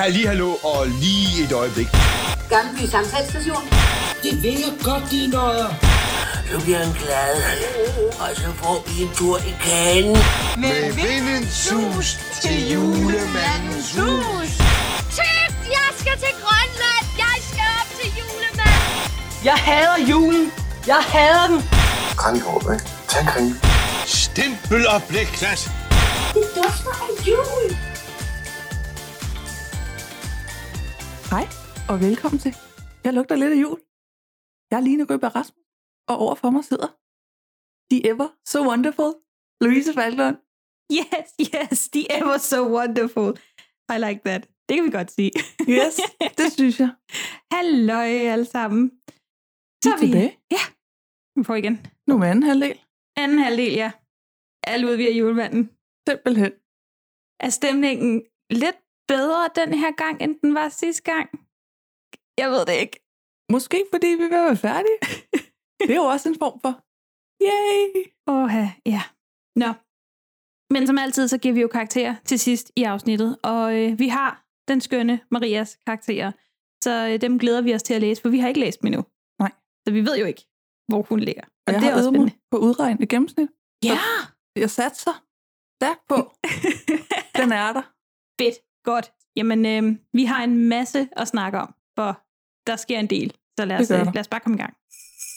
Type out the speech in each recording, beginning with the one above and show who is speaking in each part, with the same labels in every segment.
Speaker 1: Halli, hallo og lige et øjeblik.
Speaker 2: Gammelby Samtalsstation.
Speaker 3: Det vil jeg godt, de nøjer.
Speaker 4: Så bliver han glad, og så får vi en tur i kagen.
Speaker 1: Med vindens sus til julemandens hus.
Speaker 5: Tøft, jeg skal til Grønland. Jeg skal op til julemanden.
Speaker 6: Jeg hader julen. Jeg hader den.
Speaker 7: Kranjehåb, ikke? Tag en
Speaker 1: Stempel og blikklat.
Speaker 2: Det dufter af jul.
Speaker 8: Hej, og velkommen til. Jeg lugter lidt af jul. Jeg er Line Røber Rasmus, og overfor mig sidder The Ever So Wonderful, Louise Falklund.
Speaker 9: Yes, yes, the ever so wonderful. I like that. Det kan vi godt sige.
Speaker 8: Yes, det synes jeg.
Speaker 9: Halløj alle sammen.
Speaker 8: Så er vi tilbage.
Speaker 9: Ja, vi får igen.
Speaker 8: Nu med anden halvdel.
Speaker 9: Anden halvdel, ja. Alle ud via julemanden.
Speaker 8: Simpelthen.
Speaker 9: Er stemningen lidt bedre den her gang, end den var sidste gang? Jeg ved det ikke.
Speaker 8: Måske fordi vi vil være færdige. det er jo også en form for, yay!
Speaker 9: Åh, ja. Nå. Men som altid, så giver vi jo karakterer til sidst i afsnittet. Og øh, vi har den skønne Marias karakterer. Så øh, dem glæder vi os til at læse, for vi har ikke læst dem endnu.
Speaker 8: Nej.
Speaker 9: Så vi ved jo ikke, hvor hun ligger.
Speaker 8: Og
Speaker 9: Og
Speaker 8: jeg
Speaker 9: det er
Speaker 8: har
Speaker 9: også
Speaker 8: øvet mig
Speaker 9: spændende.
Speaker 8: på udregnet gennemsnit.
Speaker 9: Ja!
Speaker 8: Jeg satser stærkt på. Den er der.
Speaker 9: Fedt. Godt. Jamen, øh, vi har en masse at snakke om, for der sker en del. Så lad
Speaker 8: Det
Speaker 9: os,
Speaker 8: gør
Speaker 9: øh,
Speaker 8: der.
Speaker 9: lad os bare komme i gang.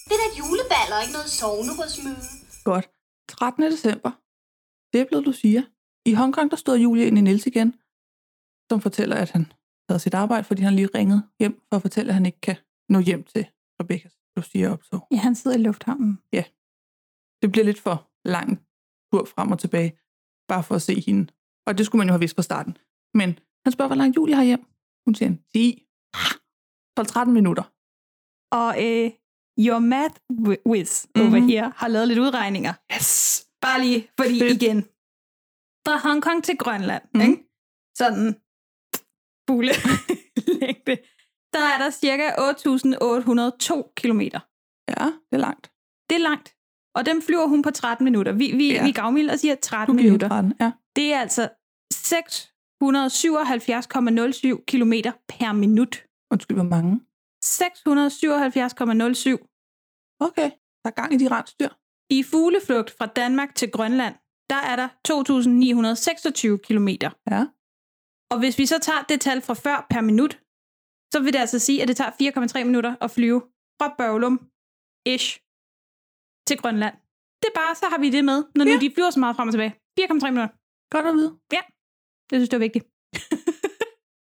Speaker 2: Det der juleballer ikke noget sovnerødsmøde.
Speaker 8: Godt. 13. december. Det er blevet Lucia. I Hongkong, der stod Julie ind i Niels igen, som fortæller, at han havde sit arbejde, fordi han lige ringede hjem for at fortælle, at han ikke kan nå hjem til Rebekkas Lucia optog.
Speaker 9: Ja, han sidder i lufthavnen.
Speaker 8: Det bliver lidt for lang tur frem og tilbage, bare for at se hende. Og det skulle man jo have vidst fra starten. Men han spørger, hvor langt Julie har hjem. Hun siger, 10. 12-13 minutter.
Speaker 9: Og øh, your math wi- whiz over
Speaker 8: Mhm.
Speaker 9: mm-hmm. here har lavet lidt udregninger.
Speaker 8: Yes!
Speaker 9: Bare lige, fordi
Speaker 8: Fedt.
Speaker 9: Fedt. igen. Fra Hongkong til Grønland,
Speaker 8: Mhm.
Speaker 9: mm. ikke? Sådan fugle længde. Der er der cirka 8.802 kilometer.
Speaker 8: Ja, det er langt.
Speaker 9: Det er langt. Og dem flyver hun på 13 minutter. Vi, vi,
Speaker 8: Ja.
Speaker 9: ja. vi gavmilder og siger 13
Speaker 8: Du giver
Speaker 9: minutter.
Speaker 8: hende 13. Ja.
Speaker 9: Det er altså 677,07 kilometer per minut.
Speaker 8: Undskyld, hvor mange.
Speaker 9: 677,07
Speaker 8: Okay, der er gang i de rensdyr.
Speaker 9: I fugleflugt fra Danmark til Grønland, der er der 2.926 km.
Speaker 8: Ja.
Speaker 9: Og hvis vi så tager det tal fra før per minut, så vil det altså sige, at det tager 4,3 minutter at flyve fra Børglum, ish, til Grønland. Det er bare, så har vi det med, når nu
Speaker 8: Ja.
Speaker 9: de flyver så meget frem og tilbage. 4,3 minutter.
Speaker 8: Godt at vide.
Speaker 9: Det synes jeg er vigtigt.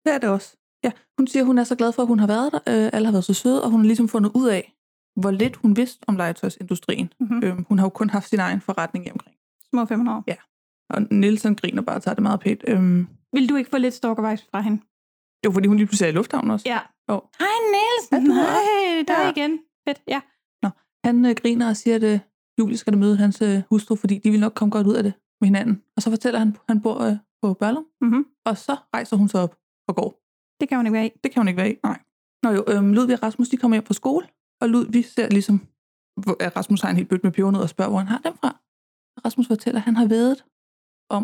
Speaker 8: Det er det også. Ja, hun siger, hun er så glad for, at hun har været der. Øh, alle har været så søde, og hun har ligesom fundet ud af, hvor lidt hun vidste om legetøjsindustrien.
Speaker 9: Mm-hmm.
Speaker 8: Mm. Øhm, hun har jo kun haft sin egen forretning omkring.
Speaker 9: Små 500 år.
Speaker 8: Og Nielsen griner bare og tager det meget pænt. Øhm,
Speaker 9: Vil du ikke få lidt stalkervejs fra hende?
Speaker 8: det var fordi, hun lige pludselig er i lufthavnen også.
Speaker 9: Ja.
Speaker 8: Jo.
Speaker 9: Hej Nielsen!
Speaker 8: Ja, du er.
Speaker 9: Hej, der
Speaker 8: Ja.
Speaker 9: ja. igen. Fedt, ja.
Speaker 8: Han øh, griner og siger, at øh, Julie skal da møde hans øh, hustru, fordi de vil nok komme godt ud af det med hinanden. Og så fortæller han, at han bor øh, på Børlum,
Speaker 9: Mm-hmm.
Speaker 8: og så rejser hun sig op og går.
Speaker 9: Det kan hun ikke være i.
Speaker 8: Det kan hun ikke være i, nej. Nå jo, øhm, Ludvig og Rasmus, de kommer hjem fra skole, og Ludvig ser ligesom, hvor- at Rasmus har en helt bødt med pebernød og spørger, hvor han har dem fra. Og Rasmus fortæller, at han har været om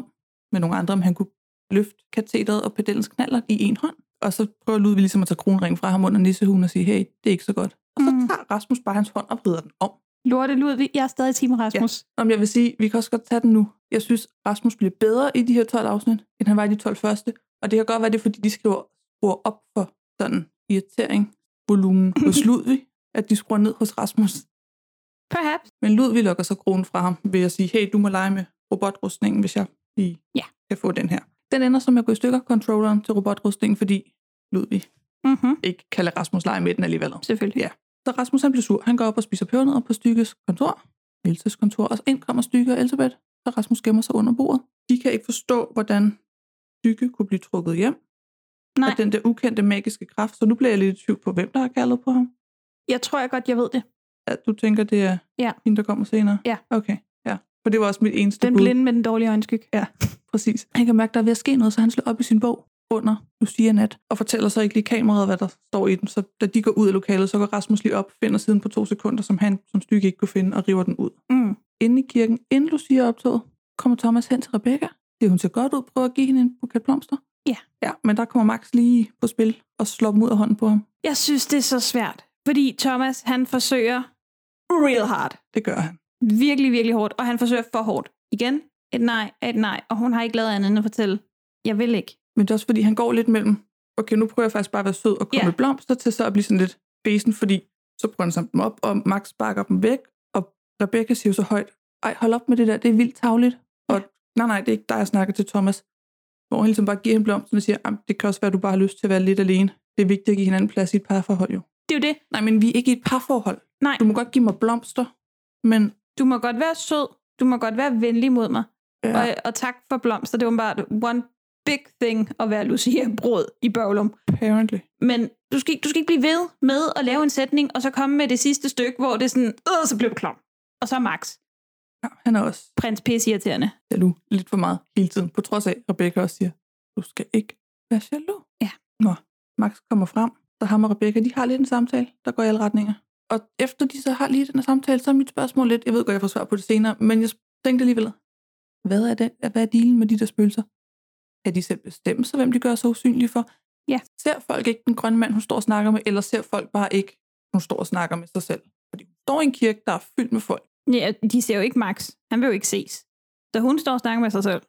Speaker 8: med nogle andre, om han kunne løfte kateteret og pedellens knaller i en hånd. Og så prøver Ludvig ligesom at tage kronringen fra ham under nissehugen og sige, hey, det er ikke så godt. Og så
Speaker 9: Mm.
Speaker 8: tager Rasmus bare hans hånd og vrider den om.
Speaker 9: Lorte Ludvig, jeg er stadig i Team Rasmus.
Speaker 8: Om jeg vil sige, vi kan også godt tage den nu. Jeg synes, Rasmus bliver bedre i de her 12 afsnit, end han var i de 12 første. Og det kan godt være, det er, fordi de skriver, skruer op for sådan irritering, volumen hos Ludvig, at de skruer ned hos Rasmus.
Speaker 9: Perhaps.
Speaker 8: Men Ludvig lukker så kronen fra ham ved at sige, hey, du må lege med robotrustningen, hvis jeg lige
Speaker 9: Ja.
Speaker 8: kan få den her. Den ender som at gå i stykker, controlleren til robotrustningen, fordi Ludvig
Speaker 9: Mm-hmm.
Speaker 8: ikke kan lade Rasmus lege med den alligevel.
Speaker 9: Selvfølgelig.
Speaker 8: Ja. Så Rasmus han bliver sur. Han går op og spiser pebernødder på Stykkes kontor. Elses kontor. Og så ind kommer Stykke og Elisabeth. Så Rasmus gemmer sig under bordet. De kan ikke forstå, hvordan Stykke kunne blive trukket hjem
Speaker 9: Nej,
Speaker 8: af den der ukendte magiske kraft. Så nu bliver jeg lidt i tvivl på, hvem der har kaldet på ham.
Speaker 9: jeg tror jeg godt, jeg ved det.
Speaker 8: At du tænker, det er
Speaker 9: Ja.
Speaker 8: hende, der kommer senere?
Speaker 9: Ja.
Speaker 8: Okay, ja. For det var også mit eneste
Speaker 9: Den
Speaker 8: bud.
Speaker 9: blinde med den dårlige øjenskygge.
Speaker 8: Præcis. Han kan mærke, der er ved at ske noget, så han slår op i sin bog under Lucia Nat, og fortæller så ikke lige kameraet, hvad der står i den. Så da de går ud af lokalet, så går Rasmus lige op, finder siden på to sekunder, som han som stykke ikke kunne finde, og river den ud.
Speaker 9: Mm.
Speaker 8: Inde i kirken, inden Lucia er optaget, kommer Thomas hen til Rebecca. Det hun ser godt ud, prøver at give hende en buket blomster.
Speaker 9: Ja.
Speaker 8: Ja, men der kommer Max lige på spil og slår dem ud af hånden på ham.
Speaker 9: Jeg synes, det er så svært, fordi Thomas, han forsøger real hard.
Speaker 8: Det gør han.
Speaker 9: Virkelig, virkelig hårdt, og han forsøger for hårdt. Igen, et nej, et nej, og hun har ikke lavet andet end at fortælle, jeg vil ikke.
Speaker 8: Men det er også fordi, han går lidt mellem, okay, nu prøver jeg faktisk bare at være sød og komme
Speaker 9: Ja.
Speaker 8: yeah. med blomster, til så at blive sådan lidt besen, fordi så prøver han sammen dem op, og Max bakker dem væk, og Rebecca siger jo så højt, ej, hold op med det der, det er vildt tavligt. Og nej, nej, det er ikke dig, jeg snakker til Thomas. Hvor han ligesom bare giver hende blomsten og siger, "Am, det kan også være, at du bare har lyst til at være lidt alene. Det er vigtigt at give hinanden plads i et parforhold jo.
Speaker 9: Det er jo det.
Speaker 8: Nej, men vi er ikke i et parforhold.
Speaker 9: Nej,
Speaker 8: Du må godt give mig blomster, men
Speaker 9: du må godt være sød, du må godt være venlig mod mig,
Speaker 8: ja,
Speaker 9: og, og tak for blomster. Det er åbenbart one big thing at være Lucia Brød i Børglum.
Speaker 8: apparently.
Speaker 9: Men du skal, ikke- du skal ikke blive ved med at lave en sætning, og så komme med det sidste stykke, hvor det er sådan, øh, så blev du klam. Og så er Max,
Speaker 8: Ja, han er også
Speaker 9: prins pisse irriterende.
Speaker 8: jaloux lidt for meget hele tiden, på trods af, at Rebecca også siger, du skal ikke være jaloux.
Speaker 9: Ja.
Speaker 8: Nå, Max kommer frem, så ham og Rebecca, de har lidt en samtale, der går i alle retninger. Og efter de så har lige den her samtale, så er mit spørgsmål lidt, jeg ved godt, jeg får svar på det senere, men jeg tænkte alligevel, hvad er, det, hvad er dealen med de der spøgelser? Kan de selv bestemme sig, hvem de gør sig usynlige for?
Speaker 9: Ja.
Speaker 8: Ser folk ikke den grønne mand, hun står og snakker med, eller ser folk bare ikke, hun står og snakker med sig selv? Fordi hun står i en kirke, der er fyldt med folk.
Speaker 9: Ja, de ser jo ikke Max. Han vil jo ikke ses. Så hun står og snakker med sig selv.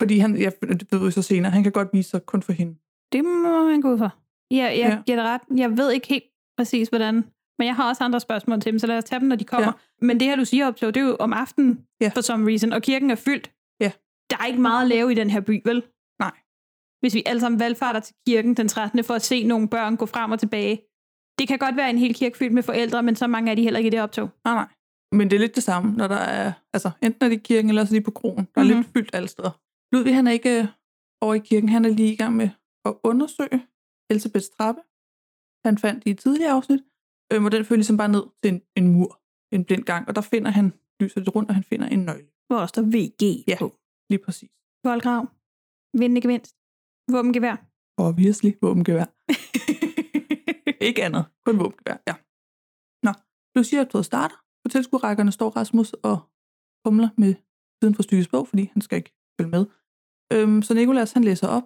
Speaker 8: Fordi han, jeg, det ved vi så senere, han kan godt vise sig kun for hende.
Speaker 9: Det må man gå ud for. Ja, jeg ja.
Speaker 8: Ja.
Speaker 9: giver dig ret. Jeg ved ikke helt præcis, hvordan. Men jeg har også andre spørgsmål til dem, så lad os tage dem, når de kommer. Ja. Men det her, du siger op det er jo om aftenen, ja.
Speaker 8: Ja.
Speaker 9: for some reason. Og kirken er fyldt.
Speaker 8: Ja.
Speaker 9: Der er ikke meget at lave i den her by, vel?
Speaker 8: Nej.
Speaker 9: Hvis vi alle sammen valgfarter til kirken den 13. for at se nogle børn gå frem og tilbage. Det kan godt være en hel kirke fyldt med forældre, men så mange er de heller ikke i det optog.
Speaker 8: Nej, nej. Men det er lidt det samme, når der er, altså enten er det i kirken, eller også lige på krogen. Der er mm-hmm. lidt fyldt alle steder. Ludvig, han er ikke øh, over i kirken, han er lige i gang med at undersøge Elisabeths trappe. Han fandt i et tidligere afsnit, øhm, og den fører ligesom bare ned til en, en mur, en blind gang, og der finder han, lyser det rundt, og han finder en nøgle.
Speaker 9: Hvor der står VG
Speaker 8: Ja.
Speaker 9: på.
Speaker 8: Lige præcis.
Speaker 9: Voldgrav. Vindende gevinst. Våbengevær.
Speaker 8: Obviously, våbengevær. ikke andet, kun våbengevær, ja. Nå, Lucia er starter. På tilskuerrækkerne står Rasmus og humler med siden for stykkes bog, fordi han skal ikke følge med. Øhm, så Nikolas han læser op.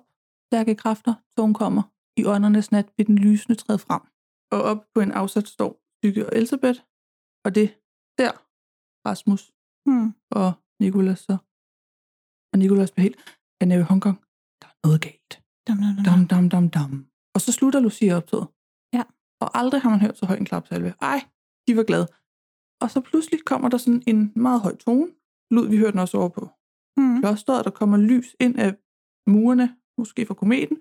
Speaker 8: Stærke kræfter, tågen kommer. I åndernes nat vil den lysende træde frem. Og op på en afsats står Stykke og Elisabeth. Og det der Rasmus
Speaker 9: Hmm.
Speaker 8: og Nikolas så. Og Nikolas bliver helt, han er jo i Hongkong. Der er noget galt.
Speaker 9: Dum, dum, dum, dum.
Speaker 8: Dam, dam, dam, dam. Og så slutter Lucia optaget.
Speaker 9: Ja.
Speaker 8: Og aldrig har man hørt så høj en klapsalve. Ej, de var glade. Og så pludselig kommer der sådan en meget høj tone. Lyd, vi hørte den også over på
Speaker 9: Hmm.
Speaker 8: klosteret, der kommer lys ind af murene, måske fra kometen.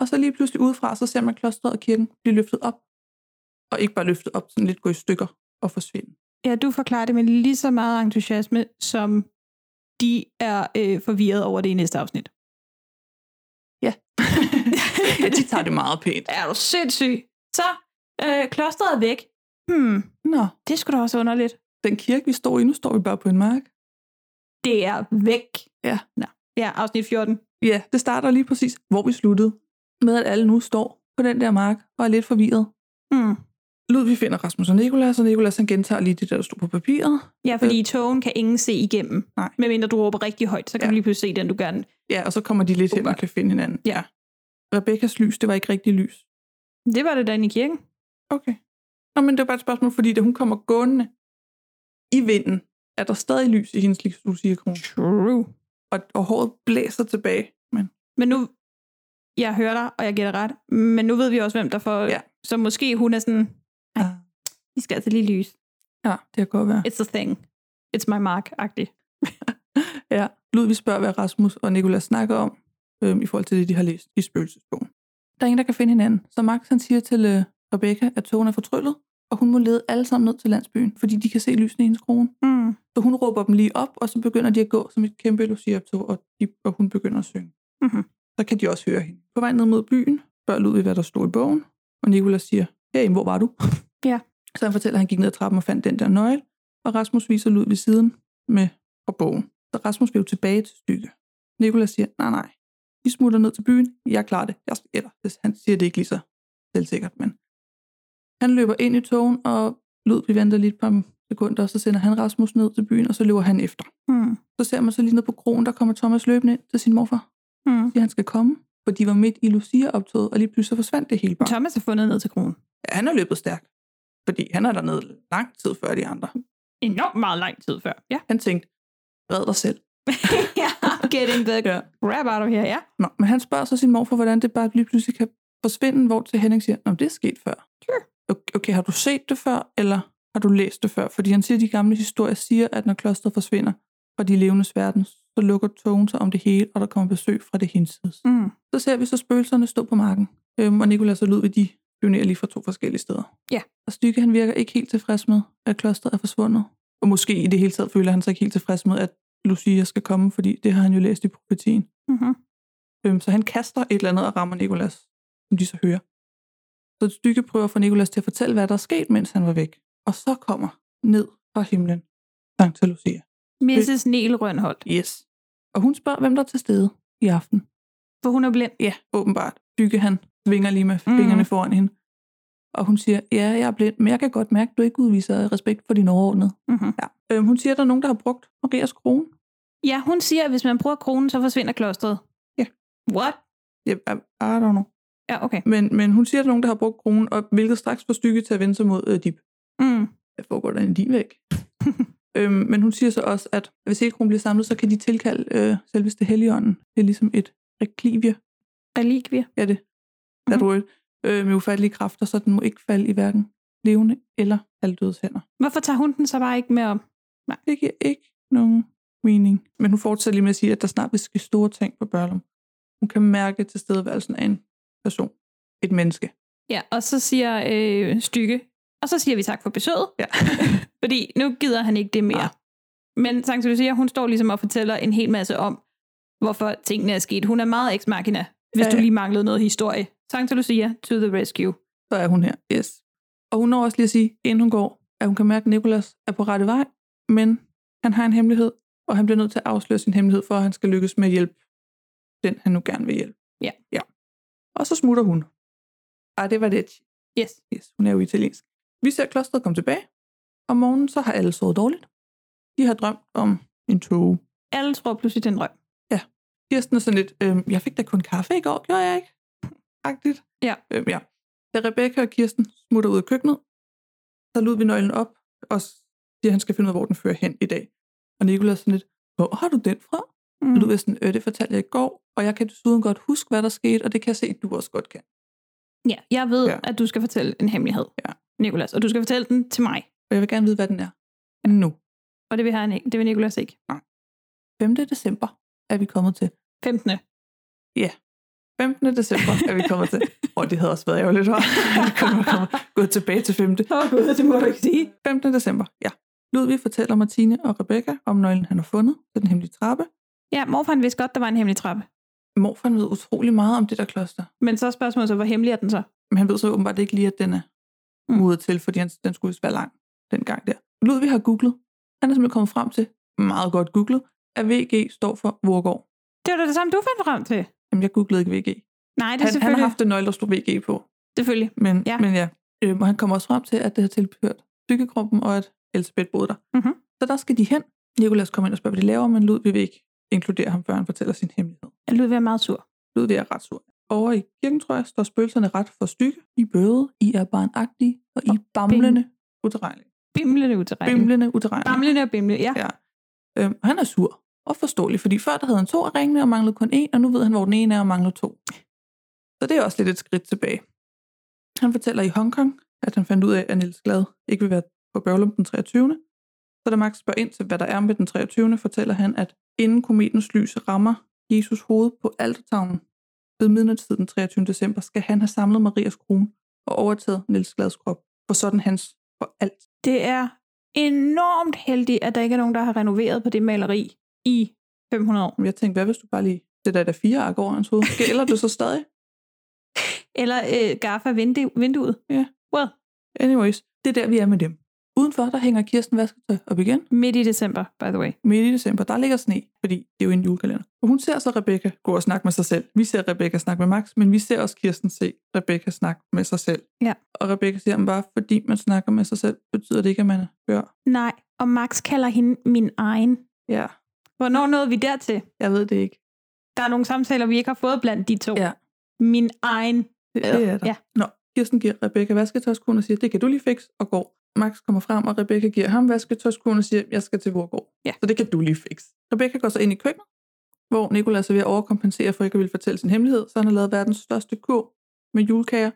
Speaker 8: Og så lige pludselig udefra, så ser man klosteret og kirken blive løftet op. Og ikke bare løftet op, sådan lidt gå i stykker og forsvinde.
Speaker 9: Ja, du forklarer det med lige så meget entusiasme, som de er øh, forvirret over det i næste afsnit.
Speaker 8: ja, de tager det meget pænt.
Speaker 9: Er du sindssyg? Så, øh, klosteret er væk. Hmm,
Speaker 8: Nå,
Speaker 9: det skulle da også underligt.
Speaker 8: den kirke, vi står i, nu står vi bare på en mark.
Speaker 9: Det er væk.
Speaker 8: Ja.
Speaker 9: Nå. Ja, afsnit 14.
Speaker 8: Ja, det starter lige præcis, hvor vi sluttede. Med at alle nu står på den der mark og er lidt forvirret.
Speaker 9: Hmm.
Speaker 8: Ludvig finder Rasmus og Nikolas, og Nikolas han gentager lige det, der stod på papiret.
Speaker 9: Ja, fordi i togen kan ingen se igennem.
Speaker 8: Øh. Nej.
Speaker 9: Medmindre du råber rigtig højt, så kan
Speaker 8: Ja.
Speaker 9: du lige pludselig se den, du gerne.
Speaker 8: Ja, og så kommer de lidt hen og
Speaker 9: Åbenbart.
Speaker 8: kan finde hinanden.
Speaker 9: Ja.
Speaker 8: Rebekkas lys, det var ikke rigtig lys.
Speaker 9: Det var det derinde i kirken.
Speaker 8: Okay. Nå, men det var bare et spørgsmål, fordi da hun kommer gående i vinden, er der stadig lys i hendes Lucia-krone.
Speaker 9: True.
Speaker 8: Og, og håret blæser tilbage. Men
Speaker 9: Men nu, jeg hører dig, og jeg gætter ret, men nu ved vi også, hvem der får, ja.
Speaker 8: Ja.
Speaker 9: så måske hun er sådan,
Speaker 8: ja, Ah,
Speaker 9: vi skal altså lige lyse.
Speaker 8: ja det kan godt være.
Speaker 9: It's a thing. It's my mark-agtig.
Speaker 8: Ja, Ludvig spørger, hvad Rasmus og Nikolas snakker om, øhm, i forhold til det, de har læst i spøgelsesbogen. Der er ingen, der kan finde hinanden, så Max han siger til øh, Rebecca, at togen er fortryllet, og hun må lede alle sammen ned til landsbyen, fordi de kan se lysene i hendes krone.
Speaker 9: Mm.
Speaker 8: Så hun råber dem lige op, og så begynder de at gå som et kæmpe Lucia-optog, og, de, og hun begynder at synge.
Speaker 9: Mhm.
Speaker 8: Så kan de også høre hende. På vej ned mod byen spørger Ludvig, hvad der stod i bogen, og Nikolas siger, hey, hvor var du?
Speaker 9: Ja.
Speaker 8: Så han fortæller, at han gik ned ad trappen og fandt den der nøgle, og Rasmus viser Ludvig siden med fra bogen. Så Rasmus vil jo tilbage til stykke. Nikolas siger, nej, nej, I smutter ned til byen, jeg klarer det. Jeg, eller, han siger det ikke lige så selvsikkert, men han løber ind i togen, og Ludvig venter lige et par sekunder, og så sender han Rasmus ned til byen, og så løber han efter.
Speaker 9: Mm.
Speaker 8: Så ser man så lige ned på krogen, der kommer Thomas løbende ind til sin morfar.
Speaker 9: Mm.
Speaker 8: siger, han skal komme, for de var midt i Lucia-optoget, og lige pludselig så forsvandt det hele bare.
Speaker 9: Thomas er fundet ned til kronen.
Speaker 8: Ja, han er løbet stærkt, fordi han er dernede lang tid før de andre.
Speaker 9: Enormt meget lang tid før. Ja.
Speaker 8: Han tænkte, red dig selv.
Speaker 9: ja. Getting the
Speaker 8: Ja.
Speaker 9: crap out of here, ja.
Speaker 8: Nå, men han spørger så sin morfar, hvordan det bare lige pludselig kan forsvinde, hvor til Henning siger, om det er sket før.
Speaker 9: Sure.
Speaker 8: Okay, okay, har du set det før, eller har du læst det før? Fordi han siger, at de gamle historier siger, at når klosteret forsvinder fra de levendes verden, så lukker togen sig om det hele, og der kommer besøg fra det hinsides. Mm.
Speaker 9: Mm.
Speaker 8: Så ser vi så spøgelserne stå på marken, øhm, og Nikolas og Ludvig, de pionerer lige fra to forskellige steder.
Speaker 9: Ja.
Speaker 8: Og Stykke, han virker ikke helt tilfreds med, at klosteret er forsvundet. Og måske i det hele taget føler han sig ikke helt tilfreds med, at Lucia skal komme, fordi det har han jo læst i profetien.
Speaker 9: Mm-hmm.
Speaker 8: Øhm, så han kaster et eller andet og rammer Nikolas, som de så hører. Så et stykke prøver at få Nikolas til at fortælle, hvad der er sket, mens han var væk. Og så kommer ned fra himlen Santa Lucia.
Speaker 9: Mrs. Niel Rønholdt.
Speaker 8: Yes. Og hun spørger, hvem der er til stede i aften.
Speaker 9: For hun er blind. Mm.
Speaker 8: Ja, åbenbart. Dykke han svinger lige med fingrene foran hende. Og hun siger, ja, jeg er blind, men jeg kan godt mærke, at du ikke udviser respekt for din overordnede.
Speaker 9: Mm-hmm.
Speaker 8: Ja. Øhm, hun siger, at der er nogen, der har brugt Margers krone.
Speaker 9: Ja, hun siger, at hvis man bruger kronen, så forsvinder klostret.
Speaker 8: Ja.
Speaker 9: What?
Speaker 8: Jeg, I, I don't know.
Speaker 9: Ja, okay.
Speaker 8: Men, men hun siger, at der er nogen, der har brugt kronen, og hvilket straks får stykke til at vende sig mod øh, Dib.
Speaker 9: Mm.
Speaker 8: hvad foregår der i din væg? øhm, men hun siger så også, at hvis hele kronen bliver samlet, så kan de tilkalde øh, selveste heligånden. Det er ligesom et reklivie,
Speaker 9: Relikvier.
Speaker 8: er det, der
Speaker 9: Mhm.
Speaker 8: mm-hmm. du øh, med ufattelige kræfter, så den må ikke falde i hverken levende eller halvdødes hænder.
Speaker 9: Hvorfor tager hun den så bare ikke med om?
Speaker 8: Det giver ikke nogen mening. Men hun fortsætter lige med at sige, at der snart vil ske store ting på Børlum. Hun kan mærke tilstedeværelsen af en person. Et menneske.
Speaker 9: Ja, og så siger øh, Stykke, og så siger vi tak for besøget,
Speaker 8: Ja.
Speaker 9: fordi nu gider han ikke det mere.
Speaker 8: Nej.
Speaker 9: Men Sankt Lucia, hun står ligesom og fortæller en hel masse om, hvorfor tingene er sket. Hun er meget ex machina, hvis
Speaker 8: Ja,
Speaker 9: du
Speaker 8: ja.
Speaker 9: lige manglede noget historie. Sankt Lucia, to the rescue.
Speaker 8: så er hun her. Yes. Og hun når også lige at sige, inden hun går, at hun kan mærke, at Nicolas er på rette vej, men han har en hemmelighed, og han bliver nødt til at afsløre sin hemmelighed, for at han skal lykkes med at hjælpe den, han nu gerne vil hjælpe.
Speaker 9: Ja.
Speaker 8: ja. Og så smutter hun. Ah, det var det.
Speaker 9: Yes.
Speaker 8: Yes, hun er jo italiensk. Vi ser klosteret komme tilbage. Om morgenen, så har alle sovet dårligt. De har drømt om en tog.
Speaker 9: Alle tror pludselig, den røg.
Speaker 8: Kirsten er sådan lidt, øhm, jeg fik da kun kaffe i går, gjorde jeg ikke? Agtigt.
Speaker 9: Ja.
Speaker 8: Øhm, ja. Da Rebecca og Kirsten smutter ud af køkkenet, så lod vi nøglen op, og siger, at han skal finde ud af, hvor den fører hen i dag. Og Nicolas sådan lidt, hvor har du den fra? Mm. Og Ludvig er sådan, øh, det fortalte jeg i går, og jeg kan desuden godt huske, hvad der skete, og det kan jeg se, at du også godt kan.
Speaker 9: Ja, jeg ved,
Speaker 8: Ja.
Speaker 9: ja. at du skal fortælle en hemmelighed,
Speaker 8: Ja.
Speaker 9: Nikolas, og du skal fortælle den til mig.
Speaker 8: Og jeg vil gerne vide, hvad den er. Nu.
Speaker 9: Og det vil, han ikke. Det vil Nikolas ikke.
Speaker 8: 5. december er vi kommet til.
Speaker 9: 15.
Speaker 8: 15. december er vi kommet til. Og det havde også været ærgerligt, var. Vi kunne komme gået tilbage til 5.
Speaker 9: Åh oh, gud, det må du ikke sige.
Speaker 8: 15. december, ja. Ludvig fortæller Martine og Rebecca om nøglen, han har fundet til den hemmelige trappe.
Speaker 9: Ja, morfar han vidste godt, der var en hemmelig trappe.
Speaker 8: Morfar ved utrolig meget om det der kloster,
Speaker 9: Men så er spørgsmålet så, hvor hemmelig er den så?
Speaker 8: men han ved så åbenbart ikke lige, at den er
Speaker 9: Mm.
Speaker 8: modet til, fordi han, den skulle vist være lang dengang der. Ludvig har googlet. Han er simpelthen kommet frem til, meget godt googlet, at VG står for Vorgård.
Speaker 9: Det var da det samme, du fandt frem til.
Speaker 8: Jamen, jeg googlede ikke VG.
Speaker 9: Nej, det er
Speaker 8: Han, han har
Speaker 9: selvfølgelig.
Speaker 8: haft en nøgle, der stod VG på.
Speaker 9: Selvfølgelig.
Speaker 8: Men ja.
Speaker 9: Ja.
Speaker 8: Men ja. Øhm, og han kommer også frem til, at det har tilhørt dykkegruppen, og at Elisabeth boede der.
Speaker 9: Mhm.
Speaker 8: Så der skal de hen. Nikolas kommer ind og spørger, hvad de laver, men Ludvig vil ikke inkludere ham, før han fortæller sin hemmelighed.
Speaker 9: Jeg lød være meget sur.
Speaker 8: Ludvig er ret sur. Over i kirken, tror jeg, står spøgelserne ret for stykke. I bøde, I er barnagtige, og I er bamlende uterrenlige.
Speaker 9: Bimlende uterrenlig.
Speaker 8: Bimlende uterrenlige.
Speaker 9: Bamlende og bimle, ja.
Speaker 8: Ja. Øhm, han er sur og forståelig, fordi før der havde han to af ringene og manglede kun en, og nu ved han, hvor den ene er og mangler to. Så det er også lidt et skridt tilbage. Han fortæller i Hongkong, at han fandt ud af, at Niels Glad ikke vil være på Børlum den 23. Så da Max spørger ind til, hvad der er med den 23. fortæller han, at inden kometens lys rammer Jesus hoved på altertavlen ved midnatstid den 23. december, skal han have samlet Marias krone og overtaget Niels Glads krop, for sådan hans for alt.
Speaker 9: Det er enormt heldigt, at der ikke er nogen, der har renoveret på det maleri i 500 år.
Speaker 8: Men Jeg tænkte, hvad hvis du bare lige sætter der fire ark over hans hoved? Gælder det så stadig?
Speaker 9: Eller øh, gaffa vindu- vinduet.
Speaker 8: Ja.
Speaker 9: Well,
Speaker 8: Anyways, det er der, vi er med dem. Udenfor, der hænger Kirsten vasketøj op igen.
Speaker 9: midt i december, by the way.
Speaker 8: Midt i december, der ligger sne, fordi det er jo en julekalender. Og hun ser så Rebecca gå og snakke med sig selv. Vi ser Rebecca snakke med Max, men vi ser også Kirsten se Rebecca snakke med sig selv.
Speaker 9: Ja.
Speaker 8: Og Rebecca siger, at bare fordi man snakker med sig selv, betyder det ikke, at man gør.
Speaker 9: Nej, og Max kalder hende min egen.
Speaker 8: Ja,
Speaker 9: Hvornår nåede vi dertil?
Speaker 8: jeg ved det ikke.
Speaker 9: Der er nogle samtaler, vi ikke har fået blandt de to.
Speaker 8: Ja.
Speaker 9: Min egen.
Speaker 8: Det, det er der.
Speaker 9: Ja.
Speaker 8: Nå, Kirsten giver Rebecca vasketøjskoen og siger, det kan du lige fikse, og går. Max kommer frem, og Rebecca giver ham vasketøjskoen og siger, jeg skal til Vorgård.
Speaker 9: Ja.
Speaker 8: Så det kan du lige fikse. Rebecca går så ind i køkkenet, hvor Nicolas er ved at overkompensere for ikke at ville fortælle sin hemmelighed, så han har lavet verdens største kur med julekager.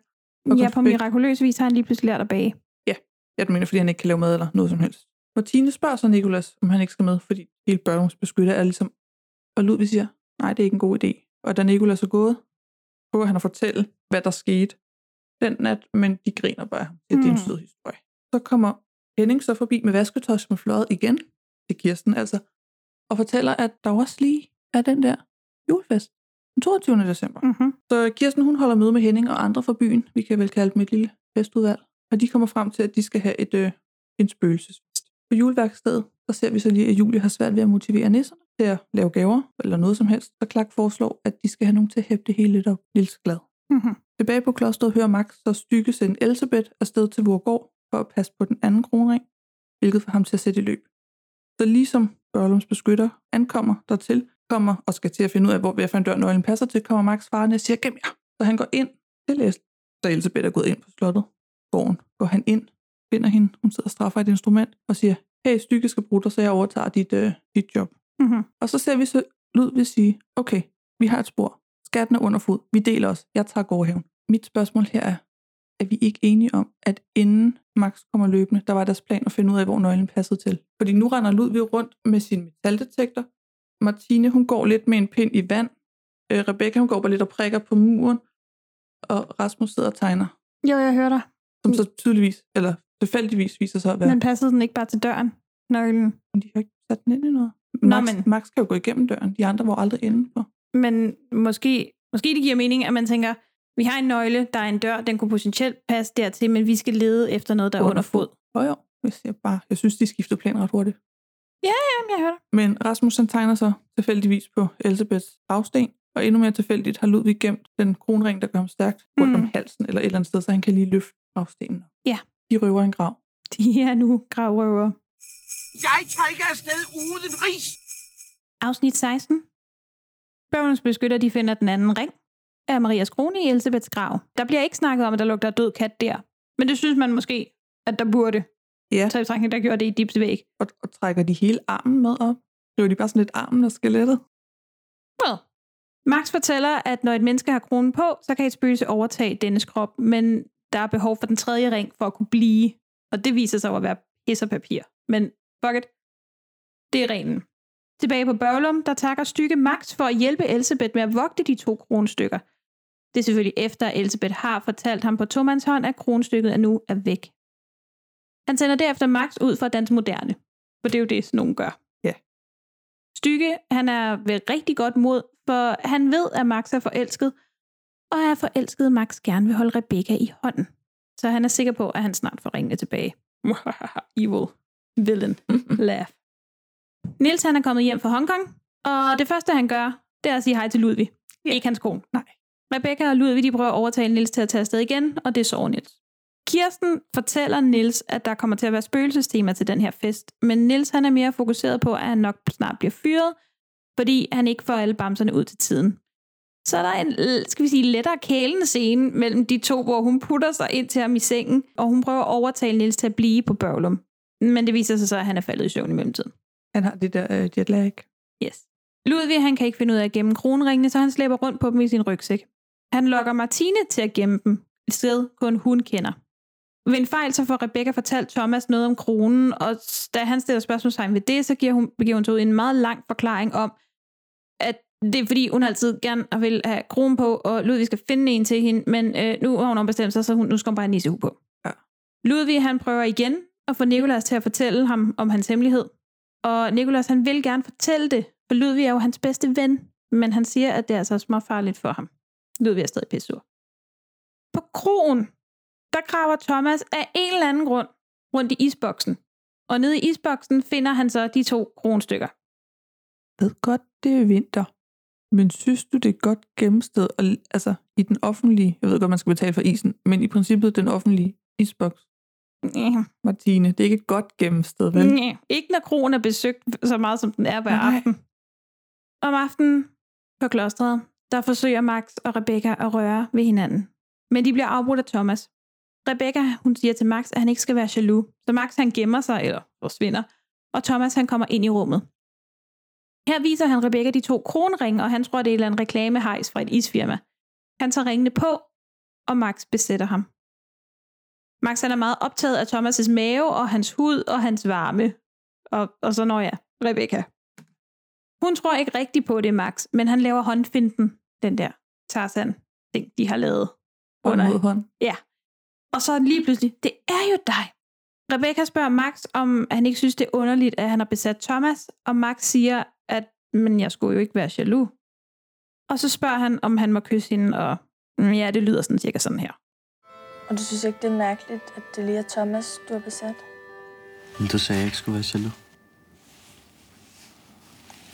Speaker 8: Og
Speaker 9: Ja, på
Speaker 8: konfekt.
Speaker 9: mirakuløs vis har han lige pludselig lært at bage.
Speaker 8: Jeg mener, fordi han ikke kan lave mad eller noget som helst. Martine spørger så Nicolas, om han ikke skal med, fordi hele børnens beskytter er ligesom... Og Ludvig siger, nej, det er ikke en god idé. Og da Nicolas er gået, prøver han at fortælle, hvad der skete den nat, men de griner bare. Det, det er en
Speaker 9: Mm.
Speaker 8: sød historie. Så kommer Henning så forbi med vasketøj som er fløjet igen til Kirsten, altså, og fortæller, at der jo også lige er den der julefest den 22. december.
Speaker 9: Mm-hmm.
Speaker 8: Så Kirsten hun holder møde med Henning og andre fra byen. Vi kan vel kalde dem et lille festudvalg. Og de kommer frem til, at de skal have et, øh, en spøgelsesfest. På juleværkstedet, der ser vi så lige, at Julie har svært ved at motivere nisserne til at lave gaver eller noget som helst. Så Clark foreslår, at de skal have nogen til at hæppe det hele lidt op. Lille glad.
Speaker 9: Mm-hmm.
Speaker 8: Tilbage på klosteret hører Max så stykke sende Elisabeth afsted til Vorgård for at passe på den anden kronring, hvilket får ham til at sætte i løb. Så ligesom Børlums beskytter ankommer dertil, kommer og skal til at finde ud af, hvor hvad for en dør nøglen passer til, kommer Max farne og siger, gem jer. Så han går ind til Elisabeth, så Elisabeth er gået ind på slottet. Gården går han ind, finder hende, hun sidder og straffer et instrument og siger, hey, stykke skal bruge dig, så jeg overtager dit, øh, dit job.
Speaker 9: Mm-hmm.
Speaker 8: Og så ser vi så Ludvig sige, okay, vi har et spor. Skatten er under fod. Vi deler os. Jeg tager gårdhaven. Mit spørgsmål her er, er vi ikke enige om, at inden Max kommer løbende, der var deres plan at finde ud af, hvor nøglen passede til? Fordi nu render Ludvig rundt med sin metaldetektor. Martine, hun går lidt med en pind i vand. Øh, Rebecca, hun går bare lidt og prikker på muren. Og Rasmus sidder og tegner,
Speaker 9: Jo, jeg hører dig.
Speaker 8: som så tydeligvis, eller tilfældigvis viser sig at
Speaker 9: Ja.
Speaker 8: være,
Speaker 9: Men passede den ikke bare til døren? Nøglen.
Speaker 8: men de har ikke sat den ind i noget. Max,
Speaker 9: men-
Speaker 8: Max kan jo gå igennem døren. De andre var aldrig inde på.
Speaker 9: Men måske, måske det giver mening, at man tænker, vi har en nøgle, der er en dør, den kunne potentielt passe dertil, men vi skal lede efter noget, der er under fod.
Speaker 8: Jo, jo. Jeg, siger bare, jeg synes, de skiftede plan ret hurtigt.
Speaker 9: Jamen, jeg hører dig.
Speaker 8: Men Rasmus han tegner sig tilfældigvis på Elisabeths gravsten, og endnu mere tilfældigt har Ludvig gemt den kronring, der gør ham stærkt rundt
Speaker 9: Mm.
Speaker 8: om halsen eller et eller andet sted, så han kan lige løfte gravstenen. op.
Speaker 9: Ja.
Speaker 8: De røver en grav.
Speaker 9: De er nu gravrøver.
Speaker 4: Jeg tager ikke afsted uden ris.
Speaker 9: Afsnit 16. Børnenes beskytter, de finder den anden ring af Marias krone i Elisabeths grav. Der bliver ikke snakket om, at der lugter af død kat der. Men det synes man måske, at der burde.
Speaker 8: Ja.
Speaker 9: Så i betragtning, der gjorde det i Dibs væg.
Speaker 8: Og, og trækker de hele armen med op. River de bare sådan lidt armen og skelettet.
Speaker 9: Well. Max fortæller, at når et menneske har kronen på, så kan et spøgelse overtage dennes krop, men der er behov for den tredje ring for at kunne blive, og det viser sig jo at være pis og papir. Men fuck it, det er reglen. Tilbage på Børlum, der takker stykke Max for at hjælpe Elisabeth med at vogte de to kronstykker. Det er selvfølgelig efter, at Elisabeth har fortalt ham på tomandshånd, at kronstykket er nu er væk. Han sender derefter Max ud for at danse moderne, for det er jo det, sådan nogen gør. Stykke, han er ved rigtig godt mod, for han ved, at Max er forelsket, og er forelsket, Max gerne vil holde Rebecca i hånden. Så han er sikker på, at han snart får ringene tilbage. Evil. Villain. Laugh. Nils han er kommet hjem fra Hongkong, og det første, han gør, det er at sige hej til Ludvig. Yeah. Ikke hans kone.
Speaker 8: Nej.
Speaker 9: Rebecca og Ludvig de prøver at overtale Nils til at tage afsted igen, og det er sorgnet. Kirsten fortæller Nils, at der kommer til at være spøgelsestema til den her fest, men Nils han er mere fokuseret på, at han nok snart bliver fyret, fordi han ikke får alle bamserne ud til tiden. Så er der en, øh, skal vi sige, lettere kælende scene mellem de to, hvor hun putter sig ind til ham i sengen, og hun prøver at overtale Nils til at blive på Børglum. Men det viser sig så, at han er faldet i søvn i mellemtiden.
Speaker 8: Han har det der øh, jetlag.
Speaker 9: Yes. Ludvig han kan ikke finde ud af at gemme kronringene, så han slæber rundt på dem i sin rygsæk. Han lokker Martine til at gemme dem et sted, kun hun kender. Ved en fejl så får Rebecca fortalt Thomas noget om kronen, og s- da han stiller spørgsmålstegn ved det, så giver hun, giver hun sig ud i en meget lang forklaring om, at det er fordi, hun altid gerne har vil have kronen på, og Ludvig skal finde en til hende, men øh, nu har hun ombestemt sig, så hun, nu skal hun bare have en nissehue på.
Speaker 8: Ja.
Speaker 9: Ludvig han prøver igen at få Nikolas til at fortælle ham om hans hemmelighed, og Nikolas han vil gerne fortælle det, for Ludvig er jo hans bedste ven, men han siger, at det er altså småfarligt for ham. Ludvig er stadig pissur. På kroen, der graver Thomas af en eller anden grund rundt i isboksen. Og nede i isboksen finder han så de to kronstykker.
Speaker 8: ved godt, det er vinter, men synes du, det er et godt gennemsted, og, altså i den offentlige, jeg ved godt, man skal betale for isen, men i princippet den offentlige isboks,
Speaker 9: Næh,
Speaker 8: Martine, det er ikke et godt gennemsted, vel?
Speaker 9: Mm, næh. Ikke når kroen er besøgt så meget, som den er hver
Speaker 8: Nej.
Speaker 9: aften. Om aftenen, På klostret, der forsøger Max og Rebecca at røre ved hinanden. Men de bliver afbrudt af Thomas. Rebecca, hun siger til Max, at han ikke skal være jaloux. Så Max han gemmer sig eller forsvinder, og Thomas han kommer ind i rummet. Her viser han Rebecca de to kronringe, og han tror, det er en eller anden reklamehejs fra et isfirma. Han tager ringene på, og Max besætter ham. Max han er meget optaget af Thomas' mave og hans hud og hans varme. Og, og så når jeg, Rebecca. Hun tror ikke rigtigt på det, Max, men han laver håndfinden, den der Tarzan ting, de har lavet.
Speaker 8: Hånd
Speaker 9: Under.
Speaker 8: mod hånd.
Speaker 9: Og så lige pludselig, det er jo dig. Rebecca spørger Max, om han ikke synes, det er underligt, at han har besat Thomas, og Max siger, at men jeg skulle jo ikke være jaloux. Og så spørger han, om han må kysse hende, og "Mm, ja, det lyder sådan cirka sådan her.
Speaker 10: Og du synes ikke, det er mærkeligt, at det lige er Thomas, du har besat?
Speaker 4: Men du sagde, jeg ikke skulle være jaloux.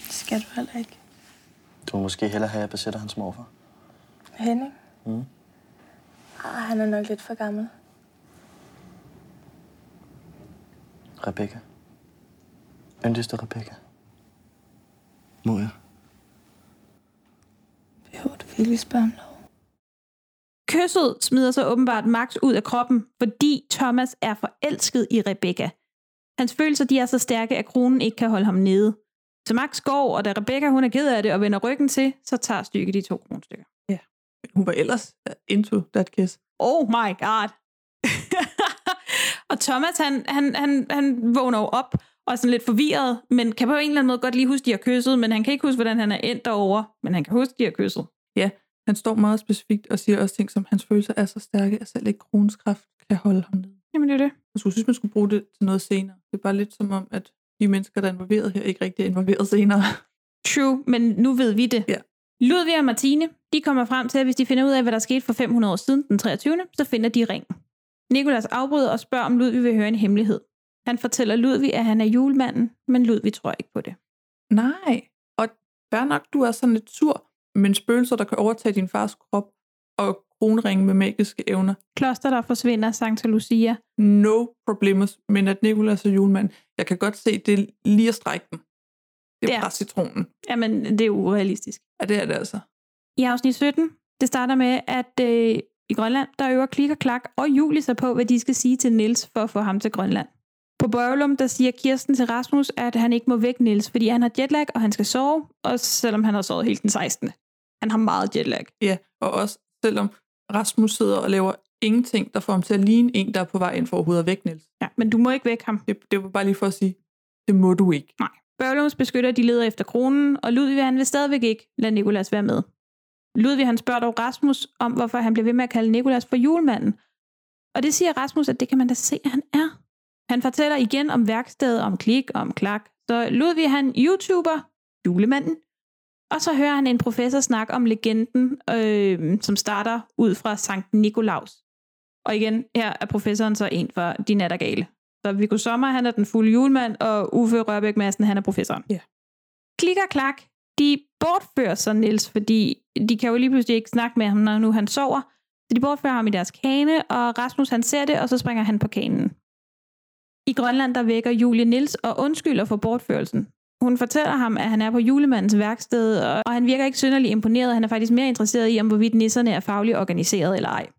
Speaker 10: Det skal du heller ikke.
Speaker 4: Du må måske hellere have, at jeg besætter hans morfar.
Speaker 10: Henning? Mm. Ah, han er nok lidt for gammel.
Speaker 4: Rebecca. Yndligste Rebecca. Må jeg?
Speaker 10: Behøver du virkelig spørge om lov?
Speaker 9: Kysset smider så åbenbart Max ud af kroppen, fordi Thomas er forelsket i Rebecca. Hans følelser de er så stærke, at kronen ikke kan holde ham nede. Så Max går, og da Rebecca hun er ked af det og vender ryggen til, så tager stykket de to kronstykker.
Speaker 8: Hun var ellers into that kiss.
Speaker 9: Oh my god. og Thomas, han, han, han, han vågner jo op og er sådan lidt forvirret, men kan på en eller anden måde godt lige huske, de har kysset, men han kan ikke huske, hvordan han er endt derovre, men han kan huske, de har kysset.
Speaker 8: Han står meget specifikt og siger også ting som, hans følelser er så stærke, at selv ikke kronens kraft kan holde ham ned.
Speaker 9: Jamen det er det.
Speaker 8: Jeg skulle synes, man skulle bruge det til noget senere. Det er bare lidt som om, at de mennesker, der er involveret her, ikke rigtig er involveret senere.
Speaker 9: True, men nu ved vi det.
Speaker 8: Ja.
Speaker 9: Ludvig og Martine, de kommer frem til, at hvis de finder ud af, hvad der skete for 500 år siden den 23., så finder de ringen. Nikolas afbryder og spørger, om Ludvig vil høre en hemmelighed. Han fortæller Ludvig, at han er julemanden, men Ludvig tror ikke på det.
Speaker 8: Nej, og fair nok, du er sådan lidt sur, men spøgelser, der kan overtage din fars krop og kronringe med magiske evner,
Speaker 9: Kloster, der forsvinder, Santa Lucia.
Speaker 8: no problemers, men at Nikolas er julemand, jeg kan godt se, det er lige at strække den. Det er
Speaker 9: Ja.
Speaker 8: ja. citronen.
Speaker 9: Jamen, det er urealistisk.
Speaker 8: Ja, det er det altså.
Speaker 9: I afsnit 17, det starter med, at øh, i Grønland, der øver Klik og Klak og Julie sig på, hvad de skal sige til Nils for at få ham til Grønland. På Børgelum, der siger Kirsten til Rasmus, at han ikke må vække Nils, fordi han har jetlag, og han skal sove, og selvom han har sovet helt den 16. Han har meget jetlag.
Speaker 8: Ja, og også selvom Rasmus sidder og laver ingenting, der får ham til at ligne en, der er på vej ind for overhovedet at vække Niels.
Speaker 9: Ja, men du må ikke vække ham.
Speaker 8: Det, det var bare lige for at sige, det må du ikke.
Speaker 9: Børlums beskytter, de leder efter kronen, og Ludvig han vil stadigvæk ikke lade Nikolas være med. Ludvig han spørger dog Rasmus om, hvorfor han bliver ved med at kalde Nikolas for julemanden. Og det siger Rasmus, at det kan man da se, at han er. Han fortæller igen om værkstedet, om klik og om klak. Så Ludvig han YouTuber, julemanden. Og så hører han en professor snakke om legenden, øh, som starter ud fra Sankt Nikolaus. Og igen, her er professoren så en for de nattergale. Så Viggo Sommer, han er den fulde julemand, og Uffe Rørbæk Madsen, han er professoren.
Speaker 8: Ja.
Speaker 9: Klik og klak, de bortfører så Niels, fordi de kan jo lige pludselig ikke snakke med ham, når nu han sover. Så de bortfører ham i deres kane, og Rasmus han ser det, og så springer han på kanen. I Grønland, der vækker Julie Niels og undskylder for bortførelsen. Hun fortæller ham, at han er på julemandens værksted, og- og han virker ikke synderlig imponeret. Han er faktisk mere interesseret i, om hvorvidt nisserne er fagligt organiseret eller ej.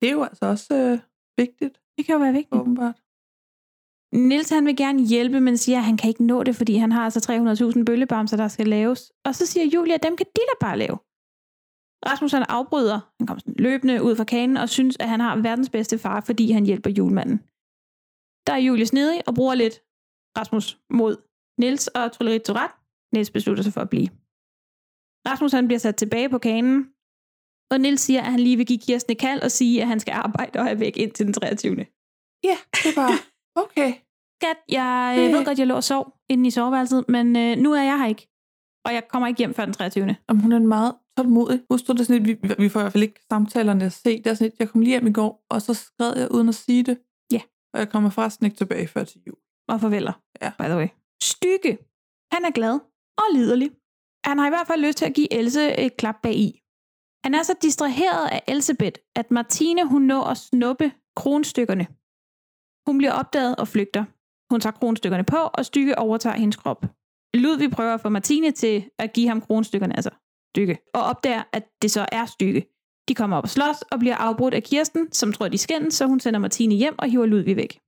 Speaker 8: Det er jo altså også øh, vigtigt,
Speaker 9: Det kan jo være vigtigt.
Speaker 8: åbenbart.
Speaker 9: Nils han vil gerne hjælpe, men siger, at han kan ikke nå det, fordi han har altså 300.000 bøllebamser, der skal laves. Og så siger Julia, at dem kan de da bare lave. Rasmus han afbryder. Han kommer sådan løbende ud fra kanen og synes, at han har verdens bedste far, fordi han hjælper julemanden. Der er Julie snedig og bruger lidt Rasmus mod Nils og Trollerit Tourette. Nils beslutter sig for at blive. Rasmus han bliver sat tilbage på kanen, og Nils siger, at han lige vil give Kirsten et kald og sige, at han skal arbejde og er væk indtil den 23.
Speaker 8: Ja, det er bare, okay.
Speaker 9: Skat, jeg øh. ved godt, jeg lå og sov inde i soveværelset, men øh, nu er jeg her ikke. Og jeg kommer ikke hjem før den 23.
Speaker 8: Om hun er en meget tålmodig. Husk du, det er sådan lidt, vi, vi får i hvert fald ikke samtalerne at se. Det er sådan lidt, jeg kom lige hjem i går, og så skred jeg uden at sige det.
Speaker 9: Ja.
Speaker 8: Og jeg kommer forresten ikke tilbage før til jul.
Speaker 9: Og farveler,
Speaker 8: Ja.
Speaker 9: by the way. Stykke. Han er glad og liderlig. Han har i hvert fald lyst til at give Else et klap bag i. Han er så distraheret af Elsebeth, at Martine hun når at snuppe kronstykkerne. Hun bliver opdaget og flygter. Hun tager kronstykkerne på, og Stykke overtager hendes krop. Ludvig prøver at få Martine til at give ham kronstykkerne, altså stykke, og opdager, at det så er stykke. De kommer op og slås og bliver afbrudt af Kirsten, som tror, de skændes, så hun sender Martine hjem og hiver Ludvig væk.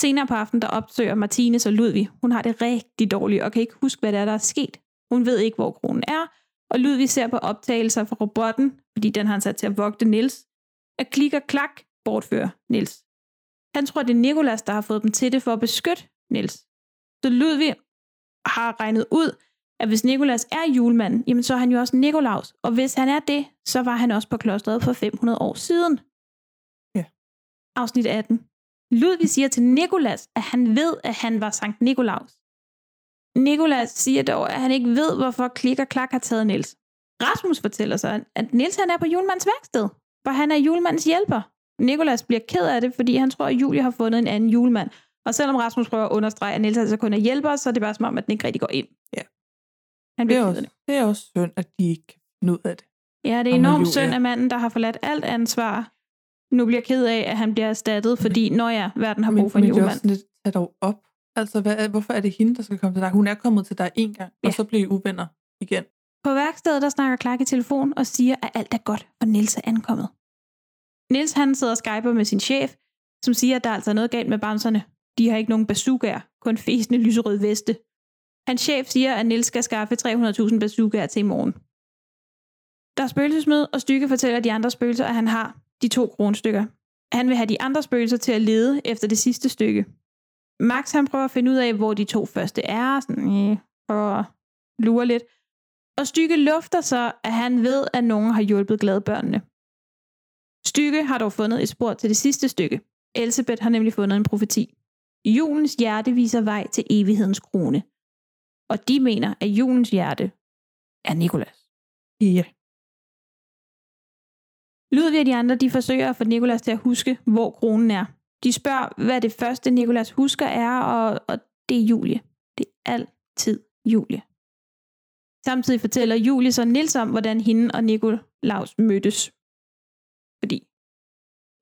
Speaker 9: Senere på aftenen, der opsøger Martine så Ludvig. Hun har det rigtig dårligt og kan ikke huske, hvad der er, der er sket. Hun ved ikke, hvor kronen er, og Ludvig ser på optagelser fra robotten, fordi den har han sat til at vogte Nils, at klik og klak bortfører Nils. Han tror, det er Nikolas, der har fået dem til det for at beskytte Nils. Så Ludvig har regnet ud, at hvis Nikolas er julemanden, jamen så er han jo også Nikolaus. Og hvis han er det, så var han også på klosteret for 500 år siden.
Speaker 8: Ja.
Speaker 9: Afsnit 18. Ludvig siger til Nikolas, at han ved, at han var Sankt Nikolaus. Nikolas siger dog, at han ikke ved, hvorfor Klik og Klak har taget Nils. Rasmus fortæller sig, at Nils han er på julemandens værksted, hvor han er julemandens hjælper. Nikolas bliver ked af det, fordi han tror, at Julie har fundet en anden julemand. Og selvom Rasmus prøver at understrege, at Nils altså kun er hjælper, så er det bare som om, at den ikke rigtig går ind.
Speaker 8: Ja.
Speaker 9: Han
Speaker 8: Det er,
Speaker 9: bliver ked af
Speaker 8: også,
Speaker 9: det.
Speaker 8: det er også synd, at de ikke kan finde ud af det.
Speaker 9: Ja, det er
Speaker 8: Om
Speaker 9: enormt
Speaker 8: Julie.
Speaker 9: synd, at manden, der har forladt alt ansvar, nu bliver ked af, at han bliver erstattet, fordi når ja, verden har brug for en
Speaker 8: men det er
Speaker 9: julemand.
Speaker 8: også lidt, tag dog op. Altså, hvad, er- hvorfor er det hende, der skal komme til dig? Hun er kommet til dig én gang, ja.
Speaker 9: Ja.
Speaker 8: og så bliver I uvenner igen.
Speaker 9: På værkstedet, der snakker Clark i telefon og siger, at alt er godt, og Nils er ankommet. Nils han sidder og skyper med sin chef, som siger, at der er altså noget galt med bamserne. De har ikke nogen bazookaer, kun fæsende lyserød veste. Hans chef siger, at Nils skal skaffe 300.000 bazookaer til i morgen. Der er spøgelsesmøde, og Stykke fortæller de andre spøgelser, at han har de to kronstykker. Han vil have de andre spøgelser til at lede efter det sidste stykke. Max han prøver at finde ud af, hvor de to første er, sådan, øh, prøver at lure lidt. Og Stykke lufter så, at han ved, at nogen har hjulpet gladbørnene. Stykke har dog fundet et spor til det sidste stykke. Elisabeth har nemlig fundet en profeti. Julens hjerte viser vej til evighedens krone. Og de mener, at julens hjerte er Nikolas.
Speaker 8: Ja.
Speaker 9: Ludvig og de andre de forsøger at få Nikolas til at huske, hvor kronen er. De spørger, hvad det første Nikolas husker er, og, og det er Julie. Det er altid Julie. Samtidig fortæller Julie så Nils om, hvordan hende og Nikolaus mødtes. Fordi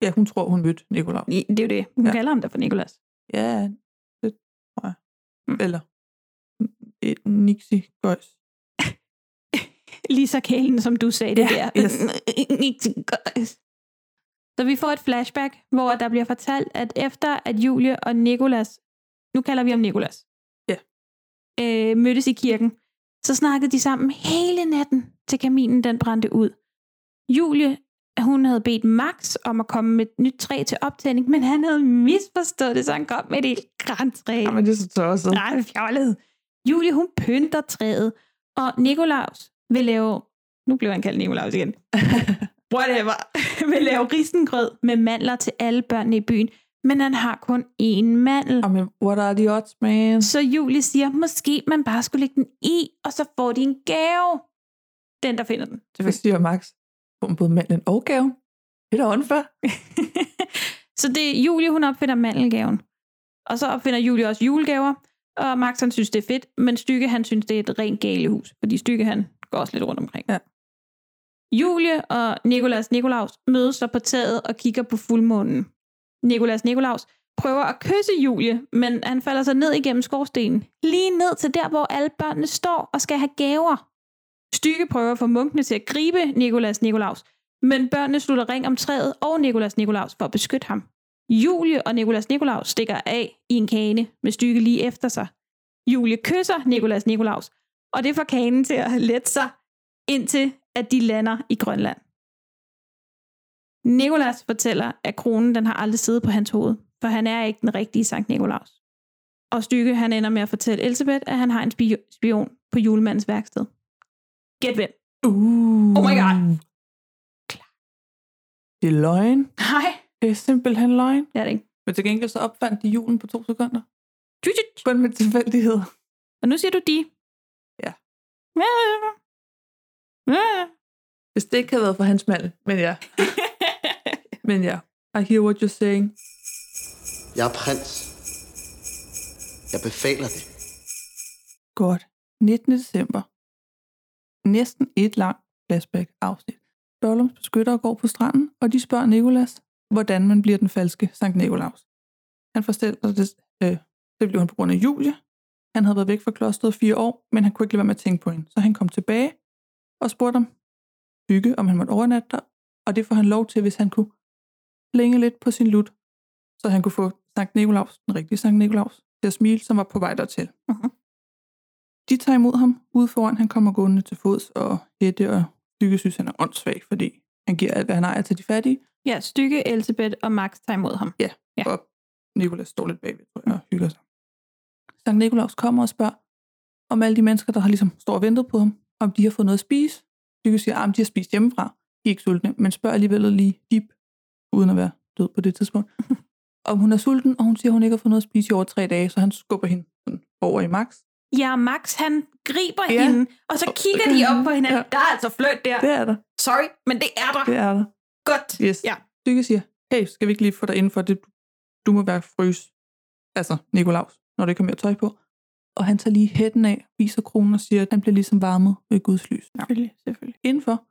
Speaker 8: ja, hun tror, hun mødte Nikolaus.
Speaker 9: det er jo det, hun
Speaker 8: Ja.
Speaker 9: ja. kalder ham der for Nikolas.
Speaker 8: Ja, det tror jeg.
Speaker 9: Mm.
Speaker 8: Eller et Nixie Gøjs.
Speaker 9: Lige så kælen, som du sagde det
Speaker 8: Ja,
Speaker 9: der.
Speaker 8: yes.
Speaker 9: Så vi får et flashback, hvor der bliver fortalt, at efter at Julie og Nikolas, nu kalder vi ham Nikolas,
Speaker 8: Ja.
Speaker 9: øh, mødtes i kirken, så snakkede de sammen hele natten, til kaminen den brændte ud. Julie, hun havde bedt Max om at komme med et nyt træ til optænding, men han havde misforstået det, så han kom med et helt græntræ.
Speaker 8: Jamen, det er så tosset.
Speaker 9: Nej, fjollet. Julie, hun pynter træet, og Nikolaus vil lave... Nu blev han kaldt Nikolaus igen. Whatever. vil lave risengrød med mandler til alle børnene i byen, men han har kun én mandel.
Speaker 8: Jamen, what are the odds, man?
Speaker 9: Så Julie siger, måske man bare skulle lægge den i, og så får de en gave. Den, der finder den.
Speaker 8: Så siger Max, hun både manden og gaven. Det er da unfair.
Speaker 9: så det er Julie, hun opfinder mandelgaven. Og så opfinder Julie også julegaver, og Max han synes, det er fedt, men Stykke han synes, det er et rent galehus, fordi Stykke han går også lidt rundt omkring.
Speaker 8: Ja.
Speaker 9: Julie og Nikolas Nikolaus mødes så på taget og kigger på fuldmånen. Nikolas Nikolaus prøver at kysse Julie, men han falder så ned igennem skorstenen. Lige ned til der, hvor alle børnene står og skal have gaver. Stykke prøver at få munkene til at gribe Nikolas Nikolaus, men børnene slutter ring om træet og Nikolas Nikolaus for at beskytte ham. Julie og Nikolas Nikolaus stikker af i en kane med stykke lige efter sig. Julie kysser Nikolas Nikolaus, og det får kanen til at lette sig, indtil at de lander i Grønland. Nikolas fortæller, at kronen den har aldrig siddet på hans hoved, for han er ikke den rigtige Sankt Nikolaus. Og Stykke han ender med at fortælle Elisabeth, at han har en spio- spion på julemandens værksted. Gæt hvem?
Speaker 8: Uh.
Speaker 9: Oh my God.
Speaker 8: Det er løgn.
Speaker 9: Nej,
Speaker 8: Det er simpelthen løgn.
Speaker 9: det er det ikke.
Speaker 8: Men til gengæld så opfandt de julen på to sekunder.
Speaker 9: Tjutjut.
Speaker 8: Kun med tilfældighed.
Speaker 9: Og nu siger du de.
Speaker 8: Ja.
Speaker 9: Ja, ja, ja. Ja, ja.
Speaker 8: Hvis det ikke havde været for hans mand, men ja. men ja. I hear what you're saying.
Speaker 11: Jeg er prins. Jeg befaler det.
Speaker 8: Godt. 19. december. Næsten et langt flashback-afsnit. Børlums beskyttere går på stranden, og de spørger Nikolas, hvordan man bliver den falske Sankt Nikolaus. Han fortæller, det, øh, det blev han på grund af Julie. Han havde været væk fra klosteret fire år, men han kunne ikke lade være med at tænke på hende, så han kom tilbage. og spurgte om Bygge, om han måtte overnatte der, og det får han lov til, hvis han kunne længe lidt på sin lut, så han kunne få Sankt Nikolaus, den rigtige Sankt Nikolaus, til at smile, som var på vej dertil. De tager imod ham ude foran, han kommer gående til fods, og Hette og Bygge synes, han er åndssvag, fordi han giver alt, hvad han ejer til de fattige,
Speaker 9: Ja, Stykke, Elisabeth og Max tager imod ham.
Speaker 8: og Nikolas står lidt bagved tror jeg, og hygger sig. Sankt Nikolaus kommer og spørger, om alle de mennesker, der har ligesom står og ventet på ham, om de har fået noget at spise. Stykke siger, at de har spist hjemmefra. De er ikke sultne, men spørger alligevel lige dip, uden at være død på det tidspunkt, om hun er sulten, og hun siger, at hun ikke har fået noget at spise i over tre dage, så han skubber hende sådan over i Max.
Speaker 9: Ja, Max han griber
Speaker 8: Ja.
Speaker 9: ja. hende, og så
Speaker 8: Og-
Speaker 9: kigger de op på hinanden.
Speaker 8: Ja.
Speaker 9: Der er altså fløjt der.
Speaker 8: Det er der,
Speaker 9: Sorry, men det er der.
Speaker 8: det er der.
Speaker 9: Godt.
Speaker 8: Yes.
Speaker 9: Ja.
Speaker 8: Stykke siger, hey, skal vi ikke lige få dig indenfor? Det, du må være frys. Altså, Nikolaus, når det ikke har mere tøj på. Og han tager lige hætten af, viser kronen og siger, at han bliver ligesom varmet ved Guds lys. Ja.
Speaker 9: Selvfølgelig, selvfølgelig.
Speaker 8: Indenfor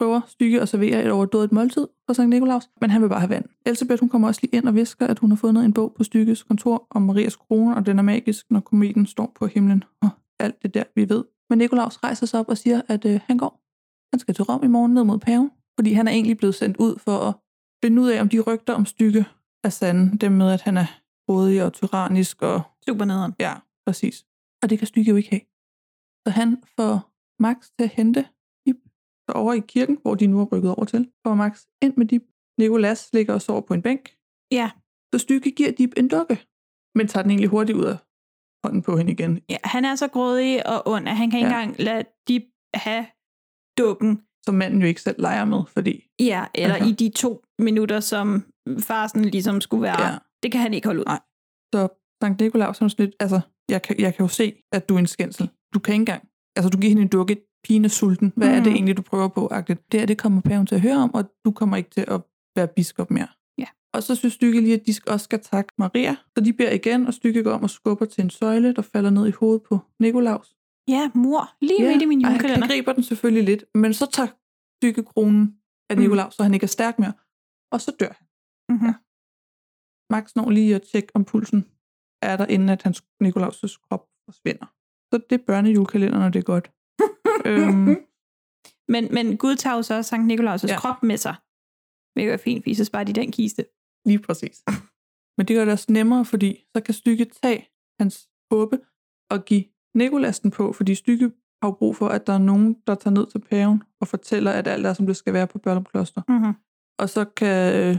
Speaker 8: prøver Stykke at servere et overdådigt måltid for Sankt Nikolaus, men han vil bare have vand. Elisabeth, hun kommer også lige ind og visker, at hun har fundet en bog på Stykkes kontor om Marias krone, og den er magisk, når kometen står på himlen og alt det der, vi ved. Men Nikolaus rejser sig op og siger, at øh, han går. Han skal til Rom i morgen ned mod paven, fordi han er egentlig blevet sendt ud for at finde ud af, om de rygter om Stykke er sande. Dem med, at han er grådig og tyrannisk og
Speaker 9: Super nederen.
Speaker 8: Ja, præcis. Og det kan Stykke jo ikke have. Så han får Max til at hente Dip så over i kirken, hvor de nu er rykket over til. Får Max ind med Dip. Nikolas ligger og sover på en bænk.
Speaker 9: Ja.
Speaker 8: Så Stykke giver Dip en dukke, men tager den egentlig hurtigt ud af hånden på hende igen.
Speaker 9: Ja, han er så grådig og ond, at han kan ikke
Speaker 8: Ja.
Speaker 9: engang lade de have dukken.
Speaker 8: Som manden jo ikke selv leger med, fordi...
Speaker 9: Ja, eller
Speaker 8: Altså.
Speaker 9: i de to minutter, som farsen ligesom skulle være.
Speaker 8: Ja.
Speaker 9: Ja. Det kan han ikke holde ud.
Speaker 8: Nej. Så Sankt Nikolaus er sådan lidt, altså, jeg kan, jeg kan jo se, at du er en skændsel. Du kan ikke engang. Altså, du giver hende en dukke, pigen er sulten. Hvad mm. er det
Speaker 9: Mhm.
Speaker 8: egentlig, du prøver på? Agtigt. Det her, det kommer paven til at høre om, og du kommer ikke til at være biskop mere.
Speaker 9: Ja.
Speaker 8: Og så synes Stykke lige, at de skal- også skal takke Maria. Så de beder igen, og Stykke går om og skubber til en søjle, der falder ned i hovedet på Nikolaus.
Speaker 9: Ja, mor, lige midt i min
Speaker 8: og han,
Speaker 9: julekalender.
Speaker 8: han griber den selvfølgelig lidt, men så tager Stykke kronen af
Speaker 9: Mhm.
Speaker 8: Nikolaus, så han ikke er stærk mere. Og så dør han.
Speaker 9: Mhm.
Speaker 8: Max når lige at tjekke, om pulsen er der, inden at hans Nikolaus' krop forsvinder. Så det er børnejulekalenderen, og det er godt. øhm,
Speaker 9: Men, men Gud tager jo så også Sankt Nikolaus'
Speaker 8: Ja.
Speaker 9: ja. krop med sig. Hvilket er fint, fordi så sparer de den kiste.
Speaker 8: lige præcis. Men det gør det også nemmere, fordi så kan Stykke tage hans håbe og give Nikolas den på, fordi Stykke har jo brug for, at der er nogen, der tager ned til paven og fortæller, at alt er, som det skal være på Børlum Kloster.
Speaker 9: Mm-hmm.
Speaker 8: Og så kan øh,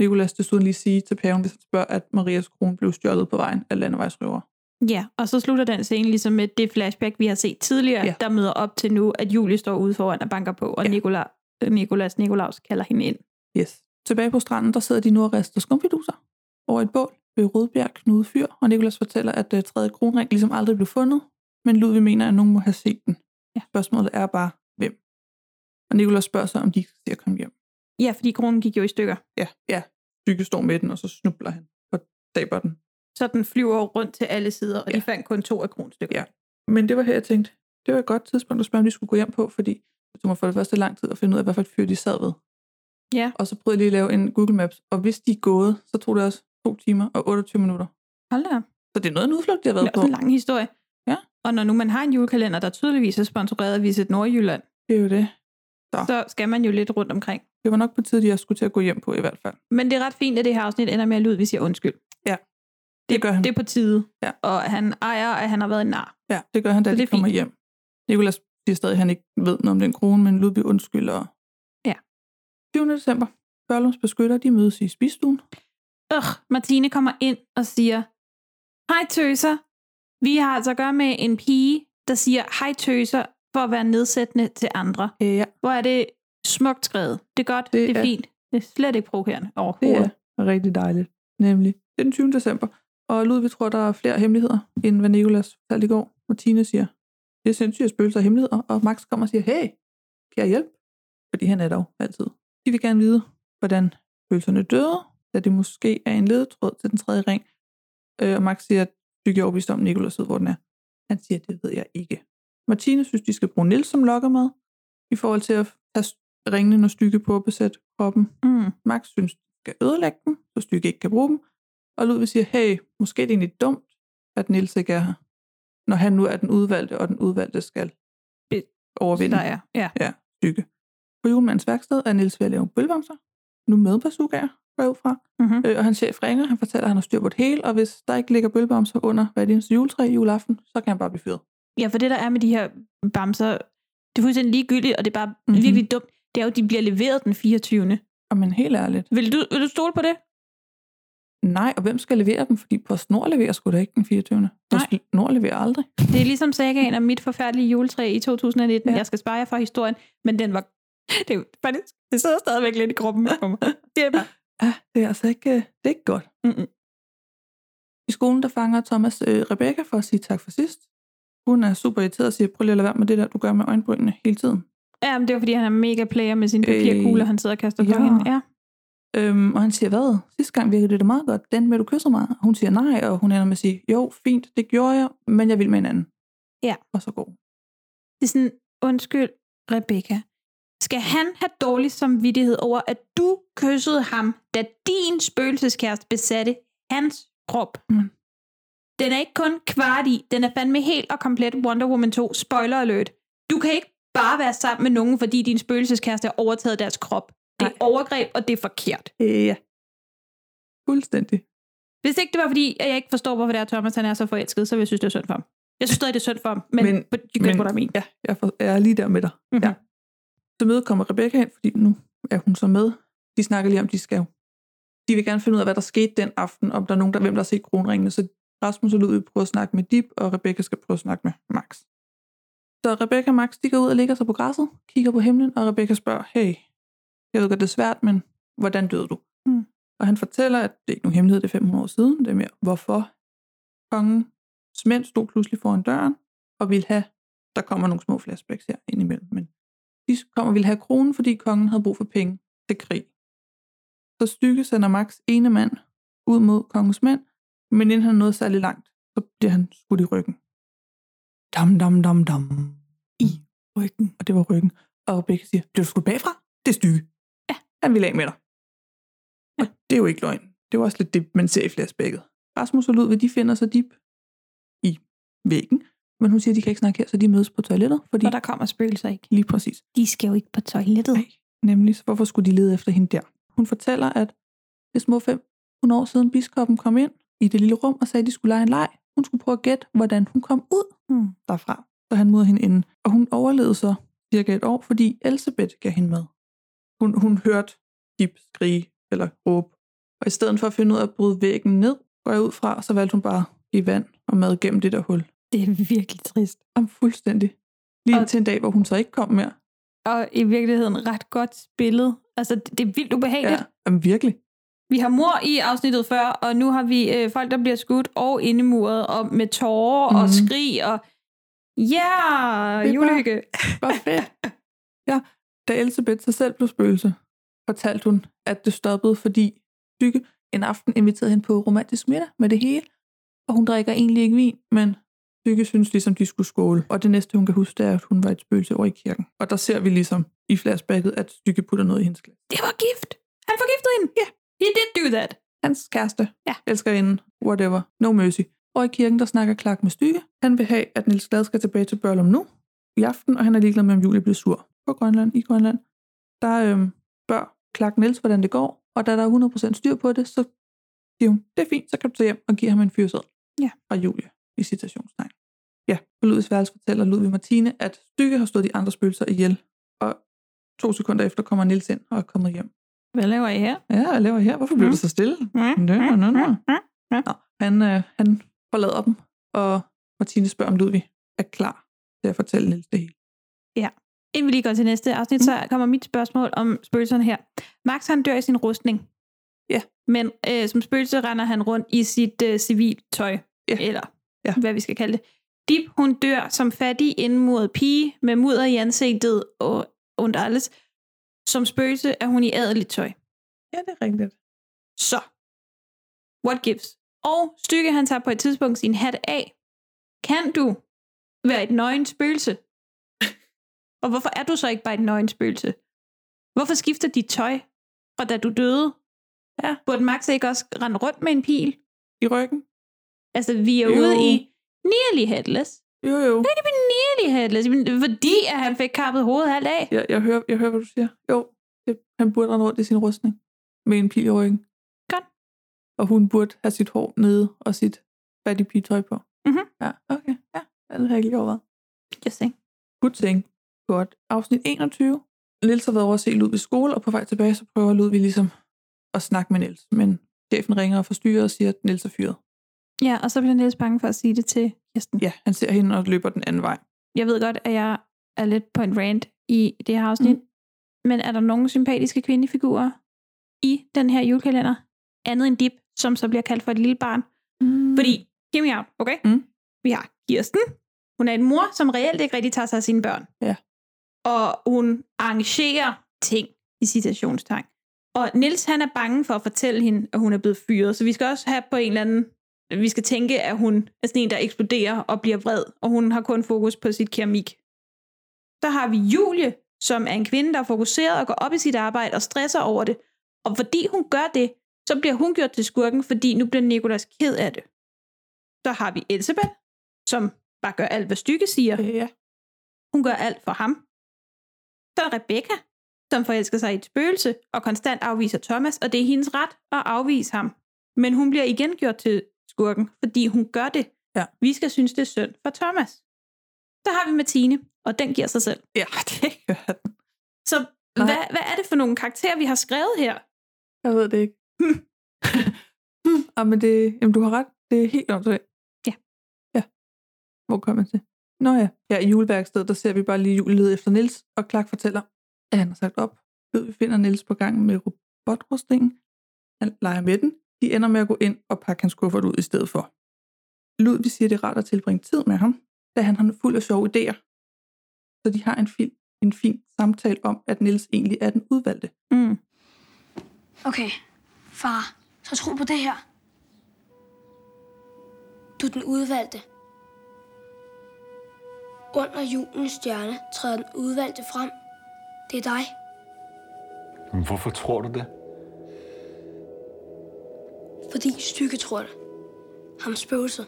Speaker 8: Nikolas desuden lige sige til paven, hvis han spørger, at Marias krone blev stjålet på vejen af landevejsrøvere.
Speaker 9: Ja, og så slutter den scene ligesom med det flashback, vi har set tidligere,
Speaker 8: Ja.
Speaker 9: ja. der møder op til nu, at Julie står ude foran og banker på, og
Speaker 8: Ja.
Speaker 9: ja. Nikola, øh, Nikolas Nikolaus kalder hende ind.
Speaker 8: Yes. Tilbage på stranden, der sidder de nu og rister skumfiduser over et bål ved Rødbjerg Knude Fyr, og Nikolas fortæller, at øh, tredje kronring ligesom aldrig blev fundet, men Ludvig mener, at nogen må have set den.
Speaker 9: Ja.
Speaker 8: Spørgsmålet er bare, hvem? Og Nikolas spørger så, om de ikke skal se at komme hjem.
Speaker 9: Ja, fordi kronen gik jo i stykker,
Speaker 8: Ja, ja. Tykke står med den, og så snubler han og taber den.
Speaker 9: så den flyver rundt til alle sider, og ja.
Speaker 8: Ja.
Speaker 9: de fandt kun to af kronstykker.
Speaker 8: Ja. Men det var her, jeg tænkte, det var et godt tidspunkt at spørge, om de skulle gå hjem på, fordi det tog mig for det første lang tid at finde ud af, hvad for et fyr de sad ved.
Speaker 9: Ja.
Speaker 8: Og så prøvede jeg lige at lave en Google Maps, og hvis de er gået, så tog det også to timer og 28 minutter.
Speaker 9: Hold da. op.
Speaker 8: Så det er noget af en udflugt, de har
Speaker 9: Det
Speaker 8: været
Speaker 9: er også en
Speaker 8: på.
Speaker 9: lang historie.
Speaker 8: Ja.
Speaker 9: Og når nu man har en julekalender, der tydeligvis er sponsoreret af Visit Nordjylland,
Speaker 8: Det er jo det. Ja.
Speaker 9: ja. så skal man jo lidt rundt omkring.
Speaker 8: Det var nok på tide, jeg skulle til at gå hjem på i hvert fald.
Speaker 9: Men det er ret fint, at det her afsnit ender med at lyde, hvis jeg undskyld.
Speaker 8: Ja.
Speaker 9: Det,
Speaker 8: Det gør han.
Speaker 9: Det er på tide.
Speaker 8: Mm. Ja.
Speaker 9: Og han ejer, at han har været en nar.
Speaker 8: Ja, det gør han, da
Speaker 9: Så det
Speaker 8: de
Speaker 9: er
Speaker 8: kommer
Speaker 9: fint.
Speaker 8: hjem. Nikolas siger stadig, at han ikke ved noget om den krone, men Ludvig undskylder.
Speaker 9: Ja.
Speaker 8: 20. december. Børlums beskytter, de mødes i spisstuen.
Speaker 9: Øh, Martine kommer ind og siger, Hej tøser. Vi har altså at gøre med en pige, der siger, hej tøser, for at være nedsættende til andre.
Speaker 8: Ja,
Speaker 9: Hvor er det smukt skrevet. Det er godt,
Speaker 8: Det
Speaker 9: det, det er,
Speaker 8: er-
Speaker 9: fint. Det er slet ikke provokerende
Speaker 8: det
Speaker 9: overhovedet.
Speaker 8: er rigtig dejligt. Nemlig. Det er den 20. december. Og Ludvig tror, der er flere hemmeligheder, end hvad Nikolas fortalte i går. Martine siger, det er sindssygt at spøge sig hemmeligheder. Og Max kommer og siger, hey, kan jeg hjælpe? Fordi han er der jo altid. De vil gerne vide, hvordan følelserne døde, da det måske er en ledetråd til den tredje ring. Øh, og Max siger, at Dykke er overbevist om, at Nicolas ved, hvor den er. Han siger, det ved jeg ikke. Martine synes, de skal bruge Nils som lokkemad, i forhold til at tage ringene, når Stykke på at besætte kroppen.
Speaker 9: Mm.
Speaker 8: Max synes, de skal ødelægge dem, så Stykke ikke kan bruge dem. Og Ludvig siger, hey, måske er det egentlig dumt, at Nils ikke er her, når han nu er den udvalgte, og den udvalgte skal overvinde.
Speaker 9: Der er, ja.
Speaker 8: Ja, psyke. På julemandens værksted er Niels ved at lave bølvamser, nu med bazookaer, går jeg ud fra.
Speaker 9: Mm-hmm.
Speaker 8: Øh, og hans chef ringer, han fortæller, at han har styr på det hele, og hvis der ikke ligger bølgebamser under hver eneste juletræ juleaften, så kan han bare blive fyret.
Speaker 9: Ja, for det der er med de her bamser, det er fuldstændig ligegyldigt, og det er bare
Speaker 8: Mhm.
Speaker 9: mm-hmm. virkelig dumt. Det er jo, at de bliver leveret den 24.
Speaker 8: Og men helt ærligt,
Speaker 9: Vil du, vil du stole på det?
Speaker 8: nej, og hvem skal levere dem? Fordi på snor leverer sgu da ikke den 24. På
Speaker 9: Nej.
Speaker 8: snor leverer aldrig.
Speaker 9: Det er ligesom sagaen om mit forfærdelige juletræ i 2019.
Speaker 8: Ja.
Speaker 9: Ja. Jeg skal spare jer fra historien, men den var... Det, er jo faktisk, det sidder stadigvæk lidt i kroppen på mig. Det er bare...
Speaker 8: Ja, det er altså ikke, øh, det er ikke godt.
Speaker 9: Mm-mm.
Speaker 8: I skolen, der fanger Thomas øh, Rebecca for at sige tak for sidst. Hun er super irriteret og siger, prøv lige at lade være med det der, du gør med øjenbrynene hele tiden.
Speaker 9: Ja, men det er jo, fordi, han er mega player med sine papirkugler,
Speaker 8: Øh,
Speaker 9: han sidder og kaster på
Speaker 8: ja.
Speaker 9: ja. hende. Ja.
Speaker 8: Øhm, og han siger, hvad? Sidste gang virkede det da meget godt. Den med, du kysser mig. Og Hun siger nej, og hun ender med at sige, jo, fint, det gjorde jeg, men jeg vil med en anden.
Speaker 9: Ja.
Speaker 8: Og så går hun.
Speaker 9: Det er sådan, undskyld, Rebecca. Skal han have dårlig samvittighed over, at du kyssede ham, da din spøgelseskæreste besatte hans krop?
Speaker 8: Mm.
Speaker 9: Den er ikke kun kvart i, den er fandme helt og komplet Wonder Woman 2. Spoiler alert. Du kan ikke bare være sammen med nogen, fordi din spøgelseskæreste har overtaget deres krop. Det er
Speaker 8: Nej.
Speaker 9: overgreb, og det er forkert.
Speaker 8: Øh, Ja. Fuldstændig.
Speaker 9: Hvis ikke det var fordi, at jeg ikke forstår, hvorfor det er, Thomas han er så forelsket, så ville jeg synes, det er synd for ham. Jeg synes stadig, det er synd for ham, men, men
Speaker 8: Men-
Speaker 9: but you get
Speaker 8: men-
Speaker 9: what I mean.
Speaker 8: Ja, jeg for- jeg er lige der med dig.
Speaker 9: Mhm.
Speaker 8: Ja. Så mødet kommer Rebecca ind, fordi nu er hun så med. De snakker lige om, de skal jo. De vil gerne finde ud af, hvad der skete den aften, om der er nogen, der, hvem der har set kronringene. Så Rasmus og Ludvig prøver at snakke med Dip, og Rebecca skal prøve at snakke med Max. Så Rebecca og Max, de går ud og ligger sig på græsset, kigger på himlen, og Rebecca spørger, hey, jeg ved godt, det er svært, men hvordan døde du?
Speaker 9: Mm.
Speaker 8: Og han fortæller, at det er ikke nogen hemmelighed, det er 500 år siden, det er mere, hvorfor kongen mænd stod pludselig foran døren, og ville have der kommer nogle små flashbacks her indimellem, men de kommer og ville have kronen, fordi kongen havde brug for penge til krig. Så Stykke sender Max ene mand ud mod kongens mænd, men inden han nåede særlig langt, så bliver han skudt i ryggen. Dam, dam, dam, dam. I ryggen. Og det var ryggen. Og Rebecca siger, det er skudt bagfra. Det er Stykke. Ja, han ville af med dig. Og det er jo ikke løgn. Det var også lidt det, man ser i flashbacket. Rasmus og Ludvig, de finder sig dip i væggen, men hun siger, at de kan ikke snakke her, så de mødes på toilettet, fordi
Speaker 9: For der kommer spøgelser ikke.
Speaker 8: Lige præcis.
Speaker 9: De skal jo ikke på toilettet.
Speaker 8: Nej. Nemlig, så hvorfor skulle de lede efter hende der? Hun fortæller, at det små 500 år siden biskoppen kom ind i det lille rum og sagde, at de skulle lege en leg. Hun skulle prøve at gætte, hvordan hun kom ud
Speaker 9: Hmm.
Speaker 8: derfra. Så han møder hende inden. Og hun overlevede så cirka et år, fordi Elisabeth gav hende med. Hun, hun hørte Dip skrige eller råbe. Og i stedet for at finde ud af at bryde væggen ned, går jeg ud fra, så valgte hun bare at give vand og mad gennem det der hul.
Speaker 9: Det er virkelig trist.
Speaker 8: Om fuldstændig. Lige
Speaker 9: Og-
Speaker 8: indtil en dag, hvor hun så ikke kom mere.
Speaker 9: Og i virkeligheden ret godt spillet. Altså, det, det er vildt ubehageligt. Ja.
Speaker 8: Jamen, virkelig.
Speaker 9: Vi har mor i afsnittet før, og nu har vi øh, folk, der bliver skudt og indemuret, og med tårer mm. og
Speaker 8: Mhm.
Speaker 9: skrig, og ja,
Speaker 8: Det er
Speaker 9: yeah, julehygge.
Speaker 8: Hvor fedt. ja, da Elisabeth sig selv blev spøgelse, fortalte hun, at det stoppede, fordi Dykke en aften inviterede hende på romantisk middag med det hele, og hun drikker egentlig ikke vin, men Dykke synes ligesom, de skulle skåle. Og det næste, hun kan huske, det er, at hun var et spøgelse over i kirken. Og der ser vi ligesom i flashbacket, at Dykke putter noget i hendes glas.
Speaker 9: Det var gift. Han forgiftede hende. Ja. Yeah. He did do that.
Speaker 8: Hans kæreste,
Speaker 9: Ja.
Speaker 8: elskerinde, whatever, no mercy. Og i kirken, der snakker Clark med Stykke. Han vil have, at Nils Glad skal tilbage til Børlum nu i aften, og han er ligeglad med, om Julie bliver sur på Grønland, i Grønland. Der øhm, spørger Clark Niels, hvordan det går, og da der er 100% styr på det, så siger hun, det er fint, så kan du tage hjem og give ham en fyrsæd.
Speaker 9: Ja.
Speaker 8: Fra Julie, i citationstegn. Ja, på Ludvigs værelse fortæller Ludvig Martine, at Stykke har stået de andre spøgelser ihjel, og to sekunder efter kommer Niels ind og er kommet hjem.
Speaker 9: Hvad laver I her?
Speaker 8: Ja, hvad laver jeg her? Hvorfor blev
Speaker 9: Mm.
Speaker 8: du så stille? Nå, nå, nå, nå. Nå, han, øh, han forlader dem, og Martine spørger, om Ludvig er klar til at fortælle Niels det hele.
Speaker 9: Inden vi lige går til næste afsnit, mm. så kommer mit spørgsmål om spøgelserne her. Max han dør i sin rustning.
Speaker 8: Ja.
Speaker 9: Men øh, som spøgelse render han rundt i sit øh, civiltøj.
Speaker 8: Ja.
Speaker 9: Eller
Speaker 8: Ja.
Speaker 9: hvad vi skal kalde det. Dip, hun dør som fattig indmuret pige med mudder i ansigtet og ondt alles. Som spøgelse er hun i adeligt tøj.
Speaker 8: Ja, det er rigtigt.
Speaker 9: Så, what gives? Og Stykke, han tager på et tidspunkt sin hat af. Kan du være et nøgen spøgelse? Og hvorfor er du så ikke bare et nøgen spøgelse? Hvorfor skifter dit tøj fra da du døde? Ja. Burde Max ikke også rende rundt med en pil?
Speaker 8: I ryggen?
Speaker 9: Altså, vi er jo.
Speaker 8: Jo.
Speaker 9: ude i nearly headless.
Speaker 8: Jo, jo.
Speaker 9: Det er nearly headless, men fordi at han fik kappet hovedet halvt af.
Speaker 8: Jeg, jeg, hører, jeg hører, hvad du siger. Jo, det, han burde rende rundt i sin rustning med en pil i ryggen.
Speaker 9: Godt.
Speaker 8: Og hun burde have sit hår nede og sit fattig pigetøj på.
Speaker 9: Mhm.
Speaker 8: Ja, okay. Ja, det har jeg ikke lige overvejet.
Speaker 9: Just saying.
Speaker 8: Good thing. Godt. Afsnit 21. Nils har været over at se Ludvig skole, og på vej tilbage, så prøver Ludvig ligesom at snakke med Nils. Men chefen ringer og forstyrrer og siger, at Nils er fyret.
Speaker 9: Ja, og så bliver Niels bange for at sige det til Kirsten.
Speaker 8: Ja, han ser hende og løber den anden vej.
Speaker 9: Jeg ved godt, at jeg er lidt på en rant i det her afsnit, mm. men er der nogle sympatiske kvindefigurer i den her julekalender, andet end Dip, som så bliver kaldt for et lille barn?
Speaker 8: Mm.
Speaker 9: Fordi, hear me out, okay?
Speaker 8: Mm.
Speaker 9: Vi har Kirsten. Hun er en mor, som reelt ikke rigtig tager sig af sine børn.
Speaker 8: Ja.
Speaker 9: Og hun arrangerer ting, i citationstegn. Og Nils han er bange for at fortælle hende, at hun er blevet fyret. Så vi skal også have på en eller anden... Vi skal tænke, at hun er sådan en, der eksploderer og bliver vred, og hun har kun fokus på sit keramik. Så har vi Julie, som er en kvinde, der er fokuseret og går op i sit arbejde og stresser over det. Og fordi hun gør det, så bliver hun gjort til skurken, fordi nu bliver Nikolas ked af det. Så har vi Elisabeth, som bare gør alt, hvad Stykke siger.
Speaker 8: Ja.
Speaker 9: Hun gør alt for ham. Så er Rebecca, som forelsker sig i et spøgelse og konstant afviser Thomas, og det er hendes ret at afvise ham. Men hun bliver igen gjort til skurken, fordi hun gør det.
Speaker 8: Ja.
Speaker 9: Vi skal synes, det er synd for Thomas. Så har vi Martine, og den giver sig selv.
Speaker 8: Ja, det gør den.
Speaker 9: Så
Speaker 8: Nej.
Speaker 9: hvad, hvad er det for nogle karakterer, vi har skrevet her?
Speaker 8: Jeg ved det ikke. Hmm. ah, men det, jamen, du har ret. Det er helt åndssvagt.
Speaker 9: Ja.
Speaker 8: Ja. Hvor kommer man til? Nå ja. Ja, i juleværkstedet, der ser vi bare lige juleled efter Nils, og Clark fortæller, at han har sagt op. Ved, vi finder Nils på gang med robotrustningen. Han leger med den. De ender med at gå ind og pakke hans kuffert ud i stedet for. Ludvig siger, det er rart at tilbringe tid med ham, da han har fuld af sjove idéer. Så de har en fin, en fin samtale om, at Nils egentlig er den udvalgte.
Speaker 9: Mm.
Speaker 12: Okay, far, så tro på det her. Du er den udvalgte. Under julens stjerne træder den udvalgte frem. Det er dig,
Speaker 13: Men hvorfor tror du det?
Speaker 12: fordi stykke tror det. Ham spøgelset.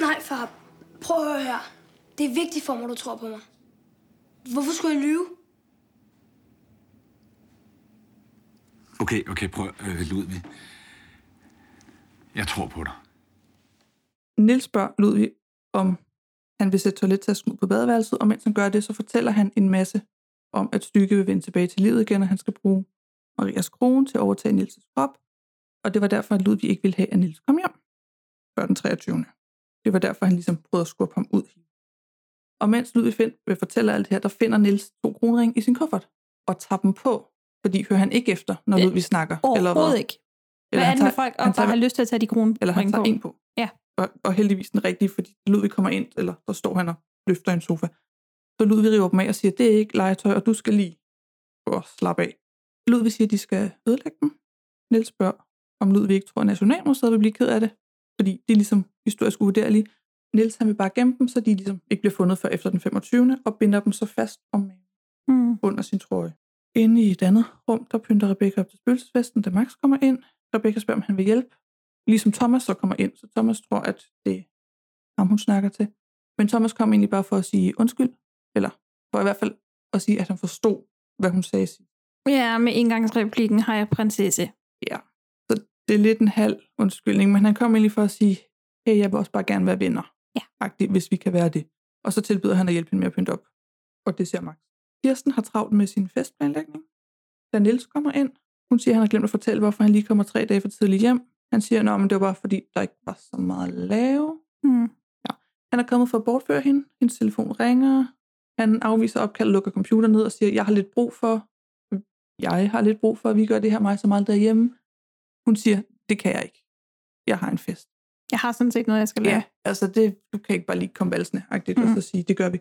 Speaker 12: Nej, far, prøv at høre her. Det er vigtigt for mig, at du tror på mig. Hvorfor skulle jeg lyve?
Speaker 13: Okay, okay, prøv øh, Ludvig. Jeg tror på dig.
Speaker 8: Nils spørger Ludvig, om han vil sætte toilettasken ud på badeværelset, og mens han gør det, så fortæller han en masse om, at Stykke vil vende tilbage til livet igen, og han skal bruge Marias krone til at overtage Nils' krop, og det var derfor, at Ludvig ikke ville have, at Nils kom hjem før den 23. Det var derfor, han ligesom prøvede at skubbe ham ud. Og mens Ludvig find, vil fortælle alt det her, der finder Nils to kronering i sin kuffert og tager dem på, fordi hører han ikke efter, når Ludvig snakker.
Speaker 9: Overhovedet ikke. Hvad er
Speaker 8: han
Speaker 9: det med
Speaker 8: tager-
Speaker 9: folk, og
Speaker 8: han
Speaker 9: bare
Speaker 8: tager-
Speaker 9: har lyst til at tage de kroner
Speaker 8: eller han tager en på.
Speaker 9: Ja.
Speaker 8: Og, og heldigvis den rigtige, fordi Ludvig kommer ind, eller der står han og løfter en sofa. Så Ludvig river dem af og siger, det er ikke legetøj, og du skal lige gå og slappe af. Ludvig siger, at de skal ødelægge dem. Niels spørger, om Ludvig ikke tror, at Nationalmuseet vil blive ked af det, fordi det er ligesom historisk uvurderlige. Niels han vil bare gemme dem, så de ligesom ikke bliver fundet før efter den 25. og binder dem så fast om maven
Speaker 9: Mm.
Speaker 8: under sin trøje. Inde i et andet rum, der pynter Rebecca op til spøgelsesfesten, da Max kommer ind. Rebecca spørger, om han vil hjælpe. Ligesom Thomas så kommer ind, så Thomas tror, at det er ham, hun snakker til. Men Thomas kom egentlig bare for at sige undskyld, eller for i hvert fald at sige, at han forstod, hvad hun sagde.
Speaker 9: Ja, med indgangsreplikken har jeg prinsesse.
Speaker 8: Ja, så det er lidt en halv undskyldning, men han kom egentlig for at sige, hey, jeg vil også bare gerne være venner,
Speaker 9: ja.
Speaker 8: agtigt, hvis vi kan være det. Og så tilbyder han at hjælpe hende med at pynte op, og det ser Max. Kirsten har travlt med sin festplanlægning. Da Niels kommer ind, hun siger, at han har glemt at fortælle, hvorfor han lige kommer tre dage for tidligt hjem. Han siger, at det var bare fordi, der ikke var så meget at lave.
Speaker 9: Mm.
Speaker 8: Han er kommet for at bortføre hende. Hendes telefon ringer. Han afviser opkald, lukker computeren ned og siger, jeg har lidt brug for, jeg har lidt brug for, at vi gør det her mig så meget derhjemme. Hun siger, det kan jeg ikke. Jeg har en fest.
Speaker 9: Jeg har sådan set noget, jeg skal lære.
Speaker 8: Ja, altså det, du kan ikke bare lige komme valsende, agtigt, mm. og
Speaker 9: Mm.
Speaker 8: så sige, det gør vi.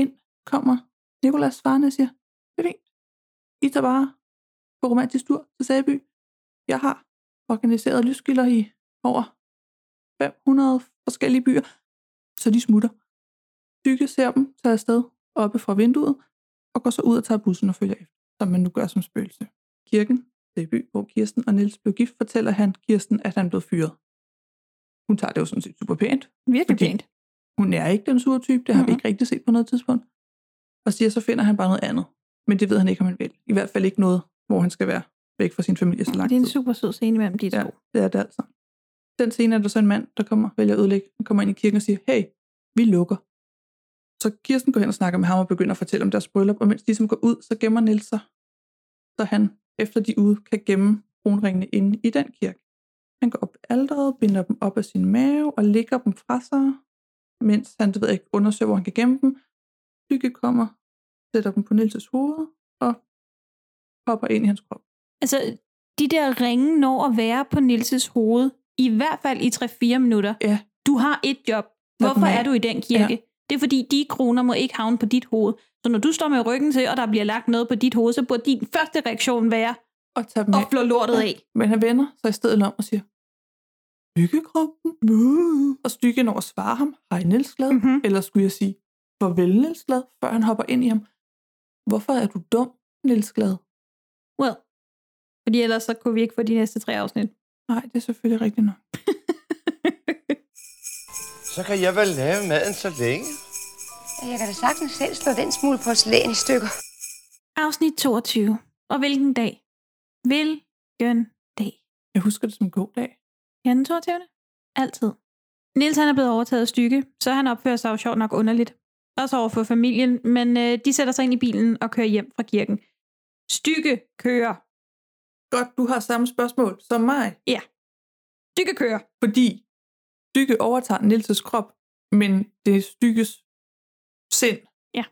Speaker 8: Ind kommer Nikolas svarende og siger, det er fint. I tager bare på romantisk tur til Sæby. Jeg har organiseret lyskilder i over 500 forskellige byer, så de smutter. Dykke ser dem, tager afsted oppe fra vinduet, og går så ud og tager bussen og følger efter, som man nu gør som spøgelse. Kirken, Sæby, hvor Kirsten og Niels blev gift, fortæller han Kirsten, at han blev fyret. Hun tager det jo sådan set super pænt,
Speaker 9: Virkelig
Speaker 8: fordi
Speaker 9: pænt.
Speaker 8: Hun er ikke den sure type, det har mm-hmm. vi ikke rigtig set på noget tidspunkt. Og siger, så finder han bare noget andet. Men det ved han ikke, om han vil. I hvert fald ikke noget, hvor han skal være væk fra sin familie så lang
Speaker 9: Det er
Speaker 8: tid.
Speaker 9: en super sød scene mellem de
Speaker 8: Ja,
Speaker 9: to.
Speaker 8: det er det altså. Den scene er der så en mand, der kommer, vælger at ødelægge, og kommer ind i kirken og siger, hey, vi lukker. Så Kirsten går hen og snakker med ham og begynder at fortælle om deres bryllup, og mens de som går ud, så gemmer Niels sig, så han, efter de er ude, kan gemme kronringene inde i den kirke. Han går op i alderet, binder dem op af sin mave og lægger dem fra sig, mens han, det ved jeg ikke, undersøger, hvor han kan gemme dem. Tykke kommer, sætter dem på Niels' hoved og hopper ind i hans krop.
Speaker 9: Altså, de der ringe når at være på Nilses hoved, i hvert fald i 3-4 minutter.
Speaker 8: Ja.
Speaker 9: Du har et job.
Speaker 8: Lad
Speaker 9: Hvorfor
Speaker 8: dem af.
Speaker 9: er du i den kirke?
Speaker 8: Ja.
Speaker 9: Det er fordi, de kroner må ikke havne på dit hoved. Så når du står med ryggen til, og der bliver lagt noget på dit hoved, så burde din første reaktion være
Speaker 8: Og tager dem
Speaker 9: at
Speaker 8: af.
Speaker 9: flå lortet af.
Speaker 8: Men han vender sig i stedet om og siger, Stykkekroppen? Uh. Og Stykke når at svare ham, hej Niels Glad, mm-hmm. eller skulle jeg sige, farvel Niels Glad, før han hopper ind i ham. Hvorfor er du dum, Niels Glad?
Speaker 9: Well, fordi ellers så kunne vi ikke få de næste tre afsnit.
Speaker 8: Nej, det er selvfølgelig rigtigt nok.
Speaker 14: Så kan jeg vel lave maden så længe.
Speaker 15: Jeg kan da sagtens selv slå den smule porcelæn i stykker.
Speaker 9: Afsnit 22. Og hvilken dag? Hvilken dag?
Speaker 8: Jeg husker det som en god dag.
Speaker 9: Ja, den 22. Altid. Niels han er blevet overtaget af stykke, så han opfører sig jo sjovt nok underligt. Også over for familien, men øh, de sætter sig ind i bilen og kører hjem fra kirken. Stykke kører.
Speaker 8: Godt, du har samme spørgsmål som mig.
Speaker 9: Ja. Stykke kører.
Speaker 8: Fordi Stykke overtager Nielses krop, men det er Stykkes sind.
Speaker 9: Ja.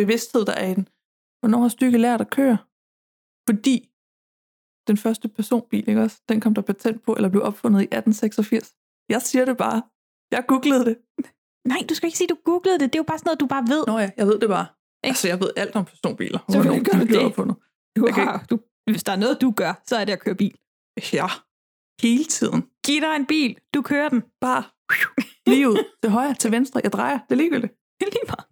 Speaker 8: Bevidsthed, der er i den. Hvornår har Stykke lært at køre? Fordi den første personbil, ikke også? Den kom der patent på, eller blev opfundet i 1886. Jeg siger det bare. Jeg googlede det.
Speaker 9: Nej, du skal ikke sige, du googlede det. Det er jo bare sådan noget, du bare ved.
Speaker 8: Nå ja, jeg ved det bare. Altså, jeg ved alt om personbiler.
Speaker 9: Selvfølgelig
Speaker 8: Hvornår
Speaker 9: gør
Speaker 8: de
Speaker 9: du
Speaker 8: blev
Speaker 9: det.
Speaker 8: opfundet.
Speaker 9: Du
Speaker 8: Jeg kan
Speaker 9: har, du, hvis der er noget, du gør, så er det at køre bil.
Speaker 8: Ja, hele tiden.
Speaker 9: Giv dig en bil. Du kører den.
Speaker 8: Bare lige ud til højre, til venstre. Jeg drejer. Det er ligegyldigt.
Speaker 9: Lige meget.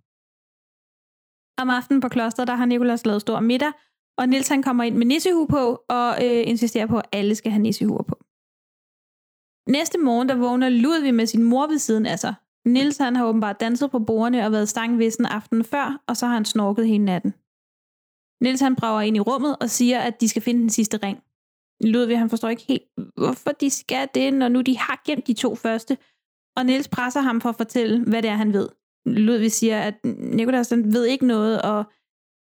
Speaker 9: Om aftenen på klosteret, der har Nikolas lavet stor middag, og Nils han kommer ind med nissehue på, og øh, insisterer på, at alle skal have nissehuer på. Næste morgen, der vågner Ludvig med sin mor ved siden af sig. Nils han har åbenbart danset på bordene og været stangvissen aftenen før, og så har han snorket hele natten. Nils han brager ind i rummet og siger, at de skal finde den sidste ring. Ludvig han forstår ikke helt, hvorfor de skal det, når nu de har gemt de to første. Og Nils presser ham for at fortælle, hvad det er, han ved. Ludvig siger, at Nikolas den ved ikke noget, og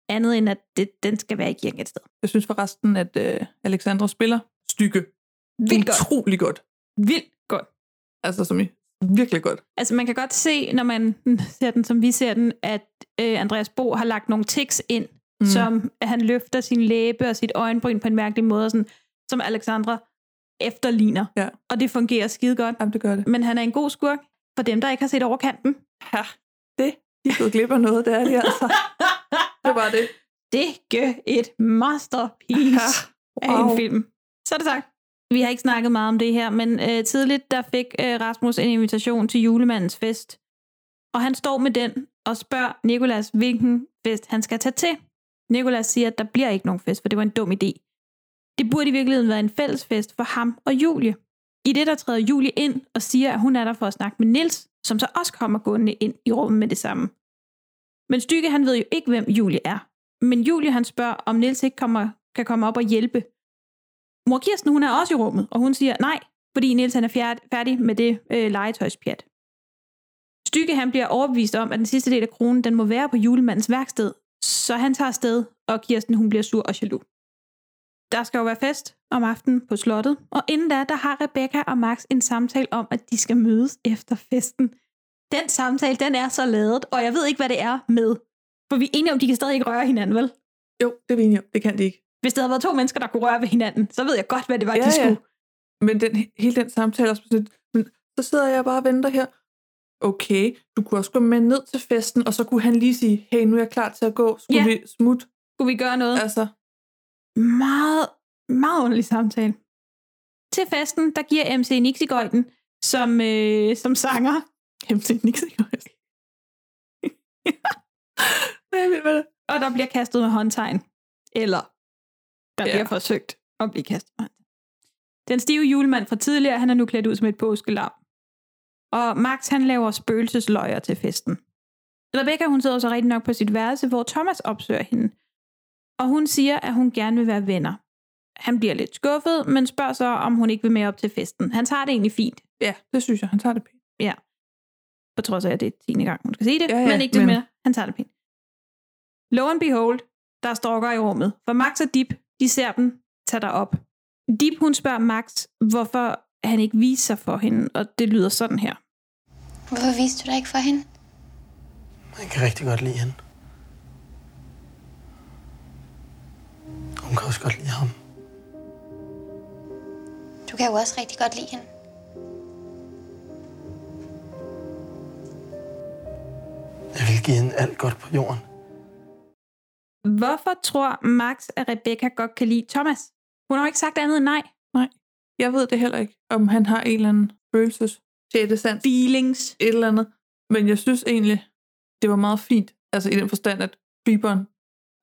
Speaker 9: andet end, at det, den skal være i kirken et sted.
Speaker 8: Jeg synes forresten, at øh, Alexandra spiller stykke.
Speaker 9: Vildt godt.
Speaker 8: Utrolig godt.
Speaker 9: Vildt godt.
Speaker 8: Altså som i virkelig godt.
Speaker 9: Altså, man kan godt se, når man ser den, som vi ser den, at øh, Andreas Bo har lagt nogle tics ind,
Speaker 8: Mm.
Speaker 9: mm. som at han løfter sin læbe og sit øjenbryn på en mærkelig måde, og sådan, som Alexandra efterligner.
Speaker 8: Ja.
Speaker 9: Og det fungerer skide godt.
Speaker 8: Jamen, det gør det.
Speaker 9: Men han er en god skurk for dem, der ikke har set overkanten.
Speaker 8: Ja, det. De er gået glip af noget, det er de altså. det var det.
Speaker 9: Det gør et masterpiece wow. af en film. Så er det sagt. Vi har ikke snakket meget om det her, men øh, tidligt der fik øh, Rasmus en invitation til julemandens fest. Og han står med den og spørger Nikolas, hvilken fest han skal tage til. Nikolas siger, at der bliver ikke nogen fest, for det var en dum idé. Det burde i virkeligheden være en fælles fest for ham og Julie. I det, der træder Julie ind og siger, at hun er der for at snakke med Nils, som så også kommer gående ind i rummet med det samme. Men Stykke, han ved jo ikke, hvem Julie er. Men Julie, han spørger, om Nils ikke kommer, kan komme op og hjælpe. Mor Kirsten, hun er også i rummet, og hun siger nej, fordi Nils han er fjerd- færdig med det øh, legetøjspjat. Stykke, han bliver overbevist om, at den sidste del af kronen, den må være på julemandens værksted, så han tager afsted, og Kirsten, hun bliver sur og jaloux. Der skal jo være fest om aftenen på slottet, og inden da, der har Rebecca og Max en samtale om, at de skal mødes efter festen. Den samtale, den er så ladet, og jeg ved ikke, hvad det er med. For vi er enige om, de kan stadig ikke røre hinanden, vel?
Speaker 8: Jo, det er vi enige om. Det kan de ikke.
Speaker 9: Hvis der havde været to mennesker, der kunne røre ved hinanden, så ved jeg godt, hvad det var, ja, de skulle.
Speaker 8: Men den, hele den samtale er også sådan lidt, men så sidder jeg bare og venter her. Okay, du kunne også gå med ned til festen, og så kunne han lige sige, hey, nu er jeg klar til at gå. Skulle
Speaker 9: Ja.
Speaker 8: vi smutte?
Speaker 9: Skulle vi gøre noget?
Speaker 8: Altså,
Speaker 9: Meget, meget underlig samtale. Til festen, der giver MC Nixigøjten som, øh, som sanger.
Speaker 8: MC Nixigøjten?
Speaker 9: og der bliver kastet med håndtegn. Eller der ja. bliver forsøgt at blive kastet med håndtegn. Den stive julemand fra tidligere, han er nu klædt ud som et påskelam. Og Max han laver spøgelsesløjer til festen. Rebecca hun sidder så rigtig nok på sit værelse, hvor Thomas opsøger hende. Og hun siger, at hun gerne vil være venner. Han bliver lidt skuffet, men spørger så, om hun ikke vil med op til festen. Han tager det egentlig fint.
Speaker 8: Ja, det synes jeg. Han tager det pænt.
Speaker 9: Ja. På trods af, at det er 10. gang, hun skal sige det.
Speaker 8: Ja, ja,
Speaker 9: men ikke det
Speaker 8: men-
Speaker 9: mere. Han tager det pænt. Lo and behold, der er stalker i rummet. For Max og Dip, de ser dem, tager dig op. Dip, hun spørger Max, hvorfor han ikke viser sig for hende, og det lyder sådan her.
Speaker 16: Hvorfor viste du dig ikke for hende?
Speaker 11: Jeg kan rigtig godt lide hende. Hun kan også godt lide ham.
Speaker 16: Du kan jo også rigtig godt lide hende.
Speaker 11: Jeg vil give hende alt godt på jorden.
Speaker 9: Hvorfor tror Max, at Rebecca godt kan lide Thomas? Hun har jo ikke sagt andet end nej.
Speaker 8: Nej. Jeg ved det heller ikke, om han har en eller anden følelses sjette sans.
Speaker 9: Feelings.
Speaker 8: Et eller andet. Men jeg synes egentlig, det var meget fint. Altså i den forstand, at Biberen,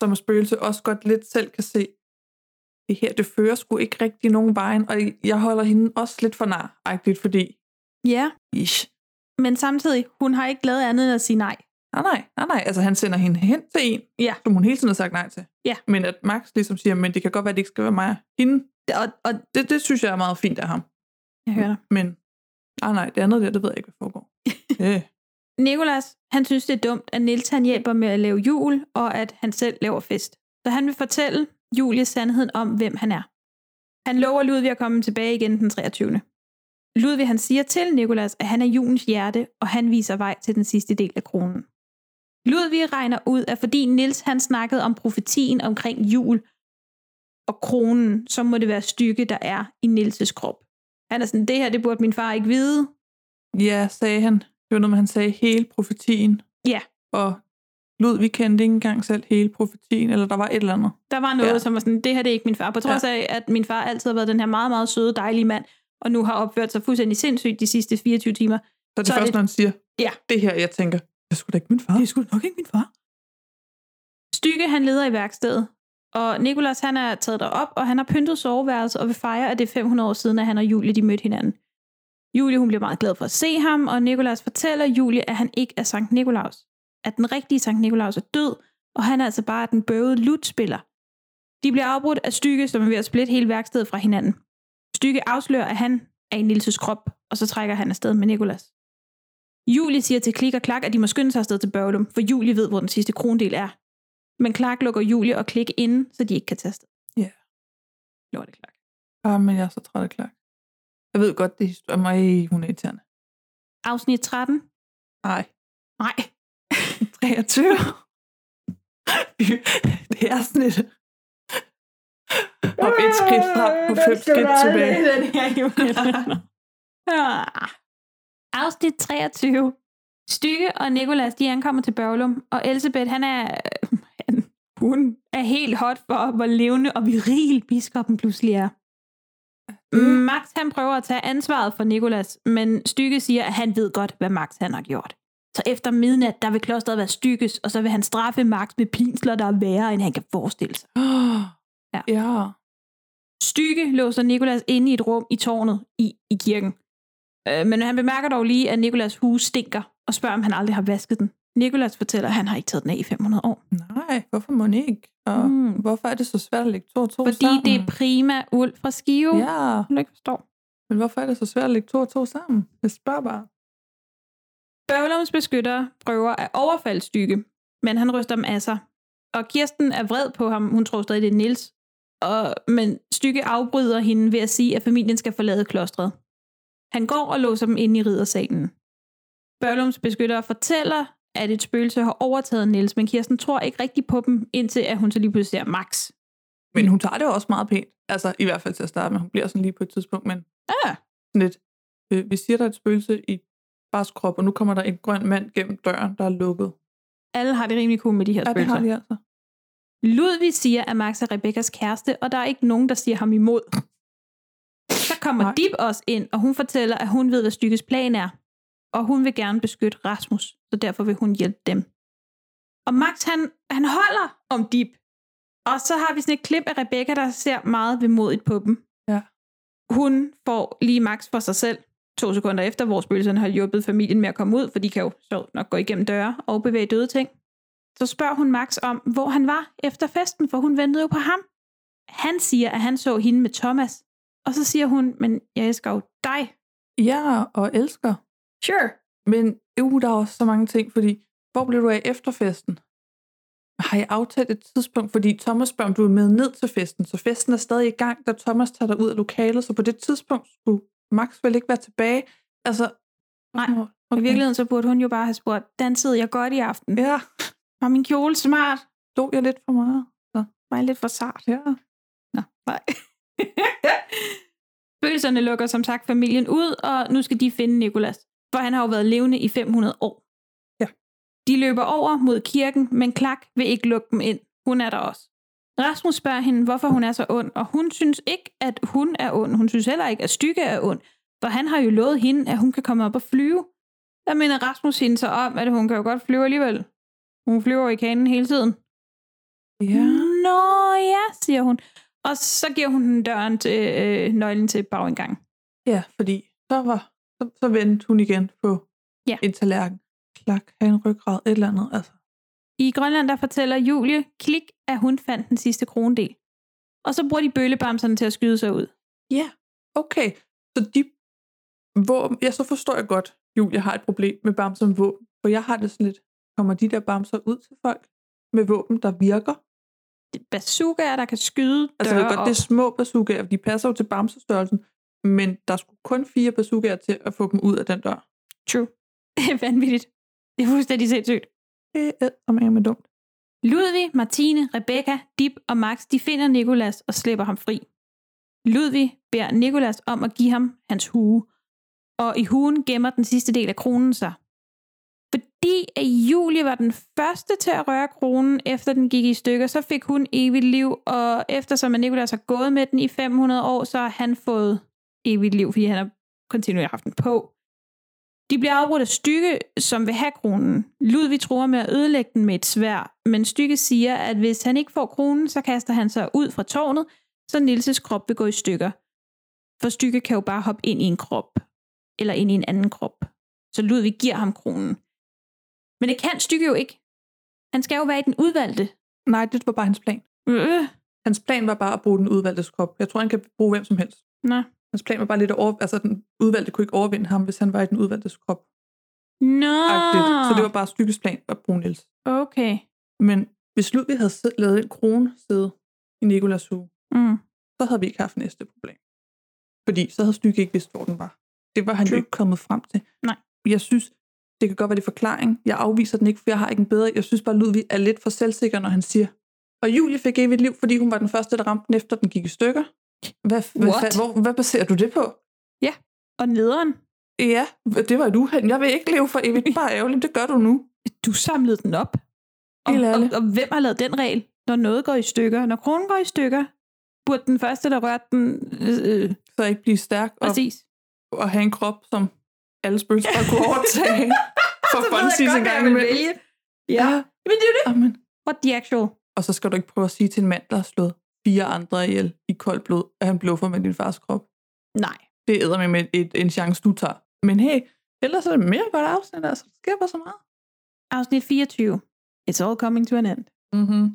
Speaker 8: som er spøgelse, også godt lidt selv kan se, det her, det fører sgu ikke rigtig nogen vejen, og jeg holder hende også lidt for nar, fordi
Speaker 9: Ja,
Speaker 8: ish.
Speaker 9: men samtidig, hun har ikke lavet andet end at sige nej.
Speaker 8: Nej, nej, nej, nej. Altså han sender hende hen til en,
Speaker 9: ja.
Speaker 8: som hun hele tiden har sagt nej til.
Speaker 9: Ja.
Speaker 8: Men at Max ligesom siger, men det kan godt være, at det ikke skal være mig og hende.
Speaker 9: Og, og
Speaker 8: det, det synes jeg er meget fint af ham.
Speaker 9: Jeg hører dig.
Speaker 8: Men nej, nej, det andet der, det ved jeg ikke, hvad foregår. Øh, yeah.
Speaker 9: Nikolas, han synes, det er dumt, at Nils han hjælper med at lave jul, og at han selv laver fest. Så han vil fortælle Julie sandheden om, hvem han er. Han lover Ludvig at komme tilbage igen den 23. Ludvig han siger til Nikolas, at han er julens hjerte, og han viser vej til den sidste del af kronen. Ludvig regner ud, at fordi Nils han snakkede om profetien omkring jul og kronen, så må det være stykke, der er i Nils' krop. Han er sådan, det her, det burde min far ikke vide.
Speaker 8: Ja, sagde han. Det var noget, med, han sagde hele profetien.
Speaker 9: Ja,
Speaker 8: Og Ludvig kendte ikke engang selv hele profetien, eller der var et eller andet.
Speaker 9: Der var noget,
Speaker 8: Ja.
Speaker 9: ja. som var sådan, det her det er ikke min far. På trods ja. af, at min far altid har været den her meget, meget søde, dejlige mand, og nu har opført sig fuldstændig sindssygt de sidste 24 timer.
Speaker 8: Så det første, når han siger,
Speaker 9: Ja.
Speaker 8: det her, jeg tænker, det er sgu da ikke min far. Det er sgu da nok ikke min far.
Speaker 9: Stykke, han leder i værkstedet, og Nikolas, han er taget derop, og han har pyntet soveværelset og vil fejre, at det er 500 år siden, at han og Julie, de mødte hinanden. Julie, hun bliver meget glad for at se ham, og Nikolas fortæller Julie, at han ikke er Sankt Nikolaus. At den rigtige Sankt Nikolaus er død, og han er altså bare den bøvede lutspiller. De bliver afbrudt af Stykke, som er ved at splitte hele værkstedet fra hinanden. Stykke afslører, at han er i Nilses krop, og så trækker han afsted med Nikolas. Julie siger til Klik og Klak, at de må skynde sig afsted til Børglum, for Julie ved, hvor den sidste krondel er. Men Clark lukker Julie og Klik inde, så de ikke kan tage afsted.
Speaker 8: Ja.
Speaker 9: Lort det Clark.
Speaker 8: Ah, men jeg er så træt af Clark. Jeg ved godt, det er historie. Mig, hun er irriterende.
Speaker 9: Afsnit 13.
Speaker 8: Nej.
Speaker 9: Nej.
Speaker 8: 23. det er sådan et... Og et skridt frem og fem skridt tilbage.
Speaker 9: Ah. Afsnit 23. Stykke og Nikolas, de ankommer til Børglum, og Elisabeth, han er... Han, hun er helt hot for, hvor levende og viril biskoppen pludselig er. Max, han prøver at tage ansvaret for Nikolas, men Stykke siger, at han ved godt, hvad Max han har gjort. Så efter midnat, der vil klosteret være Stykkes, og så vil han straffe Max med pinsler, der er værre, end han kan forestille sig. Ja.
Speaker 8: ja.
Speaker 9: Stykke låser Nikolas inde i et rum i tårnet i, i kirken. Øh, men han bemærker dog lige, at Nikolas hus stinker, og spørger, om han aldrig har vasket den. Nikolas fortæller, at han har ikke taget den af i 500 år.
Speaker 8: Nej, hvorfor må den ikke? Og mm. hvorfor er det så svært at lægge to og to
Speaker 9: Fordi
Speaker 8: sammen?
Speaker 9: det er prima uld fra Skive.
Speaker 8: Mm. Ja.
Speaker 9: Du ikke forstår.
Speaker 8: Men hvorfor er det så svært at lægge to og to sammen? Jeg spørger bare.
Speaker 9: Bøvlums beskytter prøver at overfalde Stykke, men han ryster dem af sig. Og Kirsten er vred på ham, hun tror stadig, det er Nils. Og, men Stykke afbryder hende ved at sige, at familien skal forlade klostret. Han går og låser dem inde i riddersalen. Bøvlums beskytter fortæller, at et spøgelse har overtaget Nils, men Kirsten tror ikke rigtig på dem, indtil at hun så lige pludselig ser Max. Mm.
Speaker 8: Men hun tager det jo også meget pænt. Altså, i hvert fald til at starte med. Hun bliver sådan lige på et tidspunkt, men
Speaker 9: ah.
Speaker 8: sådan lidt. Øh, vi siger, der er et spøgelse i bars krop, og nu kommer der en grøn mand gennem døren, der er lukket.
Speaker 9: Alle har det rimelig cool med de her
Speaker 8: Ja, det
Speaker 9: spøgelser.
Speaker 8: har de altså.
Speaker 9: Ludvig siger, at Max er Rebekkas kæreste, og der er ikke nogen, der siger ham imod. Så kommer Nej. Dip også ind, og hun fortæller, at hun ved, hvad Stykkes plan er. Og hun vil gerne beskytte Rasmus, så derfor vil hun hjælpe dem. Og Max, han, han holder om Dip. Og så har vi sådan et klip af Rebecca, der ser meget vemodigt på dem.
Speaker 8: Ja.
Speaker 9: Hun får lige Max for sig selv, To sekunder efter, hvor spøgelserne har hjulpet familien med at komme ud, for de kan jo sjovt nok gå igennem døre og bevæge døde ting. Så spørger hun Max om, hvor han var efter festen, for hun ventede jo på ham. Han siger, at han så hende med Thomas. Og så siger hun, men jeg elsker jo dig.
Speaker 8: Ja, og elsker.
Speaker 9: Sure.
Speaker 8: Men jo, der er også så mange ting, fordi hvor blev du af efter festen? Har jeg aftalt et tidspunkt, fordi Thomas spørger, om du er med ned til festen, så festen er stadig i gang, da Thomas tager dig ud af lokalet, så på det tidspunkt skulle Max vel ikke være tilbage. Altså,
Speaker 9: Nej, okay. i virkeligheden så burde hun jo bare have spurgt, dansede jeg godt i aften?
Speaker 8: Ja.
Speaker 9: Var min kjole smart?
Speaker 8: Lå jeg lidt for meget? Så.
Speaker 9: Var jeg lidt for sart?
Speaker 8: Ja.
Speaker 9: Nå, nej. Spøgelserne lukker som sagt familien ud, og nu skal de finde Nikolas, for han har jo været levende i 500 år.
Speaker 8: Ja.
Speaker 9: De løber over mod kirken, men Klak vil ikke lukke dem ind. Hun er der også. Rasmus spørger hende, hvorfor hun er så ond, og hun synes ikke, at hun er ond. Hun synes heller ikke, at Stykke er ond, for han har jo lovet hende, at hun kan komme op og flyve. Der minder Rasmus hende så om, at hun kan jo godt flyve alligevel. Hun flyver i kanen hele tiden.
Speaker 8: Ja.
Speaker 9: Nå ja, siger hun. Og så giver hun den døren til, øh, nøglen til bagindgangen.
Speaker 8: Ja, fordi så, var, så, så vendte hun igen på
Speaker 9: Ja.
Speaker 8: en tallerken. Klak, have en ryggrad, et eller andet. Altså.
Speaker 9: I Grønland, der fortæller Julie Klik, at hun fandt den sidste kronedel. Og så bruger de bøllebamserne til at skyde sig ud.
Speaker 8: Ja, okay. Så de våben, ja, så forstår jeg godt, Julie har et problem med bamser med våben. For jeg har det sådan lidt, kommer de der bamser ud til folk med våben, der virker?
Speaker 9: Det er bazookaer, der kan skyde
Speaker 8: Altså, jeg
Speaker 9: døre
Speaker 8: ved godt, det er
Speaker 9: op.
Speaker 8: små bazookaer, for de passer jo til bamsestørrelsen, men der skulle kun fire bazookaer til at få dem ud af den dør.
Speaker 9: True. Det er vanvittigt. Det er fuldstændig sindssygt.
Speaker 8: Det er med dumt.
Speaker 9: Ludvig, Martine, Rebecca, Dip og Max, de finder Nikolas og slipper ham fri. Ludvig beder Nikolas om at give ham hans hue, og i huen gemmer den sidste del af kronen sig. Fordi at Julie var den første til at røre kronen, efter den gik i stykker, så fik hun evigt liv, og eftersom at Nikolas har gået med den i 500 år, så har han fået evigt liv, fordi han har kontinuerligt haft den på. De bliver afbrudt af Stykke, som vil have kronen. Ludvig tror med at ødelægge den med et svær, men Stykke siger, at hvis han ikke får kronen, så kaster han sig ud fra tårnet, så Nilses krop vil gå i stykker. For Stykke kan jo bare hoppe ind i en krop, eller ind i en anden krop. Så Ludvig giver ham kronen. Men det kan Stykke jo ikke. Han skal jo være i den udvalgte.
Speaker 8: Nej, det var bare hans plan.
Speaker 9: Øh,
Speaker 8: Hans plan var bare at bruge den udvalgte krop. Jeg tror, han kan bruge hvem som helst.
Speaker 9: nå.
Speaker 8: Hans plan var bare lidt at over... Altså, den udvalgte kunne ikke overvinde ham, hvis han var i den udvalgte krop.
Speaker 9: Nå. Ah.
Speaker 8: Så det var bare stykkes plan at bruge Niels.
Speaker 9: Okay.
Speaker 8: Men hvis Ludvig havde sid- lavet en krone sidde i Nikolas hue,
Speaker 9: Mm.
Speaker 8: så havde vi ikke haft næste problem. Fordi så havde Stykke ikke vidst, hvor den var. Det var han jo
Speaker 9: True.
Speaker 8: ikke kommet frem til.
Speaker 9: Nej.
Speaker 8: Jeg synes, det kan godt være det er forklaring. Jeg afviser den ikke, for jeg har ikke en bedre. Jeg synes bare, Ludvig er lidt for selvsikker, når han siger, og Julie fik evigt liv, fordi hun var den første, der ramte den efter, den gik i stykker. Hvad, hvad,
Speaker 9: What?
Speaker 8: fa- hvor, hvad baserer du det på?
Speaker 9: Og nederen.
Speaker 8: Ja, det var et uheld. Jeg vil ikke leve for evigt. Bare ærgerligt, det gør du nu.
Speaker 9: Du samlede den op. Og,
Speaker 8: Helt
Speaker 9: og,
Speaker 8: ærligt.
Speaker 9: og hvem har lavet den regel? Når noget går i stykker, når kronen går i stykker, burde den første, der rørte den... Øh, øh,
Speaker 8: Så ikke blive stærk og,
Speaker 9: præcis.
Speaker 8: og have en krop, som alle spøgelser bare kunne overtage. For
Speaker 9: Så ved jeg
Speaker 8: fun
Speaker 9: godt,
Speaker 8: en
Speaker 9: hvad
Speaker 8: gang
Speaker 9: jeg vil
Speaker 8: imellem.
Speaker 9: vælge. Ja. Men det er jo det.
Speaker 8: Amen.
Speaker 9: What the actual?
Speaker 8: Og så skal du ikke prøve at sige til en mand, der har slået fire andre ihjel i koldt blod, at han bluffer med din fars krop.
Speaker 9: Nej.
Speaker 8: Det æder med et, et, en chance, du tager. Men hey, ellers er det mere godt afsnit, altså. Det sker bare så meget.
Speaker 9: Afsnit 24. It's all coming to an end.
Speaker 8: Mm-hmm.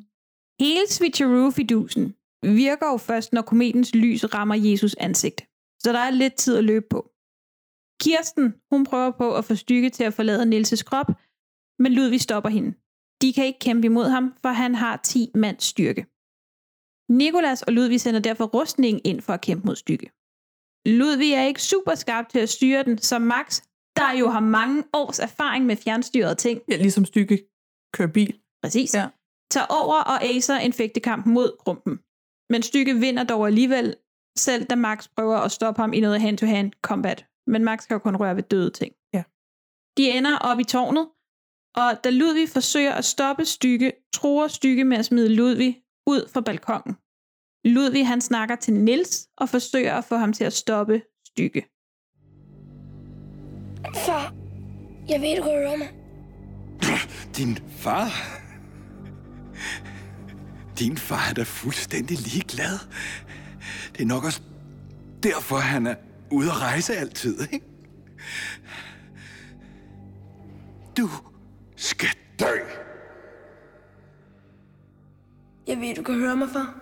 Speaker 9: Hele switcheroo-fidusen virker jo først, når kometens lys rammer Jesus ansigt. Så der er lidt tid at løbe på. Kirsten, hun prøver på at få stykke til at forlade Nilses krop, men Ludvig stopper hende. De kan ikke kæmpe imod ham, for han har 10 mands styrke. Nikolas og Ludvig sender derfor rustningen ind for at kæmpe mod stykke. Ludvig er ikke super skarp til at styre den, som Max, der jo har mange års erfaring med fjernstyrede ting.
Speaker 8: Ja, ligesom stykke kører bil.
Speaker 9: Præcis
Speaker 8: Ja.
Speaker 9: tager over og acer en fægtekamp mod Grumpen. Men Stykke vinder dog alligevel, selv da Max prøver at stoppe ham i noget hand-to-hand combat. Men Max kan jo kun røre ved døde ting.
Speaker 8: Ja.
Speaker 9: De ender op i tårnet, og da Ludvig forsøger at stoppe Stykke, tror Stykke med at smide Ludvig ud fra balkongen. Ludvig han snakker til Nils og forsøger at få ham til at stoppe Stykke.
Speaker 12: Far, jeg ved, du kan røre mig.
Speaker 13: Din far? Din far er da fuldstændig ligeglad. Det er nok også derfor, han er ude at rejse altid, ikke? Du skal dø.
Speaker 12: Jeg ved, du kan høre mig, far.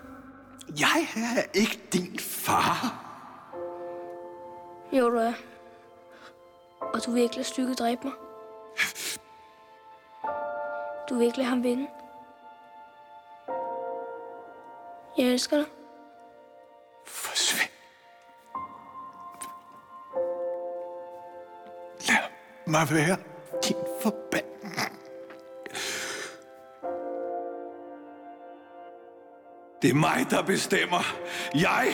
Speaker 13: Jeg er ikke din far.
Speaker 12: Jo, du er. Og du vil ikke lade stykket dræbe mig. Du vil ikke lade ham vinde. Jeg elsker dig.
Speaker 13: Forsvind. Lad mig være din forband. Det er mig, der bestemmer. Jeg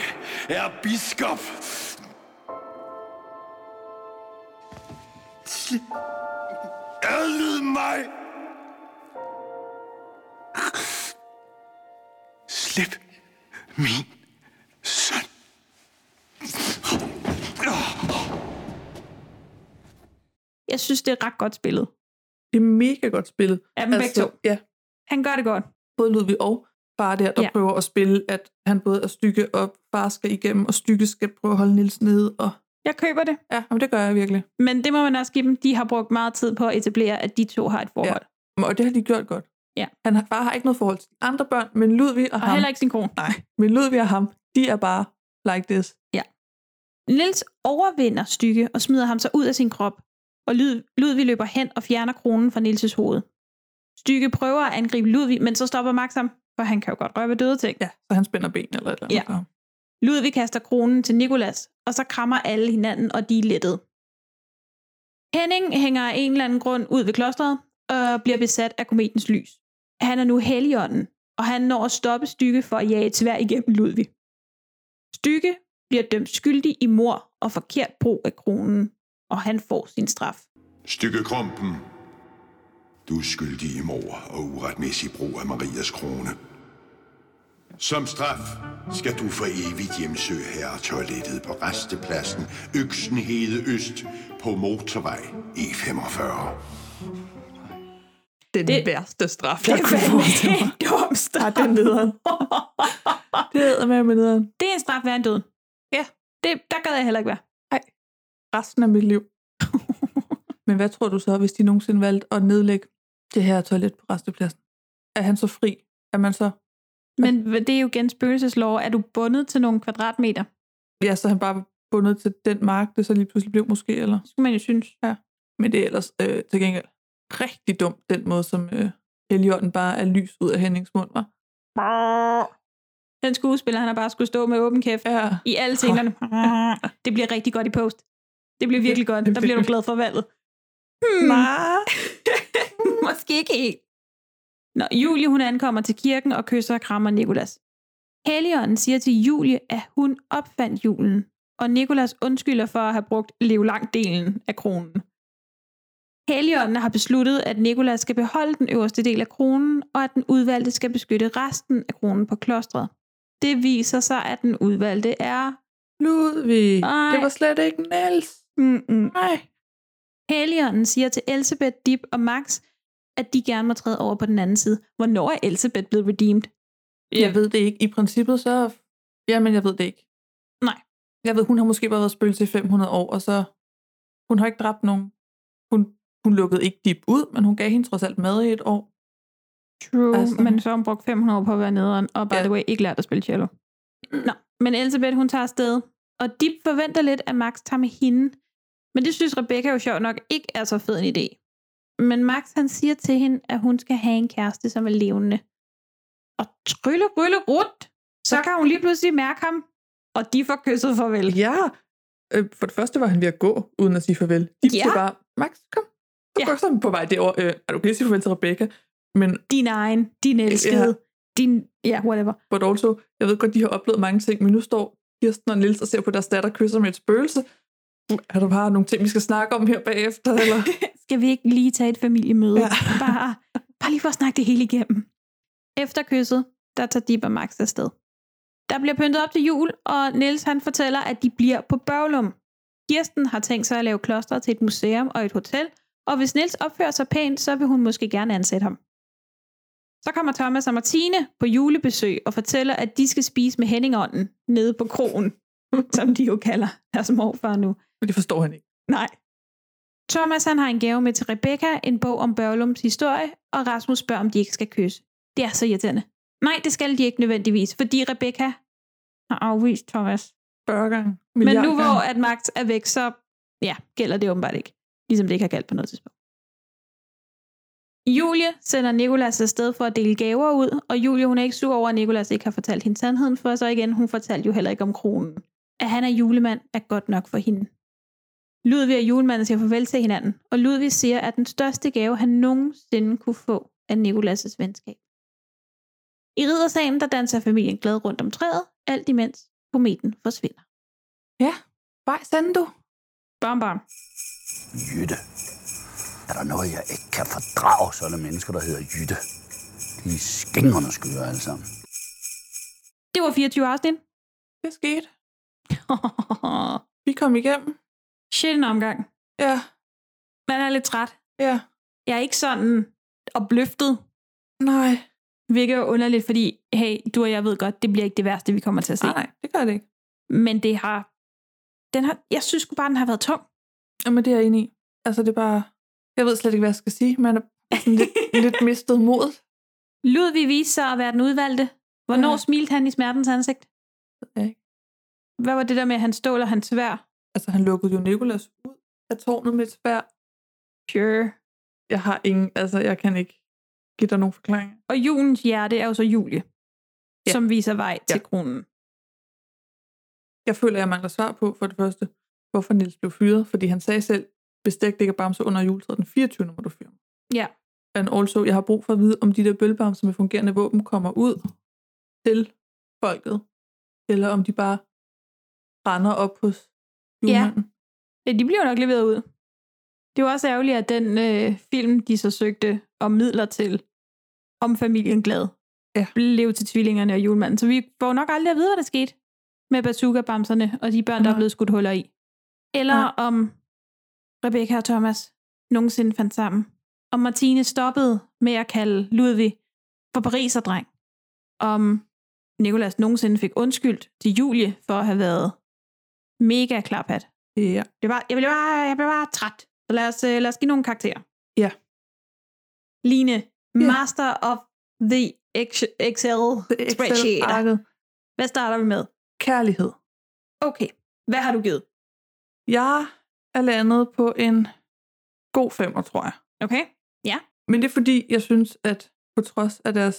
Speaker 13: er biskop. Adlyd mig! Slip min søn.
Speaker 9: Jeg synes, det er ret godt spillet.
Speaker 8: Det er mega godt spillet.
Speaker 9: Af dem begge to.
Speaker 8: Ja.
Speaker 9: Han gør det godt.
Speaker 8: Både Ludvig og far der, der
Speaker 9: Ja.
Speaker 8: ja. prøver at spille, at han både er stykke, og far skal igennem, og stykke skal prøve at holde Nils nede. Og...
Speaker 9: Jeg køber det.
Speaker 8: Ja, men det gør jeg virkelig.
Speaker 9: Men det må man også give dem. De har brugt meget tid på at etablere, at de to har et forhold. Ja.
Speaker 8: Og det har de gjort godt.
Speaker 9: Ja.
Speaker 8: Han har, far har ikke noget forhold til de andre børn, men Ludvig og,
Speaker 9: Og
Speaker 8: ham,
Speaker 9: heller ikke sin kone.
Speaker 8: nej, men Ludvig og ham, de er bare like this.
Speaker 9: Nils overvinder Stykke og smider ham så ud af sin krop, og Lyd, Ludvig løber hen og fjerner kronen fra Nils' hoved. Stykke prøver at angribe Ludvig, men så stopper Max ham, for han kan jo godt røre ved døde ting.
Speaker 8: Ja. Så han spænder ben eller et eller andet.
Speaker 9: Ja.
Speaker 8: for ham.
Speaker 9: Ludvig kaster kronen til Nikolas, og så krammer alle hinanden, og de er lettet. Henning hænger af en eller anden grund ud ved klostret, og bliver besat af kometens lys. Han er nu helligånden, og han når at stoppe Stykke for at jage et svær igennem Ludvig. Stykke bliver dømt skyldig i mor og forkert brug af kronen, og han får sin straf.
Speaker 17: Stykke krumpen. Du er skyldig i mor og uretmæssig brug af Marias krone. Som straf skal du for evigt hjemsøge herretoilettet på restepladsen Øksenhede Øst på motorvej E45.
Speaker 8: Den det, værste straf,
Speaker 9: Det
Speaker 8: jeg
Speaker 9: er
Speaker 8: kunne forestille
Speaker 9: fandme
Speaker 8: mig.
Speaker 9: en dum
Speaker 8: Ja,
Speaker 9: straf.
Speaker 8: den nederen. det hedder med med nederen.
Speaker 9: Det er en straf værre end døden.
Speaker 8: Ja.
Speaker 9: Det, der gad jeg heller ikke være.
Speaker 8: Resten af mit liv. Men hvad tror du så, hvis de nogensinde valgte at nedlægge det her toilet på restepladsen? Er han så fri? Er man så...
Speaker 9: Men det er jo igen spøgelseslov. Er du bundet til nogle kvadratmeter?
Speaker 8: Ja, så er han bare bundet til den mark, det så lige pludselig blev måske, eller?
Speaker 9: skulle man jo synes.
Speaker 8: Ja. Men det er ellers øh, til gengæld rigtig dumt, den måde, som øh, Helligånden bare er lys ud af Hennings mund, var.
Speaker 9: Den skuespiller, han har bare skulle stå med åben kæft
Speaker 8: ja.
Speaker 9: i alle scenerne. Det bliver rigtig godt i post. Det bliver virkelig godt. Der bliver du glad for valget. Hmm. Måske ikke helt. Når Julie hun ankommer til kirken og kysser og krammer Nikolas. Helligånden siger til Julie, at hun opfandt julen, og Nikolas undskylder for at have brugt levelangt-delen af kronen. Helligånden har besluttet, at Nikolas skal beholde den øverste del af kronen, og at den udvalgte skal beskytte resten af kronen på klostret. Det viser sig, at den udvalgte er...
Speaker 8: Ludvig,
Speaker 9: Ej.
Speaker 8: det var slet ikke Niels.
Speaker 9: Mm-mm.
Speaker 8: Nej.
Speaker 9: Helligånden siger til Elsebeth, Dip og Max, at de gerne må træde over på den anden side. Hvornår er Elsebeth blevet redeemed?
Speaker 8: Jeg ved det ikke. I princippet så... Jamen, jeg ved det ikke.
Speaker 9: Nej.
Speaker 8: Jeg ved, hun har måske bare været spøgelse i 500 år, og så... Hun har ikke dræbt nogen. Hun, hun lukkede ikke Dip ud, men hun gav hende trods alt mad i et år.
Speaker 9: True,
Speaker 8: Altså.
Speaker 9: altså. men så har hun brugt 500 år på at være nederen, og by the way, ikke lært at spille cello. Nå, men Elisabeth, hun tager afsted, og de forventer lidt, at Max tager med hende. Men det synes Rebecca jo sjovt nok ikke er så fed en idé. Men Max, han siger til hende, at hun skal have en kæreste, som er levende. Og trylle, rylle, rundt, så kan hun lige pludselig mærke ham, og de får kysset farvel.
Speaker 8: Ja. Øh, for det første var han ved at gå, uden at sige farvel. Dip
Speaker 9: Ja.
Speaker 8: ja. bare, Max, kom. Så
Speaker 9: Ja.
Speaker 8: ja. går så på vej derover. Øh, er du okay at sige farvel til Rebecca? Men
Speaker 9: Din egen, din elskede, ja. din, ja, whatever.
Speaker 8: but also, jeg ved godt, de har oplevet mange ting, men nu står Kirsten og Nils og ser på deres datter kysser med et spøgelse. Er der bare nogle ting, vi skal snakke om her bagefter? Eller?
Speaker 9: skal vi ikke lige tage et familiemøde?
Speaker 8: Ja.
Speaker 9: Ja. Bare, bare lige for at snakke det hele igennem. Efter kysset, der tager Dib og Max afsted. Der bliver pyntet op til jul, og Niels han fortæller, at de bliver på Børglum. Kirsten har tænkt sig at lave klostret til et museum og et hotel, og hvis Niels opfører sig pænt, så vil hun måske gerne ansætte ham. Så kommer Thomas og Martine på julebesøg og fortæller, at de skal spise med Henningånden nede på krogen, som de jo kalder deres morfar nu.
Speaker 8: Men det forstår han ikke.
Speaker 9: Nej, Thomas han har en gave med til Rebecca, en bog om Børlums historie, og Rasmus spørger, om de ikke skal kysse. Det er så irriterende. Nej, det skal de ikke nødvendigvis, fordi Rebecca har afvist Thomas.
Speaker 8: Burger.
Speaker 9: Men nu hvor at magt er væk, så ja, gælder det åbenbart ikke. Ligesom det ikke har galt på noget tidspunkt. Julie sender Nikolas afsted for at dele gaver ud, og Julie hun er ikke sur over, at Nikolas ikke har fortalt hende sandheden, for så igen, hun fortalte jo heller ikke om kronen. At han er julemand er godt nok for hende. Ludvig og julemanden siger farvel til hinanden, og Ludvig siger, at den største gave, han nogensinde kunne få, er Nikolas' venskab. I riddersalen, der danser familien glad rundt om træet, alt imens kometen forsvinder.
Speaker 8: Ja, vej sende du.
Speaker 9: Bam, bam.
Speaker 18: Jytte. Er der noget, jeg ikke kan fordrage, så er der mennesker, der hedder Jytte. De er skængerne skøre alle sammen.
Speaker 9: Det var 24 afsnit.
Speaker 8: Det skete. Vi kom igennem.
Speaker 9: Shit en omgang.
Speaker 8: Ja.
Speaker 9: Man er lidt træt.
Speaker 8: Ja.
Speaker 9: Jeg er ikke sådan opløftet,
Speaker 8: Nej.
Speaker 9: hvilket er underligt, fordi hey, du og jeg ved godt, det bliver ikke det værste, vi kommer til at se.
Speaker 8: Nej, nej, det gør det ikke.
Speaker 9: Men det har... Den har jeg synes sgu bare, den har været tung.
Speaker 8: Jamen, det er jeg enig i. Altså, det er bare... Jeg ved slet ikke, hvad jeg skal sige. Man er sådan lidt, lidt mistet mod.
Speaker 9: Ludvig viste sig at være den udvalgte. Hvornår ja.
Speaker 8: Ja.
Speaker 9: smilte han i smertens ansigt?
Speaker 8: jeg ikke.
Speaker 9: Hvad var det der med, at han stål og han svær?
Speaker 8: Altså, han lukkede jo Nikolas ud af tårnet med et svær.
Speaker 9: Sure.
Speaker 8: Jeg har ingen... Altså, jeg kan ikke give dig nogen forklaring.
Speaker 9: Og julens hjerte er jo så Julie, ja.
Speaker 8: Ja.
Speaker 9: som viser vej til
Speaker 8: Ja.
Speaker 9: kronen.
Speaker 8: Jeg føler, jeg mangler svar på, for det første, hvorfor Nils blev fyret. Fordi han sagde selv, bestik ligger bamser under juletræet den 24. må du fyre mig.
Speaker 9: Ja.
Speaker 8: And also, jeg har brug for at vide, om de der bølbamser med fungerende våben kommer ud til folket, eller om de bare render op hos julemanden. Ja.
Speaker 9: ja, de bliver jo nok leveret ud. Det var også ærgerligt, at den øh, film, de så søgte om midler til, om familien glad,
Speaker 8: Ja.
Speaker 9: blev til tvillingerne og julemanden. Så vi får nok aldrig at vide, hvad der skete med bazooka-bamserne og de børn, der er
Speaker 8: Nej.
Speaker 9: blevet skudt huller i. Eller Nej. om Rebecca og Thomas nogensinde fandt sammen. Om Martine stoppede med at kalde Ludvig for Pariserdreng. Om Nikolas nogensinde fik undskyldt til Julie for at have været mega klaphat.
Speaker 8: Ja.
Speaker 9: Det var, jeg, blev bare, jeg blev bare træt. Så lad os, øh, lad os give nogle karakterer.
Speaker 8: Ja.
Speaker 9: Line, Master of the Ex- Excel spreadsheet.
Speaker 8: Excel-arket.
Speaker 9: Hvad starter vi med?
Speaker 8: Kærlighed.
Speaker 9: Okay, hvad har du givet?
Speaker 8: Jeg er landet på en god femmer, tror jeg.
Speaker 9: Okay, ja.
Speaker 8: Men det er fordi, jeg synes, at på trods af deres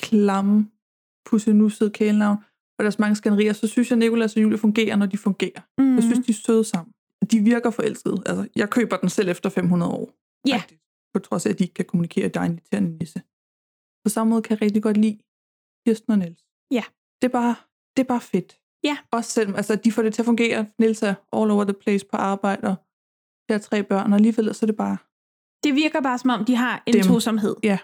Speaker 8: klamme, pussenussede kælenavn og deres mange skænderier, så synes jeg, at Nicolas og Julie fungerer, når de fungerer.
Speaker 9: Mm.
Speaker 8: Jeg synes, de er søde sammen. De virker forelskede. Altså, jeg køber den selv efter 500 år.
Speaker 9: Ja.
Speaker 8: Rigtigt. På trods af, at de ikke kan kommunikere, at der er en irriterende nisse. På samme måde kan jeg rigtig godt lide Kirsten og Niels.
Speaker 9: Ja.
Speaker 8: Det er bare, det er bare fedt.
Speaker 9: Ja.
Speaker 8: Også selvom altså, de får det til at fungere. Niels er all over the place på arbejde, og der er tre børn, og alligevel så er det bare...
Speaker 9: Det virker bare, som om de har en
Speaker 8: Dem.
Speaker 9: tosomhed.
Speaker 8: Ja.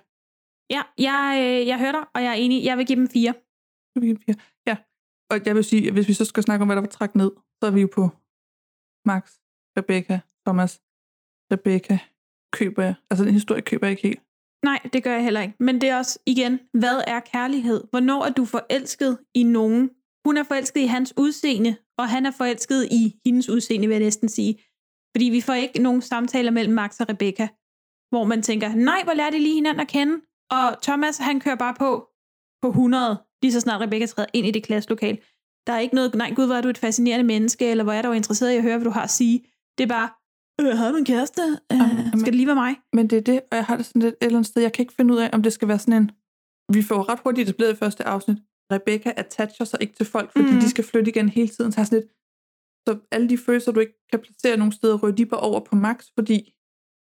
Speaker 9: Ja, jeg, øh, jeg hører dig, og jeg er enig. Jeg vil give dem fire.
Speaker 8: Så vi kan fire. Ja. Og jeg vil sige, at hvis vi så skal snakke om, hvad der var træk ned, så er vi jo på Max, Rebecca, Thomas, Rebecca, køber jeg. Altså den historie køber jeg ikke helt.
Speaker 9: Nej, det gør jeg heller ikke. Men det er også, igen, hvad er kærlighed? Hvornår er du forelsket i nogen? Hun er forelsket i hans udseende, og han er forelsket i hendes udseende, vil jeg næsten sige. Fordi vi får ikke nogen samtaler mellem Max og Rebecca, hvor man tænker, nej, hvor lærer de lige hinanden at kende? Og Thomas, han kører bare på på 100, lige så snart Rebecca træder ind i det klasselokal. Der er ikke noget, nej gud, hvor er du et fascinerende menneske, eller hvor er du interesseret i at høre, hvad du har at sige. Det er bare, øh, har du en kæreste? Øh, skal det lige være mig?
Speaker 8: Men det er det, og jeg har det sådan lidt et eller andet sted. Jeg kan ikke finde ud af, om det skal være sådan en... Vi får ret hurtigt etableret i første afsnit. Rebecca attacher sig ikke til folk, fordi
Speaker 9: Mm.
Speaker 8: mm. de skal flytte igen hele tiden. Så, jeg er sådan lidt, så alle de følelser, du ikke kan placere nogen steder, ryger de bare over på Max, fordi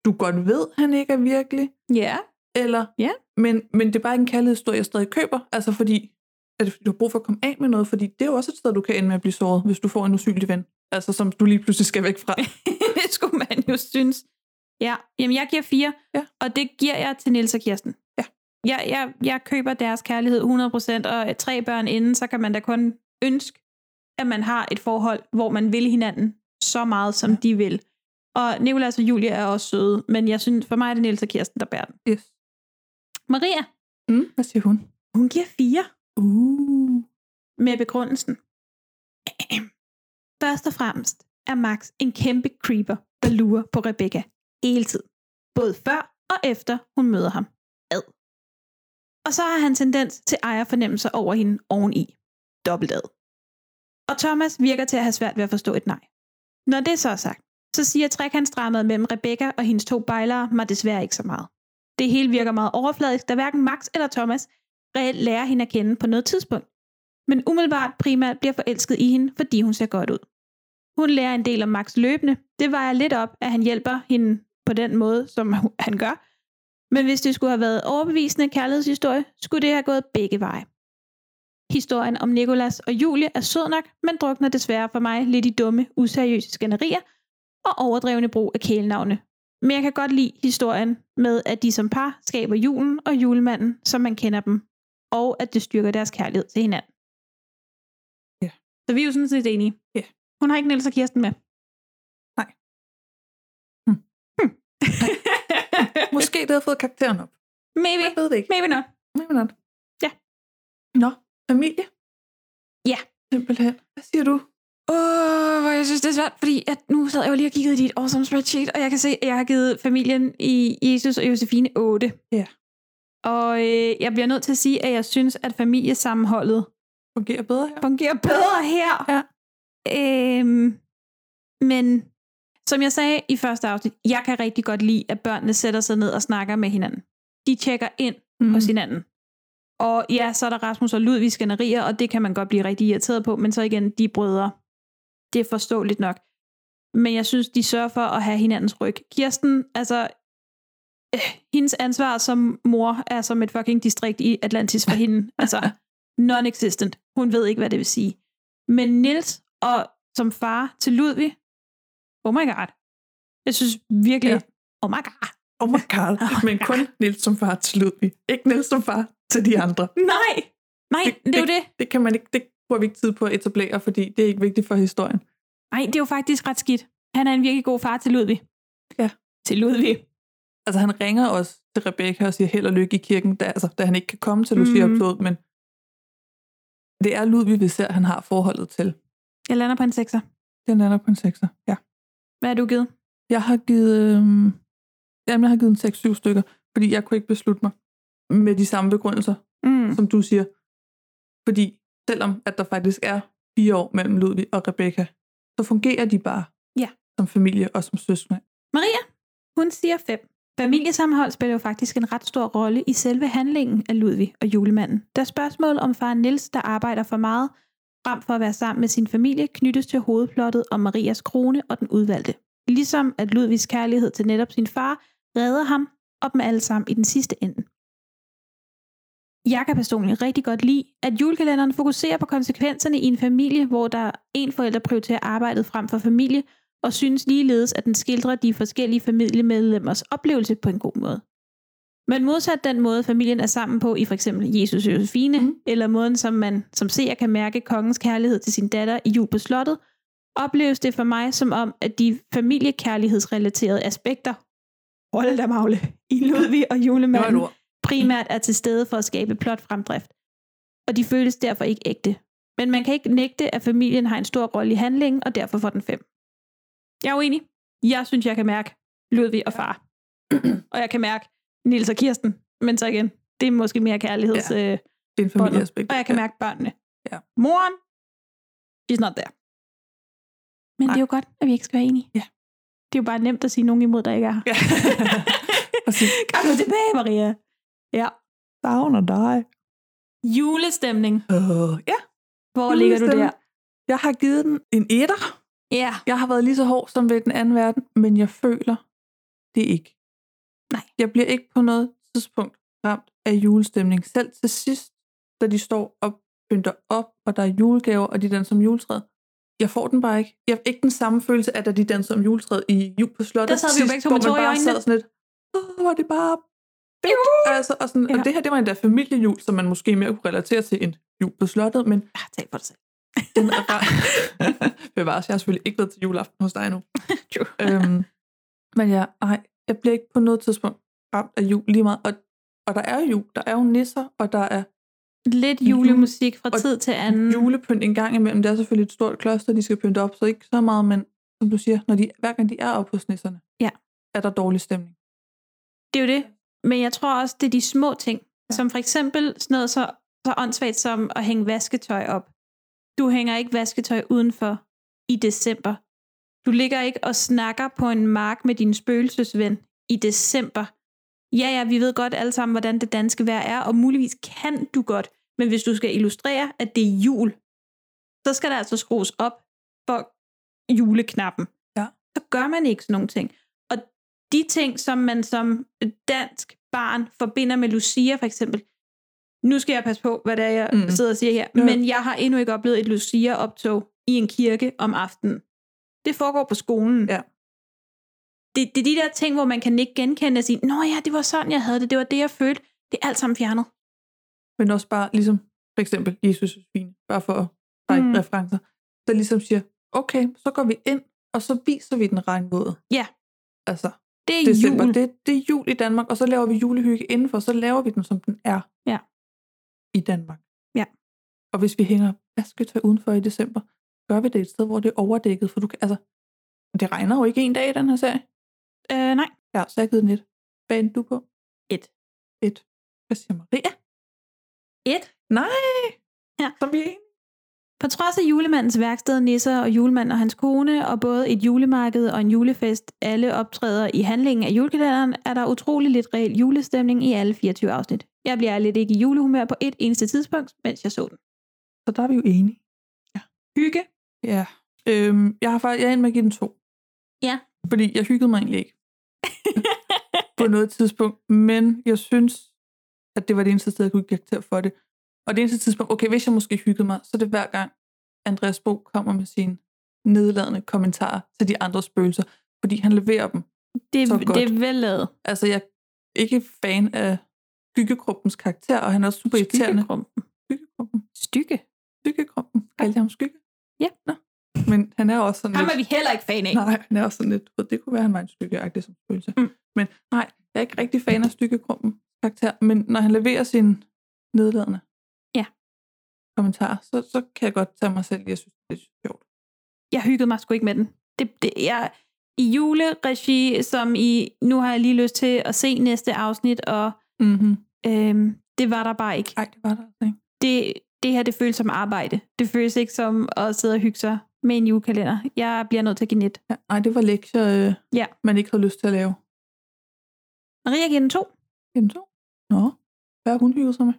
Speaker 8: du godt ved, han ikke er virkelig.
Speaker 9: Ja.
Speaker 8: Eller,
Speaker 9: Ja.
Speaker 8: men, men det er bare ikke en kærlighedshistorie, jeg stadig køber. Altså fordi, er det fordi, du har brug for at komme af med noget? Fordi det er jo også et sted, du kan ende med at blive såret, hvis du får en usynlig ven. Altså som du lige pludselig skal væk fra.
Speaker 9: det skulle man jo synes. Ja, jamen jeg giver fire,
Speaker 8: Ja.
Speaker 9: og det giver jeg til Nils og Kirsten.
Speaker 8: Ja.
Speaker 9: Jeg, jeg, jeg køber deres kærlighed 100%, og tre børn inden, så kan man da kun ønske, at man har et forhold, hvor man vil hinanden så meget, som ja. de vil. Og Nicolas og Julia er også søde, men jeg synes, for mig er det Nils og Kirsten, der bærer den.
Speaker 8: Yes.
Speaker 9: Maria,
Speaker 8: Mm, hvad siger hun?
Speaker 9: hun giver fire
Speaker 8: Uh.
Speaker 9: med begrundelsen. Først og fremmest er Max en kæmpe creeper. der lurer på Rebecca hele tiden. Både før og efter hun møder ham. Ad. Og så har han tendens til ejerfornemmelser over hende oveni. Dobbelt ad. Og Thomas virker til at have svært ved at forstå et nej. Når det så er sagt, så siger trekantsdramaet mellem Rebecca og hendes to bejlere mig desværre ikke så meget. Det hele virker meget overfladisk, da hverken Max eller Thomas reelt lærer hende at kende på noget tidspunkt. Men umiddelbart primært bliver forelsket i hende, fordi hun ser godt ud. Hun lærer en del om Max løbende. Det vejer lidt op, at han hjælper hende på den måde, som hu- han gør. Men hvis det skulle have været overbevisende kærlighedshistorie, skulle det have gået begge veje. Historien om Nikolas og Julie er sød nok, men drukner desværre for mig lidt i dumme, useriøse skænderier og overdrevne brug af kælenavne. Men jeg kan godt lide historien med, at de som par skaber julen og julemanden, som man kender dem, og at det styrker deres kærlighed til hinanden.
Speaker 8: Ja.
Speaker 9: Så vi er jo sådan set enige.
Speaker 8: Ja.
Speaker 9: Hun har ikke Niels og Kirsten med. Hmm.
Speaker 8: Måske det havde fået karakteren op.
Speaker 9: Maybe.
Speaker 8: Jeg ved det ikke.
Speaker 9: Maybe not.
Speaker 8: Maybe not.
Speaker 9: Ja.
Speaker 8: Nå, familie.
Speaker 9: Ja.
Speaker 8: Simpelthen. Hvad siger du?
Speaker 9: Åh, oh, jeg synes, det er svært, fordi at nu sad jeg jo lige og kiggede i dit awesome spreadsheet, og jeg kan se, at jeg har givet familien i Jesus og Josefine 8.
Speaker 8: Ja.
Speaker 9: Og øh, jeg bliver nødt til at sige, at jeg synes, at familiesammenholdet
Speaker 8: Fungerer bedre her?
Speaker 9: fungerer bedre her.
Speaker 8: Ja.
Speaker 9: Øhm, men som jeg sagde i første afsnit, jeg kan rigtig godt lide, at børnene sætter sig ned og snakker med hinanden. De tjekker ind mm. hos hinanden. Og ja, så er der Rasmus og Ludvig skænderier, og det kan man godt blive rigtig irriteret på, men så igen, de er brødre. Det er forståeligt nok. Men jeg synes, de sørger for at have hinandens ryg. Kirsten, altså, øh, hendes ansvar som mor er som et fucking distrikt i Atlantis for hende. Altså, non-existent. Hun ved ikke, hvad det vil sige. Men Nils og som far til Ludvig, oh my god. Jeg synes virkelig,
Speaker 8: Ja.
Speaker 9: ja. oh my god.
Speaker 8: Oh my god. Men kun Niels som far til Ludvig. Ikke Niels som far til de andre.
Speaker 9: Nej, nej, det, det er jo det.
Speaker 8: Det kan man ikke, det bruger vi ikke tid på at etablere, fordi det er ikke vigtigt for historien.
Speaker 9: Nej, det er jo faktisk ret skidt. Han er en virkelig god far til Ludvig.
Speaker 8: Ja.
Speaker 9: Til Ludvig.
Speaker 8: Altså han ringer også til Rebecca og siger held og lykke i kirken, da, altså, da han ikke kan komme til Lucia mm.
Speaker 9: Mhm.
Speaker 8: Plod, men det er Ludvig, vi ser, han har forholdet til.
Speaker 9: Jeg lander på en sekser.
Speaker 8: Den lander på en 6'er, ja.
Speaker 9: Hvad har du givet?
Speaker 8: Jeg har givet, øhm, jamen, jeg har givet en 6-7 stykker, fordi jeg kunne ikke beslutte mig med de samme begrundelser,
Speaker 9: Mm.
Speaker 8: som du siger. Fordi selvom at der faktisk er fire år mellem Ludvig og Rebecca, så fungerer de bare
Speaker 9: Ja.
Speaker 8: som familie og som søskende.
Speaker 9: Maria, hun siger 5. Familiesammenhold spiller jo faktisk en ret stor rolle i selve handlingen af Ludvig og julemanden, da spørgsmål om faren Nils, der arbejder for meget, frem for at være sammen med sin familie, knyttes til hovedplottet om Marias krone og den udvalgte. Ligesom at Ludvigs kærlighed til netop sin far redder ham og dem alle sammen i den sidste ende. Jeg kan personligt rigtig godt lide, at julekalenderen fokuserer på konsekvenserne i en familie, hvor der en forælder prioriterer arbejdet frem for familie, og synes ligeledes, at den skildrer de forskellige familiemedlemmers oplevelse på en god måde. Men modsat den måde, familien er sammen på i for eksempel Jesus og Josefine, mm. eller måden, som man som seer kan mærke kongens kærlighed til sin datter i jul på slottet, opleves det for mig som om, at de familiekærlighedsrelaterede aspekter, hold da magle, i Ludvig og
Speaker 8: Det var
Speaker 9: julemanden,
Speaker 8: et ord.
Speaker 9: primært er til stede for at skabe plot fremdrift, og de føles derfor ikke ægte. Men man kan ikke nægte, at familien har en stor rolle i handlingen, og derfor får den fem. Jeg er uenig. Jeg synes, jeg kan mærke Ludvig og far. og jeg kan mærke Nils og Kirsten. Men så igen, det er måske mere kærligheds... Ja. Øh,
Speaker 8: Det er en familieaspekt.
Speaker 9: og jeg kan mærke børnene.
Speaker 8: Ja.
Speaker 9: Moren, she's not there. Men Nej. det er jo godt, at vi ikke skal være enige.
Speaker 8: Ja.
Speaker 9: Det er jo bare nemt at sige nogen imod, der ikke er her.
Speaker 8: Ja. Præcis.
Speaker 9: Kom nu tilbage, Maria. Ja.
Speaker 8: Savner dig.
Speaker 9: Julestemning.
Speaker 8: Uh, ja.
Speaker 9: Hvor ligger du der?
Speaker 8: Jeg har givet den en etter.
Speaker 9: Ja.
Speaker 8: Jeg har været lige så hård som ved den anden verden, men jeg føler det ikke.
Speaker 9: Nej.
Speaker 8: Jeg bliver ikke på noget tidspunkt ramt af julestemning. Selv til sidst, da de står og pynter op, og der er julegaver, og de danser om juletræet. Jeg får den bare ikke. Jeg har ikke den samme følelse af, da de danser om juletræet i jul på slottet.
Speaker 9: Der sad vi jo
Speaker 8: sidst,
Speaker 9: begge to
Speaker 8: hvor man
Speaker 9: med tårer i
Speaker 8: bare
Speaker 9: øjnene.
Speaker 8: sad sådan lidt, åh, var det bare fedt. Altså, og, sådan, ja.
Speaker 9: Ja.
Speaker 8: og det her, det var endda familiejul, som man måske mere kunne relatere til en jul på slottet, men
Speaker 9: Ah, tag for dig selv.
Speaker 8: den er bare... Bevares, jeg har selvfølgelig ikke været til juleaften hos dig nu. øhm, men ja, nej, jeg bliver ikke på noget tidspunkt ramt af jul lige meget. Og, og der er jo jul, der er jo nisser, og der er
Speaker 9: Lidt julemusik fra
Speaker 8: Og
Speaker 9: tid til anden.
Speaker 8: julepynt en gang imellem. Det er selvfølgelig et stort kloster, de skal pynte op, så ikke så meget, men som du siger, når de, hver gang de er oppe hos nisserne,
Speaker 9: Ja.
Speaker 8: er der dårlig stemning.
Speaker 9: Det er jo det. Men jeg tror også, det er de små ting. Ja. Som for eksempel sådan noget så, så åndssvagt som at hænge vasketøj op. Du hænger ikke vasketøj udenfor i december. Du ligger ikke og snakker på en mark med din spøgelsesven i december. Ja, ja, vi ved godt alle sammen, hvordan det danske vejr er, og muligvis kan du godt. Men hvis du skal illustrere, at det er jul, så skal der altså skrues op for juleknappen.
Speaker 8: Ja.
Speaker 9: Så gør man ikke sådan nogle ting. Og de ting, som man som dansk barn forbinder med Lucia for eksempel, nu skal jeg passe på, hvad det er, jeg
Speaker 8: Mm.
Speaker 9: mm. sidder og siger her,
Speaker 8: Ja.
Speaker 9: ja. men jeg har endnu ikke oplevet et Lucia-optog i en kirke om aftenen. Det foregår på skolen.
Speaker 8: Ja.
Speaker 9: Det, det er de der ting, hvor man kan ikke genkende og sige, nå ja, det var sådan, jeg havde det, det var det, jeg følte. Det er alt sammen fjernet.
Speaker 8: Men også bare ligesom, for eksempel Jesus er fine, bare for at trække
Speaker 9: Mm.
Speaker 8: mm. referencer, der ligesom siger, okay, så går vi ind, og så viser vi den regnvåde.
Speaker 9: Ja,
Speaker 8: Altså,
Speaker 9: det er
Speaker 8: december,
Speaker 9: jul.
Speaker 8: det, det er jul i Danmark, og så laver vi julehygge indenfor, så laver vi den, som den er
Speaker 9: Ja.
Speaker 8: i Danmark.
Speaker 9: Ja.
Speaker 8: Og hvis vi hænger vasketøj udenfor i december, gør vi det et sted, hvor det er overdækket, for du kan, altså, det regner jo ikke en dag i den her serie.
Speaker 9: Øh, nej.
Speaker 8: Ja, så jeg har givet den et. Hvad endte du på?
Speaker 9: Et.
Speaker 8: Et. Hvad siger Maria?
Speaker 9: Et.
Speaker 8: Nej!
Speaker 9: Ja.
Speaker 8: Som vi er enige.
Speaker 9: På trods af julemandens værksted, nisser og julemanden og hans kone, og både et julemarked og en julefest, alle optræder i handlingen af julekalenderen, er der utrolig lidt reel julestemning i alle 24 afsnit. Jeg bliver lidt ikke i julehumør på et eneste tidspunkt, mens jeg så den.
Speaker 8: Så der er vi jo enige.
Speaker 9: Hygge.
Speaker 8: Ja. Øhm, jeg har faktisk, jeg er ind med at give den to.
Speaker 9: Ja.
Speaker 8: Fordi jeg hyggede mig egentlig ikke. på noget tidspunkt. Men jeg synes, at det var det eneste sted, jeg kunne give karakter for det. Og det eneste tidspunkt, okay, hvis jeg måske hyggede mig, så er det hver gang, Andreas Bo kommer med sine nedladende kommentarer til de andre spøgelser. Fordi han leverer dem.
Speaker 9: Det,
Speaker 8: Så godt.
Speaker 9: det er vel lavet.
Speaker 8: Altså, jeg er ikke fan af Skyggekrumpens karakter, og han er også super irriterende.
Speaker 9: Skyggekrumpen.
Speaker 8: Skyggekrumpen.
Speaker 9: Stygge.
Speaker 8: Skyggekrumpen. Kaldte jeg ham skygge?
Speaker 9: Ja.
Speaker 8: Nå. Men han er også sådan
Speaker 9: Ham
Speaker 8: lidt...
Speaker 9: er vi heller ikke fan af.
Speaker 8: Nej, han er også sådan lidt, og det kunne være, han var en stykkeagtig som følelse.
Speaker 9: Mm.
Speaker 8: Men nej, jeg er ikke rigtig fan af stykkekrumpen karakter, men når han leverer sin nedladende
Speaker 9: Ja.
Speaker 8: kommentar, så, så kan jeg godt tage mig selv, i, jeg synes, det er sjovt.
Speaker 9: Jeg hyggede mig sgu ikke med den. Det, det, jeg, I juleregi, som I nu har jeg lige lyst til at se næste afsnit, og
Speaker 8: Mm-hmm.
Speaker 9: øhm, det var der bare ikke.
Speaker 8: Ej, det var der altså ikke.
Speaker 9: det, det her, det føles som arbejde. Det føles ikke som at sidde og hygge sig med en julekalender. Jeg bliver nødt til at give net.
Speaker 8: Ja, nej, det var lektier, øh,
Speaker 9: Ja.
Speaker 8: man ikke havde lyst til at lave.
Speaker 9: Maria giver den to.
Speaker 8: Jamen så. Nå, hvad har hun hygget sig med?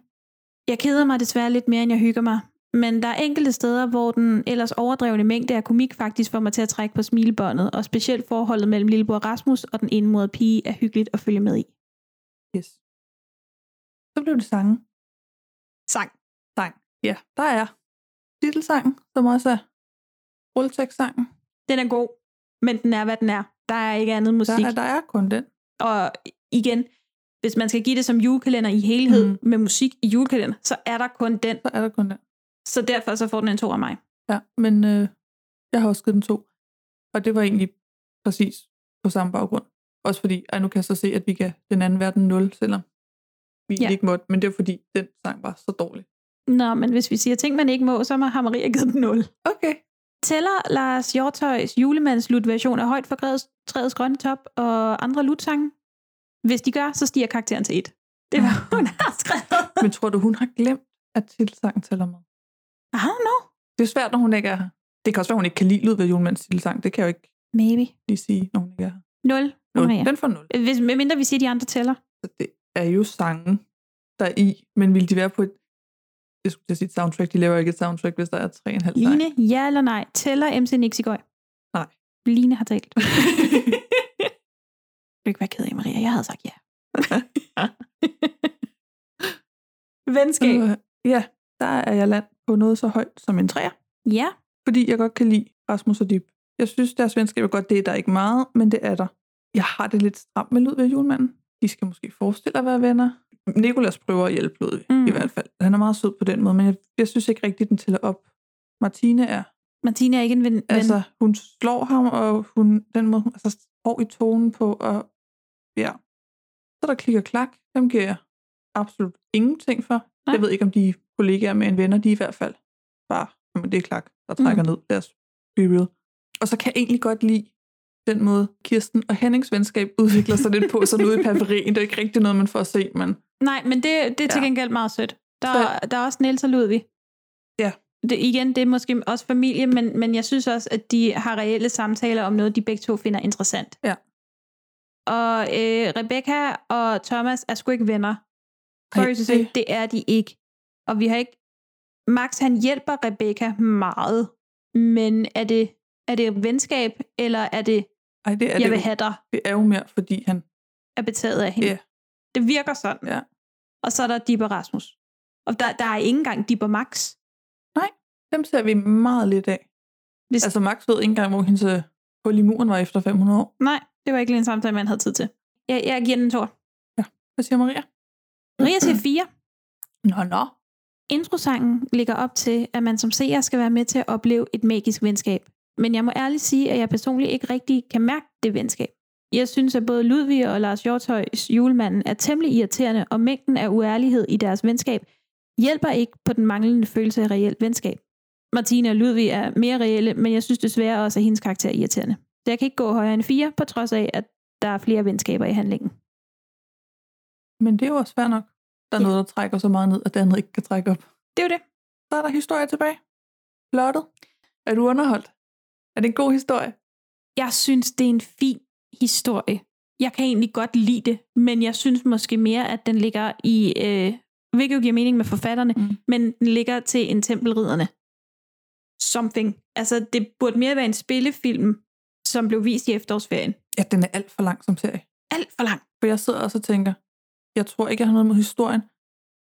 Speaker 9: Jeg keder mig desværre lidt mere, end jeg hygger mig. Men der er enkelte steder, hvor den ellers overdrevne mængde af komik faktisk får mig til at trække på smilebåndet, og specielt forholdet mellem lillebror Rasmus og den enmodede pige er hyggeligt at følge med i.
Speaker 8: Yes. Så blev det sange.
Speaker 9: Sang.
Speaker 8: Sang. Ja, der er titelsangen, som også er rulletekstsangen.
Speaker 9: Den er god, men den er, hvad den er. Der er ikke andet musik.
Speaker 8: Der, er- der er kun den.
Speaker 9: Og igen, hvis man skal give det som julekalender i helhed
Speaker 8: Mhm.
Speaker 9: mm. med musik i julekalender, så er der kun den.
Speaker 8: Så er der kun den.
Speaker 9: Så derfor så får den en to af mig.
Speaker 8: Ja, men øh, jeg har også givet den to. Og det var egentlig præcis på samme baggrund. Også fordi, ej, nu kan jeg så se, at vi kan den anden verden 0, selvom vi
Speaker 9: Ja.
Speaker 8: ja. ikke måtte. Men det var fordi, den sang var så dårlig.
Speaker 9: Nå, men hvis vi siger ting, man ikke må, så har Maria givet den 0.
Speaker 8: Okay.
Speaker 9: Tæller Lars Hjortøjs julemandslutversion af Højt for grædets- træets grønne top og andre lutsange? Hvis de gør, så stiger karakteren til 1. Det var hun har skrevet.
Speaker 8: Men tror du, hun har glemt, at titelsangen tæller med?
Speaker 9: I don't know.
Speaker 8: Det er svært, når hun ikke er her. Det kan også være, hun ikke kan lide lyd ved julemandens titelsang. Det kan jeg jo ikke
Speaker 9: Maybe.
Speaker 8: lige sige, når hun ikke er her.
Speaker 9: 0.
Speaker 8: Nul.
Speaker 9: Maria.
Speaker 8: Den får 0.
Speaker 9: Hvis, medmindre vi siger, de andre tæller.
Speaker 8: Så det er jo sange, der er i. Men ville de være på et... Jeg skulle til at sige et soundtrack. De laver ikke et soundtrack, hvis der er 3,5 sange.
Speaker 9: Line, ja eller nej. Tæller MC Nixigøj?
Speaker 8: Nej.
Speaker 9: Line har talt. du kan ikke være ked af, Maria. Jeg havde sagt ja. Venskab.
Speaker 8: Øh, ja, der er jeg land på noget så højt som en træer,
Speaker 9: Ja.
Speaker 8: fordi jeg godt kan lide Rasmus og Dib. Jeg synes, deres venskab er godt. Det er der ikke meget, men det er der. Jeg har det lidt stramt med Ludvig og julemanden. De skal måske forestille at være venner. Nikolas prøver at hjælpe Ludvig, mm.
Speaker 9: Mm.
Speaker 8: i hvert fald. Han er meget sød på den måde, men jeg, jeg synes ikke rigtigt, den tæller op. Martine er.
Speaker 9: Martine er ikke en ven. ven.
Speaker 8: Altså, hun slår ham, og hun, den måde, hun er så hård i tonen på, og ja. Så er der klikker klak, dem giver jeg absolut ingenting for. Nej. Jeg ved ikke, om de er kollegaer med en venner, de er i hvert fald bare, jamen det er klak, der trækker mm. ned, lad os be real. Og så kan jeg egentlig godt lide den måde, Kirsten og Hennings venskab udvikler sig lidt på, sådan ude i periferien. Det er ikke rigtig noget, man får at se, men
Speaker 9: Nej, men det, det er til
Speaker 8: Ja.
Speaker 9: gengæld meget sødt. Der, er- der er også Niels og Ludvig.
Speaker 8: Ja.
Speaker 9: Det, igen, det er måske også familie, men, men jeg synes også, at de har reelle samtaler om noget, de begge to finder interessant.
Speaker 8: Ja.
Speaker 9: Og øh, Rebecca og Thomas er sgu ikke venner. Sorry,
Speaker 8: Ej,
Speaker 9: to say, det er de ikke. Og vi har ikke... Max, han hjælper Rebecca meget, men er det, er det venskab, eller er det,
Speaker 8: Ej, det er
Speaker 9: jeg
Speaker 8: det
Speaker 9: vil
Speaker 8: jo.
Speaker 9: have dig,
Speaker 8: det er jo mere, fordi han...
Speaker 9: er betaget af hende?
Speaker 8: Ja.
Speaker 9: Det virker sådan.
Speaker 8: Ja.
Speaker 9: Og så er der Dipper Rasmus. Og der, der er ikke engang Dipper Max.
Speaker 8: Dem ser vi meget lidt af.
Speaker 9: Hvis-
Speaker 8: Altså, Max ved ikke engang, hvor hendes øh, hul i muren var efter 500 år.
Speaker 9: Nej, det var ikke lige en samtale, man havde tid til. Jeg, jeg giver den en tor.
Speaker 8: Hvad siger Maria?
Speaker 9: Maria til 4.
Speaker 8: Nå, nå.
Speaker 9: Introsangen ligger op til, at man som seer skal være med til at opleve et magisk venskab. Men jeg må ærligt sige, at jeg personligt ikke rigtig kan mærke det venskab. Jeg synes, at både Ludvig og Lars Hjortøjs julemanden er temmelig irriterende, og mængden af uærlighed i deres venskab hjælper ikke på den manglende følelse af reelt venskab. Martine og Ludvig er mere reelle, men jeg synes desværre også, at hendes karakter er irriterende. Så jeg kan ikke gå højere end 4, på trods af, at der er flere venskaber i handlingen.
Speaker 8: Men det er jo også fair nok. Der er noget, der trækker så meget ned, at det andet ikke kan trække op.
Speaker 9: Det er jo det.
Speaker 8: Så er der historie tilbage. Plottet. Er du underholdt? Er det en god historie?
Speaker 9: jeg synes, det er en fin historie. Jeg kan egentlig godt lide det, men jeg synes måske mere, at den ligger i, øh, hvilket jo giver mening med forfatterne, mm. men den ligger til en tempelridderne. Something. Altså, det burde mere være en spillefilm, som blev vist i efterårsferien.
Speaker 8: Ja, den er alt for lang som serie.
Speaker 9: Alt for lang.
Speaker 8: For jeg sidder også og tænker, jeg tror ikke, jeg har noget med historien,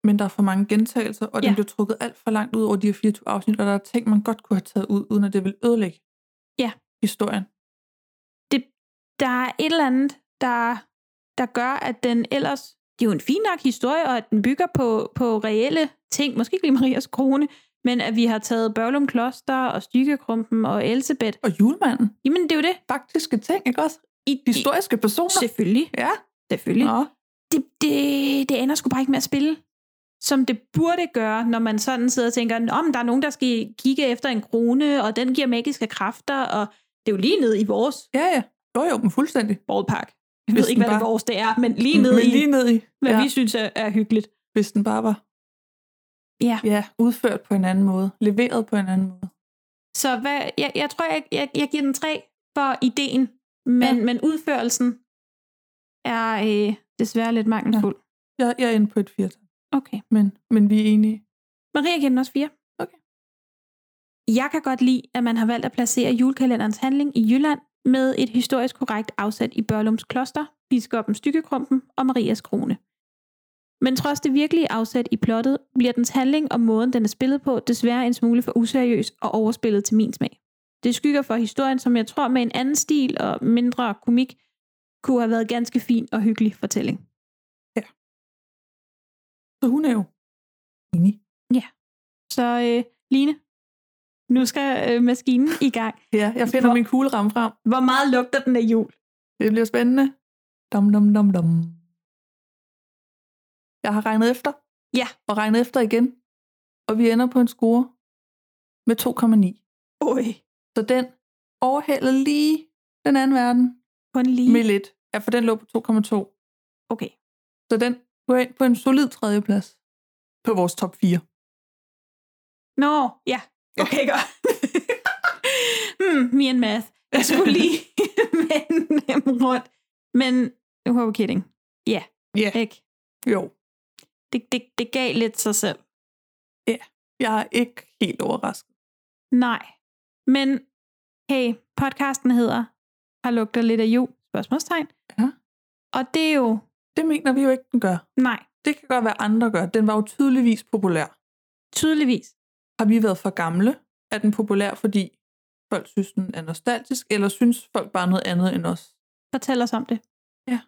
Speaker 8: men der er for mange gentagelser, og den
Speaker 9: Ja.
Speaker 8: bliver trukket alt for langt ud over de her 24 afsnit, og der er ting, man godt kunne have taget ud, uden at det ville ødelægge
Speaker 9: Ja.
Speaker 8: historien.
Speaker 9: Der er et eller andet, der, der gør, at den ellers... Det er jo en fin nok historie, og at den bygger på, på reelle ting. Måske ikke lige Marias krone, men at vi har taget Børlum Kloster og Stykkekrumpen og Elsebeth.
Speaker 8: Og julemanden.
Speaker 9: Jamen, det er jo det.
Speaker 8: Faktiske ting, ikke også?
Speaker 9: I,
Speaker 8: Historiske personer.
Speaker 9: Selvfølgelig.
Speaker 8: Ja.
Speaker 9: Selvfølgelig.
Speaker 8: Nå.
Speaker 9: Det, det, det ender sgu bare ikke med at spille, som det burde gøre, når man sådan sidder og tænker, om der er nogen, der skal kigge efter en krone, og den giver magiske kræfter, og det er jo lige nede i vores
Speaker 8: Ja, ja. Jo, jo, men fuldstændig.
Speaker 9: ballpark. Jeg
Speaker 8: Hvis
Speaker 9: ved ikke,
Speaker 8: den
Speaker 9: hvad det
Speaker 8: bare-
Speaker 9: vores det er, men lige nede
Speaker 8: men
Speaker 9: i,
Speaker 8: lige ned i.
Speaker 9: hvad vi synes er, er hyggeligt.
Speaker 8: Hvis den bare var
Speaker 9: Ja.
Speaker 8: ja, udført på en anden måde, leveret på en anden måde.
Speaker 9: Så hvad, jeg, jeg tror, jeg, jeg, jeg giver den tre for ideen, men, ja. men udførelsen er øh, desværre lidt mangelfuld.
Speaker 8: Jeg, jeg er inde på et firtal,
Speaker 9: Okay.
Speaker 8: men, men vi er enige.
Speaker 9: Maria giver den også fire.
Speaker 8: Okay.
Speaker 9: Jeg kan godt lide, at man har valgt at placere julekalenderens handling i Jylland med et historisk korrekt afsat i Børlums Kloster, biskoppen Stykkekrumpen og Marias Krone. Men trods det virkelige afsat i plottet, bliver dens handling og måden, den er spillet på, desværre en smule for useriøs og overspillet til min smag. Det skygger for historien, som jeg tror med en anden stil og mindre komik, kunne have været ganske fin og hyggelig fortælling.
Speaker 8: Så hun er jo enig.
Speaker 9: Så øh, Line, nu skal øh, maskinen i gang.
Speaker 8: Ja, jeg finder min kugleramme frem.
Speaker 9: Hvor meget lugter den af jul?
Speaker 8: Det bliver spændende. Dum, dum, dum, dum. Jeg har regnet efter.
Speaker 9: Ja.
Speaker 8: Og regnet efter igen. Og vi ender på en score med 2,9.
Speaker 9: Oj.
Speaker 8: Så den overhælder lige den anden verden
Speaker 9: Kun lige.
Speaker 8: med lidt. Ja, for den lå på 2,2.
Speaker 9: Okay.
Speaker 8: Så den går ind på en solid tredjeplads på vores top 4.
Speaker 9: Nå, ja. Okay, godt. hmm, me and math. Jeg skulle lige vende dem rundt. Men, who are we kidding? Ja,
Speaker 8: Ja,
Speaker 9: ikke?
Speaker 8: jo.
Speaker 9: Det, det, det gav lidt sig selv.
Speaker 8: Jeg er ikke helt overrasket.
Speaker 9: Nej. Men, hey, podcasten hedder Har lugter lidt af jul? Spørgsmålstegn.
Speaker 8: Ja.
Speaker 9: Og det er jo,
Speaker 8: Det mener vi jo ikke, den gør.
Speaker 9: nej,
Speaker 8: Det kan godt være, andre gør. Den var jo tydeligvis populær.
Speaker 9: tydeligvis.
Speaker 8: Har vi været for gamle? Er den populær, fordi folk synes, den er nostalgisk, eller synes folk bare noget andet end os?
Speaker 9: Fortæl os om det.
Speaker 8: Ja.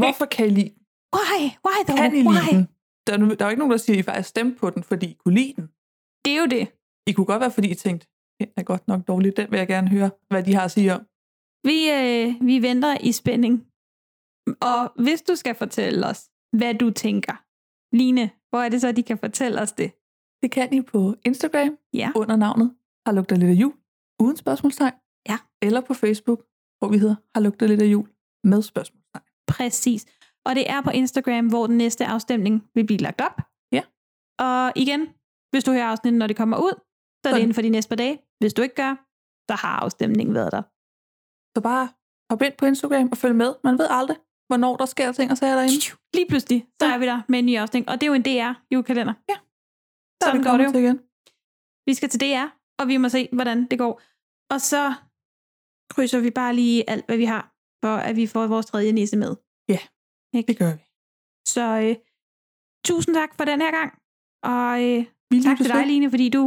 Speaker 8: Hvorfor kan I lide den?
Speaker 9: Why? Why though?
Speaker 8: Kan I lide
Speaker 9: Why?
Speaker 8: den? Der er, nu- der er jo ikke nogen, der siger, at I faktisk stemte på den, fordi I kunne lide den.
Speaker 9: Det er jo det.
Speaker 8: I kunne godt være, fordi I tænkte, den er godt nok dårlig, den vil jeg gerne høre, hvad de har at sige om.
Speaker 9: Vi, øh, vi venter i spænding. Og hvis du skal fortælle os, hvad du tænker, Line, hvor er det så, de kan fortælle os det?
Speaker 8: Det kan I på Instagram
Speaker 9: Ja.
Speaker 8: under navnet Har lugter lidt af jul. uden spørgsmålstegn.
Speaker 9: Ja.
Speaker 8: Eller på Facebook, hvor vi hedder Har lugtet lidt af jul med spørgsmålstegn.
Speaker 9: Præcis. Og det er på Instagram, hvor den næste afstemning vil blive lagt op.
Speaker 8: Ja.
Speaker 9: Og igen, hvis du hører afsnittet, når det kommer ud, så er det
Speaker 8: Sådan.
Speaker 9: inden for de næste par dage. Hvis du ikke gør, så har afstemningen været der.
Speaker 8: Så bare hop ind på Instagram og følg med. Man ved aldrig, hvornår der sker ting og sager derinde.
Speaker 9: Lige pludselig, så er vi der med en ny afstemning. Og det er jo en DR-julekalender.
Speaker 8: Ja. Så er
Speaker 9: Sådan
Speaker 8: vi
Speaker 9: går
Speaker 8: kommet
Speaker 9: det jo.
Speaker 8: til igen.
Speaker 9: Vi skal til DR, og vi må se, hvordan det går. Og så krydser vi bare lige alt, hvad vi har, for at vi får vores tredje næse med.
Speaker 8: Ja,
Speaker 9: Ikke?
Speaker 8: det gør vi.
Speaker 9: Så øh, tusind tak for den her gang. Og øh,
Speaker 8: vi
Speaker 9: tak til
Speaker 8: lyttes
Speaker 9: dig,
Speaker 8: ved.
Speaker 9: Line, fordi du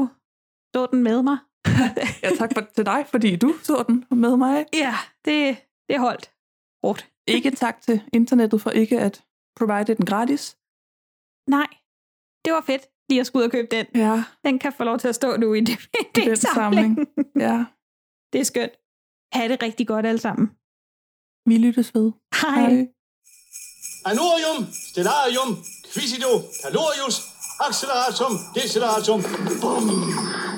Speaker 9: så den med mig.
Speaker 8: Ja, tak for, til dig, fordi du så den med mig.
Speaker 9: Ja, det, det holdt. Hårdt.
Speaker 8: Ikke tak til internettet for ikke at provide den gratis.
Speaker 9: Nej, det var fedt lige at skulle ud og købe den.
Speaker 8: Ja.
Speaker 9: Den kan få lov til at stå nu i det, det
Speaker 8: den samling. Ja.
Speaker 9: Det er skønt. Ha' det rigtig godt alle sammen.
Speaker 8: Vi lyttes ved.
Speaker 9: Hej. Hej.
Speaker 1: Anorium, stellarium, quisido, calorius, acceleratum, deceleratum. Bum.